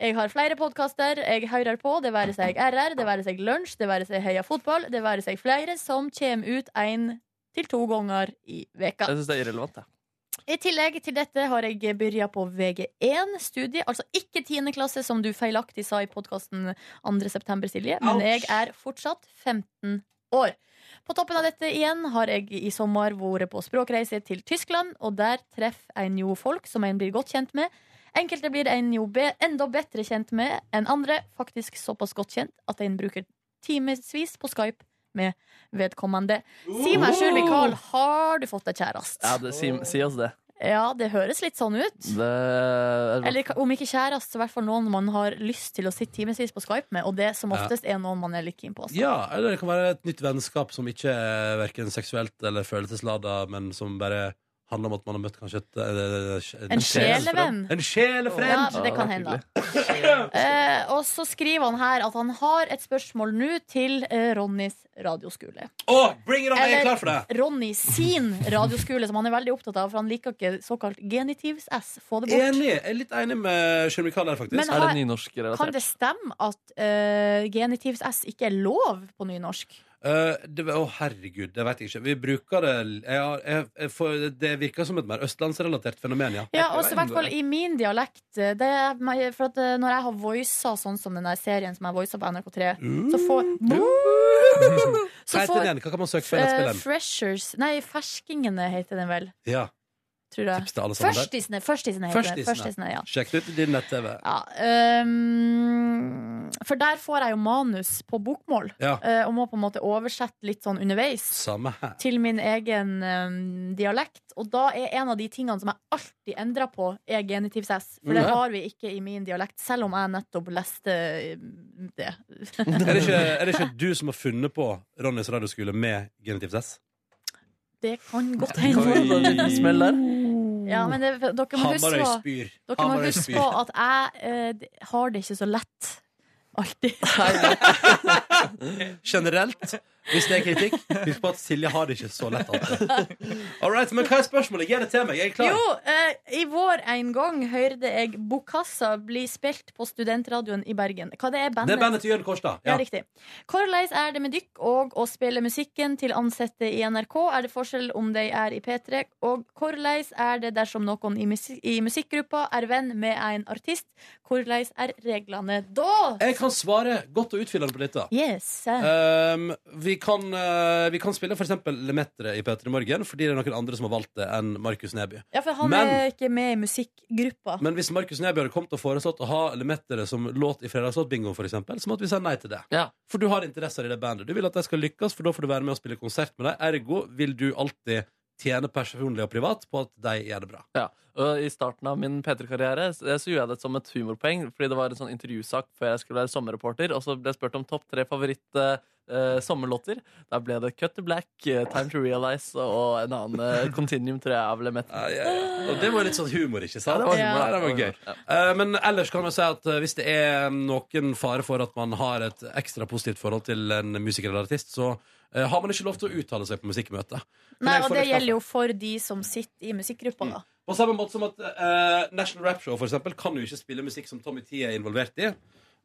S3: Jeg har flere podkaster jeg hører på. Det være seg RR, det være seg Lunsj, det være seg Heia Fotball, det være seg flere som kommer ut én til to ganger i veka.
S4: Jeg syns det er irrelevant. Jeg.
S3: I tillegg til dette har jeg begynt på VG1-studiet, altså ikke 10. klasse, som du feilaktig sa i podkasten 2. september, Silje, men jeg er fortsatt 15 år. På toppen av dette igjen har jeg i sommer vært på språkreise til Tyskland, og der treffer en jo folk som en blir godt kjent med. Enkelte blir en jo be enda bedre kjent med enn andre, faktisk såpass godt kjent at en bruker timevis på Skype med vedkommende. Si meg, Sjur Mikael, har du fått deg kjæreste?
S4: Ja, det, si, si oss det.
S3: Ja, det høres litt sånn ut.
S4: det
S3: Eller ka- om ikke kjæreste, så i hvert fall noen man har lyst til å sitte timevis på Skype med. Og det som
S2: Ja.
S3: oftest er noen man er litt keen på. altså.
S2: Ja, eller det kan være et nytt vennskap som ikke er verken seksuelt eller følelseslada, men som bare handler om at man har møtt kanskje et, eh,
S3: En sjelevenn.
S2: En sjelefrend!
S3: Ja, det kan hende. Eh, og så skriver han her at han har et spørsmål nå til eh, Ronnys radioskole.
S2: Å, bring it on, jeg er klar for det.
S3: Ronny sin radioskole, som han er veldig opptatt av, for han liker ikke såkalt genitivs-s. Få det bort.
S2: Enig. Jeg er litt enig med Sjøl Mikael der, faktisk.
S3: Men har- Er det Kan
S2: nynorskrelatert?
S3: det stemme at eh, genitivs-s ikke er lov på nynorsk?
S2: Eh, det, å, herregud, det vet jeg ikke. Vi bruker det jeg har, jeg, jeg får, Det virker som et mer østlandsrelatert fenomen, ja.
S3: Ja, også i hvert fall i min dialekt. eh, Det er, meg- for at eh, Når jeg har voisa sånn som den der serien som jeg voisa på NRK3, så får Mm, så
S2: Hva heter
S3: får-
S2: den? Hva kan man søke på i
S3: eh,
S2: nettspilleren?
S3: Freshers Nei, Ferskingene heter den vel.
S2: Ja.
S3: Tror jeg.
S2: Tips til alle sammen der.
S3: Førstisene, førstisene heter den. Førstisene,
S2: Førstisene.
S3: ja.
S2: Sjekk det ut i din nett-TV.
S3: Um, for der får jeg jo manus på bokmål,
S2: Ja.
S3: eh, og må på en måte oversette litt sånn underveis.
S2: Samme her.
S3: til min egen em, dialekt. Og da er en av de tingene som jeg alltid endrer på, er genitivs S. For det
S2: Mhm.
S3: har vi ikke i min dialekt, selv om jeg nettopp leste em, det.
S2: er, det ikke, er det ikke du som har funnet på Ronnys radioskole med genitivt S?
S3: Det kan godt
S2: Oi.
S3: hende.
S2: Liten smell der.
S3: Ja, men det, dere må huske
S2: Hamarøy
S3: på,
S2: spyr.
S3: dere må
S2: Hamarøy
S3: huske
S2: spyr.
S3: på at jeg eh, d- har det ikke så lett. Alltid.
S2: Generelt, hvis det er kritikk, husk på at Silje har det ikke så lett alltid. All right, men hva er spørsmålet? Gi det til meg. Jeg er klar.
S3: Jo, eh, i vår en gang hørte jeg Bokassa bli spilt på studentradioen i Bergen. Hva det er bandet?
S2: Det er bandet til Jørn Kårstad.
S3: Ja, riktig. Hvordan er det med dykk og å spille musikken til ansatte i NRK? Er det forskjell om de er i P3? Og hvordan er det dersom noen i, musik i musikkgruppa er venn med en artist? Hvordan er reglene da?
S2: Jeg kan svare godt og utfyllende på dette.
S3: Yes.
S2: Um, vi, kan, eh, vi kan spille for eksempel Lemetre i P3 Morgen, fordi det er noen andre som har valgt det enn Markus Neby.
S3: Ja, for han
S2: Men-
S3: er ikke med i musikkgruppa.
S2: Men hvis Markus Neby hadde kommet og foreslått å ha Lemetere som låt i fredagslåtbingoen, for eksempel, så måtte vi si nei til det. For du har interesser i det bandet. Du vil at de skal lykkes, for da får du være med og spille konsert med dem. Ergo vil du alltid tjene personlig og privat på at de gjør det bra.
S4: Ja, og I starten av min P3-karriere så så gjorde jeg det som et humorpoeng. Fordi det var en sånn intervjusak før jeg skulle være sommerreporter. Og så ble jeg spurt om topp tre favoritt eh, eh, sommerlåter. Da ble det Cut to Black, eh, Time to Realize og en annen eh, Continuum, tror jeg. av Lemaitre.
S2: Og det var litt sånn humor, ikke sant?
S4: Ja, det var humor,
S2: Ja, det var gøy. Eh, Men ellers kan man si at eh, hvis det er noen fare for at man har et ekstra positivt forhold til en musiker eller artist, så eh, har man ikke lov til å uttale seg på musikkmøte.
S3: Nei, og det gjelder jo for de som sitter i
S2: Mm.
S3: musikkgruppa, da.
S2: På samme måte som at eh, National Rap Show for eksempel, kan jo ikke spille musikk som Tommy Tee er involvert i.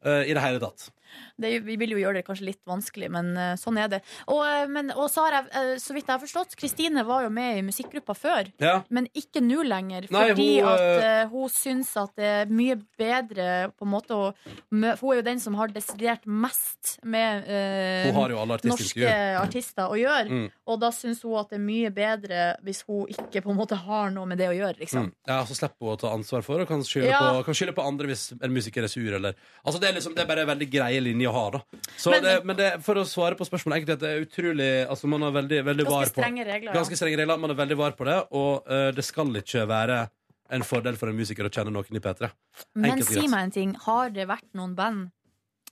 S2: eh, i det hele tatt.
S3: Det, vi vil jo gjøre det kanskje litt vanskelig, men eh, sånn er det. Og, eh, men, og så har jeg, eh, så vidt jeg har forstått, Kristine var jo med i musikkgruppa før,
S2: Ja.
S3: men ikke nå lenger.
S2: Nei,
S3: fordi
S2: hun,
S3: at
S2: eh,
S3: eh, hun syns at det er mye bedre på en måte å mø for Hun er jo den som har desidert mest med eh,
S2: Hun har jo alle artistintervju.
S3: norske artister å gjøre,
S2: Mm.
S3: og da syns hun at det er mye bedre hvis hun ikke på en måte har noe med det å gjøre, liksom.
S2: Mm. Ja, Så slipper hun å ta ansvar for og kan skylde,
S3: Ja.
S2: på, kan skylde på andre hvis en musiker er sur. Eller. Altså, det, er liksom, det er bare en veldig greie linje å ha. Da. Så
S3: Men-
S2: men, det, men det, for å svare på spørsmålet enkelt, det er utrolig altså, Man er veldig, veldig
S3: Ganske
S2: var på
S3: strenge regler, ja.
S2: Ganske strenge regler. Man er veldig var på det, og eh, det skal ikke være en fordel for en musiker å kjenne noen i P3.
S3: Men
S2: Enkelt og
S3: si
S2: greit.
S3: meg en ting, har det vært noen band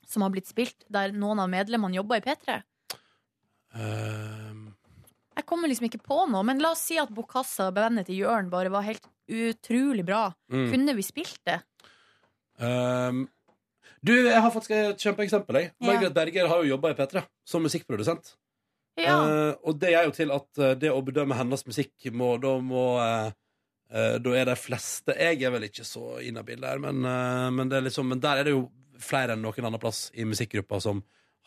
S3: som har blitt spilt der noen av medlemmene jobber i P3?
S2: Ehm,
S3: Jeg kommer liksom ikke på noe, men la oss si at Bokassa, bandet til Jørn, bare var helt utrolig bra.
S2: Mm.
S3: Kunne vi spilt det?
S2: ehm, du, jeg har faktisk et kjempeeksempel. jeg.
S3: Ja.
S2: Margaret Berger har jo jobba i P3 som musikkprodusent.
S3: Ja.
S2: Eh, og det er jo til at eh, det å bedømme hennes musikk må, da, må eh, eh, da er de fleste Jeg er vel ikke så inhabil der, men, eh, men, det er liksom, men der er det jo flere enn noen annen plass i musikkgruppa som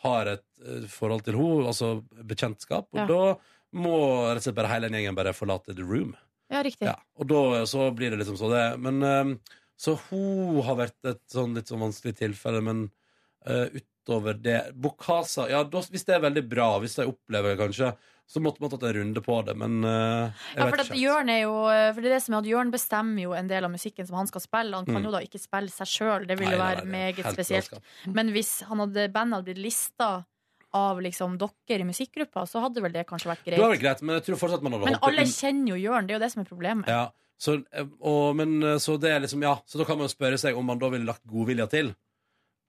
S2: har et eh, forhold til henne, altså bekjentskap. Og
S3: Ja.
S2: da må rett og slett bare hele den gjengen bare forlate the room.
S3: Ja, riktig.
S2: Ja, og da eh, så blir det liksom så det. Men eh, så hun har vært et sånn litt sånn vanskelig tilfelle, men eh, utover det Bokasa, ja, da, hvis det er veldig bra, hvis de opplever det kanskje, så måtte man tatt en runde på det, men eh, jeg
S3: Ja, for,
S2: vet
S3: at
S2: ikke.
S3: Jørn er jo, eh, for det er det som er at Jørn bestemmer jo en del av musikken som han skal spille. Han kan
S2: Mm.
S3: jo da ikke spille seg sjøl, det ville
S2: Nei, nei,
S3: være
S2: nei, det er
S3: meget
S2: helt
S3: spesielt.
S2: galskap.
S3: Men hvis han hadde, bandet hadde blitt lista av liksom dere i musikkgruppa, så hadde vel det kanskje vært
S2: Det var
S3: greit.
S2: vel greit, men jeg tror fortsatt man hadde
S3: Men
S2: holdt
S3: alle
S2: det
S3: kjenner jo Jørn, det er jo det som er problemet.
S2: Ja, så, eh, og, men, eh, så det er liksom, ja, så da kan man jo spørre seg om man da ville lagt godvilja til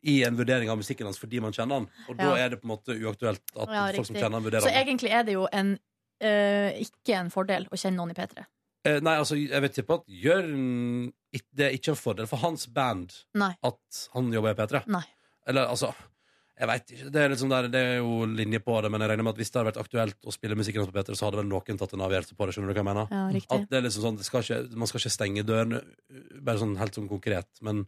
S2: i en vurdering av musikken hans fordi man kjenner han, og da
S3: Ja.
S2: er det på en måte uaktuelt at
S3: Ja,
S2: folk som
S3: riktig.
S2: kjenner han vurderer
S3: Så
S2: han.
S3: egentlig er det jo en, eh, ikke en fordel å kjenne noen i P3.
S2: Eh, nei, altså, jeg vet tippe at Jørn it- Det er ikke en fordel for hans band
S3: Nei.
S2: at han jobber i P3.
S3: Nei.
S2: Eller altså Jeg veit ikke. Det er, liksom der, det er jo linje på det, men jeg regner med at hvis det hadde vært aktuelt å spille musikken hans på P3, så hadde vel noen tatt en avgjørelse på det. Skjønner du hva jeg mener?
S3: Ja, riktig.
S2: at det er liksom sånn, det skal ikke, Man skal ikke stenge dørene, uh, bare sånn helt sånn konkret. Men,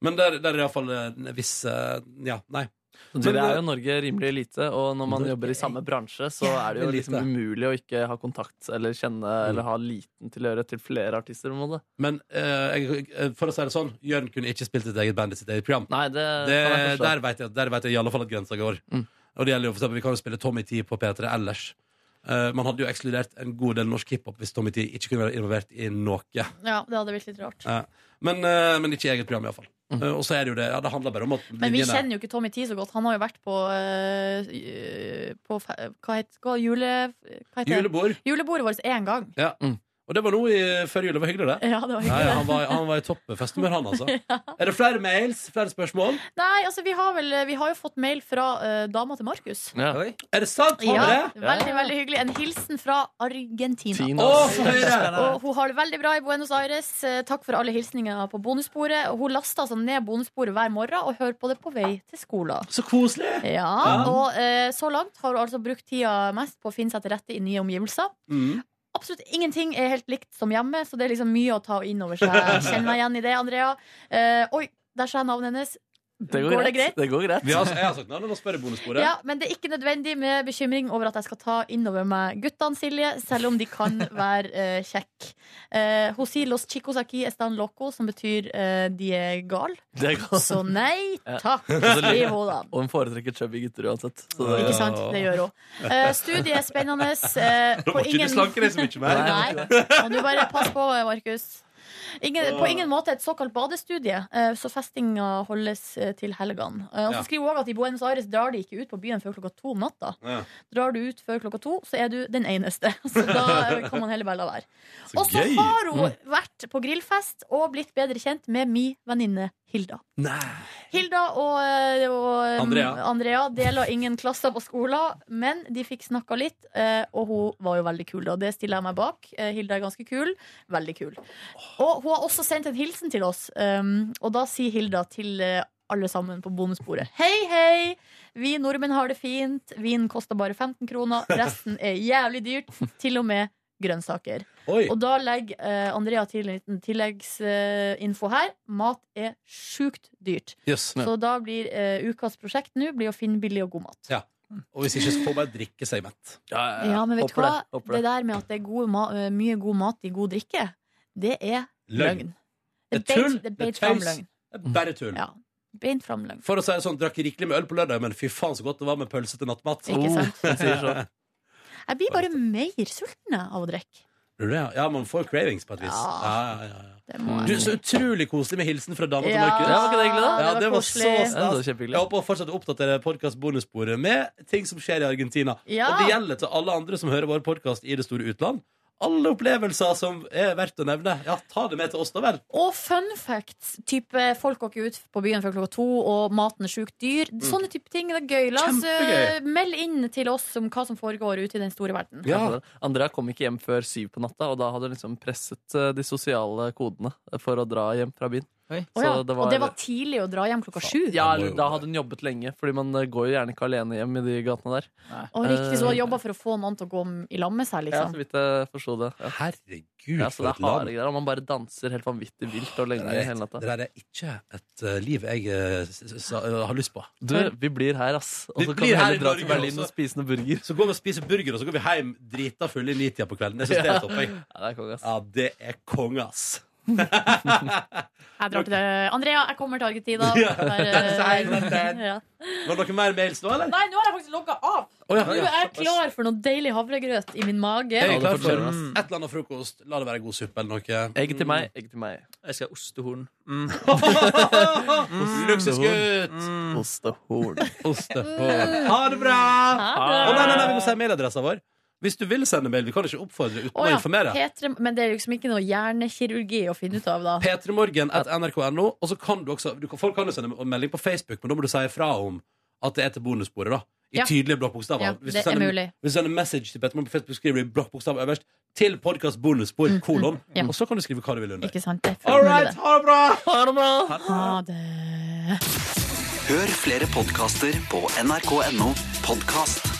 S2: men der, der er iallfall en viss eh, Ja, nei.
S4: Det er jo Norge rimelig lite, og når man jobber i samme bransje, så er det jo
S2: Lite.
S4: liksom umulig å ikke ha kontakt eller kjenne eller ha liten tilhørighet til flere artister. på en måte.
S2: Men eh, jeg, eh, for å si det sånn, Jørn kunne ikke spilt sitt eget band i sitt eget program.
S4: Nei, det,
S2: det,
S4: Eh, kan jeg forstå. Mm.
S2: der, vet jeg, der vet jeg i alle fall at grensa går. Og det gjelder jo for eksempel, Vi kan jo spille Tommy T på P3 ellers. Eh, man hadde jo ekskludert en god del norsk hiphop hvis Tommy T ikke kunne være involvert i noe.
S3: Ja, det hadde blitt litt rart.
S2: Eh, men, eh, men ikke i eget program, iallfall.
S4: Mm.
S2: Uh, og så er det jo det. Ja, det handler bare om at
S3: Men vi
S2: linjene-
S3: kjenner jo ikke Tommy Tee så godt. Han har jo vært på, eh, på fe- hva heter, hva, jule, hva heter det?
S2: Julebord.
S3: Julebordet vårt én gang.
S2: ja. Og det var nå i, før jul. Det var hyggelig, det.
S3: Ja, det var hyggelig.
S2: Ja, ja, han, var, han var i toppfest med han, altså. Er det flere mails? Flere spørsmål?
S3: Nei, altså vi har, vel, vi har jo fått mail fra eh, dama til Markus.
S2: Er det sant? Har
S3: Ja,
S2: vi det?
S3: veldig, veldig hyggelig. En hilsen fra Argentina.
S2: Tina. Å, få høre!
S3: og hun har det veldig bra i Buenos Aires. Eh, Takk for alle hilsninger på bonussporet. Og Hun laster altså ned bonussporet hver morgen og hører på det på vei til skolen.
S2: Så koselig!
S3: Ja,
S2: Ja.
S3: Og eh, så langt har hun altså brukt tida mest på å finne seg til rette i nye omgivelser.
S2: Mm.
S3: Absolutt ingenting er helt likt som hjemme, så det er liksom mye å ta inn over seg. Kjenn meg igjen i det, Andrea. Eh, oi, der sa jeg navnet hennes.
S4: Det går,
S3: det greit?
S4: Det går greit.
S2: Vi har, altså, jeg har sagt navnet, nå spør jeg bonusbordet.
S3: Ja, men det er ikke nødvendig med bekymring over at jeg skal ta innover meg guttene, Silje, selv om de kan være eh, kjekke. Eh, hun sier 'los chicos aquí están locos', som betyr eh, de er gale.
S4: Det er godt.
S3: Så nei
S4: Ja.
S3: takk,
S4: Og så
S3: skriver
S4: ligger-
S3: hun da.
S4: Og hun foretrekker chubby gutter uansett. så
S3: Ikke sant? Det gjør hun. Eh, studiet er spennende. eh,
S4: Da må
S3: på
S4: ikke du
S3: ingen-
S4: slanke deg så mye mer.
S3: Nei, må du bare passe på, Markus. Ingen, på ingen måte et såkalt badestudie, eh, så festinga holdes eh, til helgene. Eh, Og
S16: Ja.
S3: så skriver hun også at i Buenos Aires drar de ikke ut på byen før klokka to om natta. Drar du ut før klokka to, så er du den eneste. Så da kan man heller bare la være.
S16: Så
S3: Og så
S16: gøy.
S3: har hun
S16: Mm.
S3: vært på grillfest og blitt bedre kjent med mi venninne Hilda. Hilda og, eh, og um,
S16: Andrea.
S3: Andrea deler ingen klasser på skolen, men de fikk snakka litt, eh, og hun var jo veldig kul. Og det stiller jeg meg bak. Eh, Hilda er ganske kul. Veldig kul. Og hun har også sendt en hilsen til oss, um, og da sier Hilda til eh, alle sammen på bonusbordet. Hei, hei! Vi nordmenn har det fint. Vin koster bare 15 kroner. Resten er jævlig dyrt. Til og med grønnsaker.
S2: Oi.
S3: Og da legger eh, Andrea til en liten tilleggsinfo her. Mat er sjukt dyrt.
S2: Jøss.
S3: Så da blir eh, ukas prosjekt nå blir å finne billig og god mat.
S2: Ja. Og hvis ikke, så får man drikke seg mett.
S3: Ja, men vet du hva? Det, der med at det er god ma eh, mye god mat i god drikke, det er
S2: Løgn.
S3: løgn. Det
S2: Det er tull.
S3: beit- Det er
S2: Det
S3: beint
S2: er
S3: fram
S2: tøys.
S3: løgn.
S2: Det er bare tull.
S3: Ja. Beint fram løgn.
S2: For å si det sånn, drakk rikelig med øl på lørdag, men fy faen så godt det var med pølse til nattmat.
S3: Ikke sant?
S2: Oh, sier så.
S3: Jeg blir bare mer sulten jeg, av å drikke.
S2: Tror du det? Ja, man får cravings på et vis. Ja, ja, ja, ja.
S3: jeg
S2: Du, så utrolig koselig med hilsen fra dama til
S3: Ja,
S2: Markus.
S3: Ja, var ikke det hyggelig da? det
S2: Ja,
S3: var
S2: det var så
S3: koselig. Ja,
S2: stas. Jeg håper å fortsette å oppdatere podkast-bonussporet med ting som skjer i Argentina.
S3: Ja.
S2: Og det gjelder til alle andre som hører vår podkast i det store utland. Alle opplevelser som er verdt å nevne. Ja, ta det med til oss, da vel.
S3: Og fun facts. Type folk går ikke ut på byen før klokka to, og maten er sjukt dyr.
S2: Mm.
S3: Sånne type ting det er gøy. La oss
S4: Kjempegøy.
S3: eh, melde inn til oss om hva som foregår ute i den store verden.
S4: Andrea kom ikke hjem før syv på natta, og da hadde hun liksom presset eh, de sosiale kodene for å dra hjem fra byen.
S3: Å ja. Og det var tidlig å dra hjem klokka sju.
S4: ja, eller da hadde hun jobbet lenge, Fordi man eh, går jo gjerne ikke alene hjem i de gatene der.
S3: Og riktig så
S4: Eh,
S3: jobba for å få noen til å gå i lag med seg,
S4: Ja, så
S3: liksom.
S4: vidt jeg forsto det. Ja.
S2: Herregud,
S4: ja, så
S2: for
S4: det
S2: et
S4: er harde
S2: land.
S4: greier. og Man bare danser helt vanvittig vilt og lenge
S2: Det der er-
S4: hele natta.
S2: det der er ikke et eh, liv jeg eh, s- s- s- har lyst på.
S4: Du, vi blir her, ass. Og
S2: Vi
S4: så kan
S2: blir
S4: vi
S2: her
S4: heller
S2: i
S4: dra til
S2: Norge
S4: Berlin
S2: også.
S4: og spise noe burger.
S2: Så går vi og spiser burger, og så går vi hjem drita fulle i nitida på kvelden. Jeg synes det
S4: Ja.
S2: er topp. jeg.
S4: Ja, det er konge, ass.
S2: Ja, det er konge, ass.
S3: Jeg drar til det. Andrea, jeg kommer til Argentina.
S2: Ja.
S3: Der, eh, ja.
S2: Var det noen mer mails nå, eller?
S3: Nei, nå har jeg faktisk logga av.
S2: Å, ja,
S3: Nå
S2: ja,
S3: er jeg
S2: såpass.
S3: klar for noe deilig havregrøt i min mage.
S2: Jeg er klar for mm, et eller annet frokost. La det være god suppe eller noe.
S4: Egg til meg, egg til meg.
S15: Jeg skal ha ostehorn. Mm.
S2: Mm. Luksusgutt!
S4: Ostehorn.
S2: Ostehorn. Ha det bra!
S3: Ha det.
S2: Ah. Å, nei, nei, nei, vi må si mailadressa vår. Hvis du vil sende mail, vi kan ikke oppfordre uten
S3: Å
S2: å
S3: ja,
S2: informere.
S3: Petre- men det er liksom ikke noe hjernekirurgi å finne ut av, da.
S2: P3morgen at nrk.no. Og så kan du også du, kan- Folk kan jo sende en melding på Facebook, men da må du si ifra om at det er til bonussporet. da I
S3: Ja.
S2: tydelige blokkbokstaver.
S3: Ja,
S2: hvis, du
S3: det er
S2: sender,
S3: mulig.
S2: hvis du sender message til Petremorgen på Facebook, skriver du i blokkbokstaver øverst 'til podkast bonusspor', kolon, og så kan du skrive hva du vil under.
S3: Mm, Ikke sant? Det er fullt
S2: All
S3: mulig,
S2: right,
S3: det.
S2: ha det bra!
S4: Ha det bra!
S3: Ha det.
S6: Hør flere podkaster på nrk.no podkast.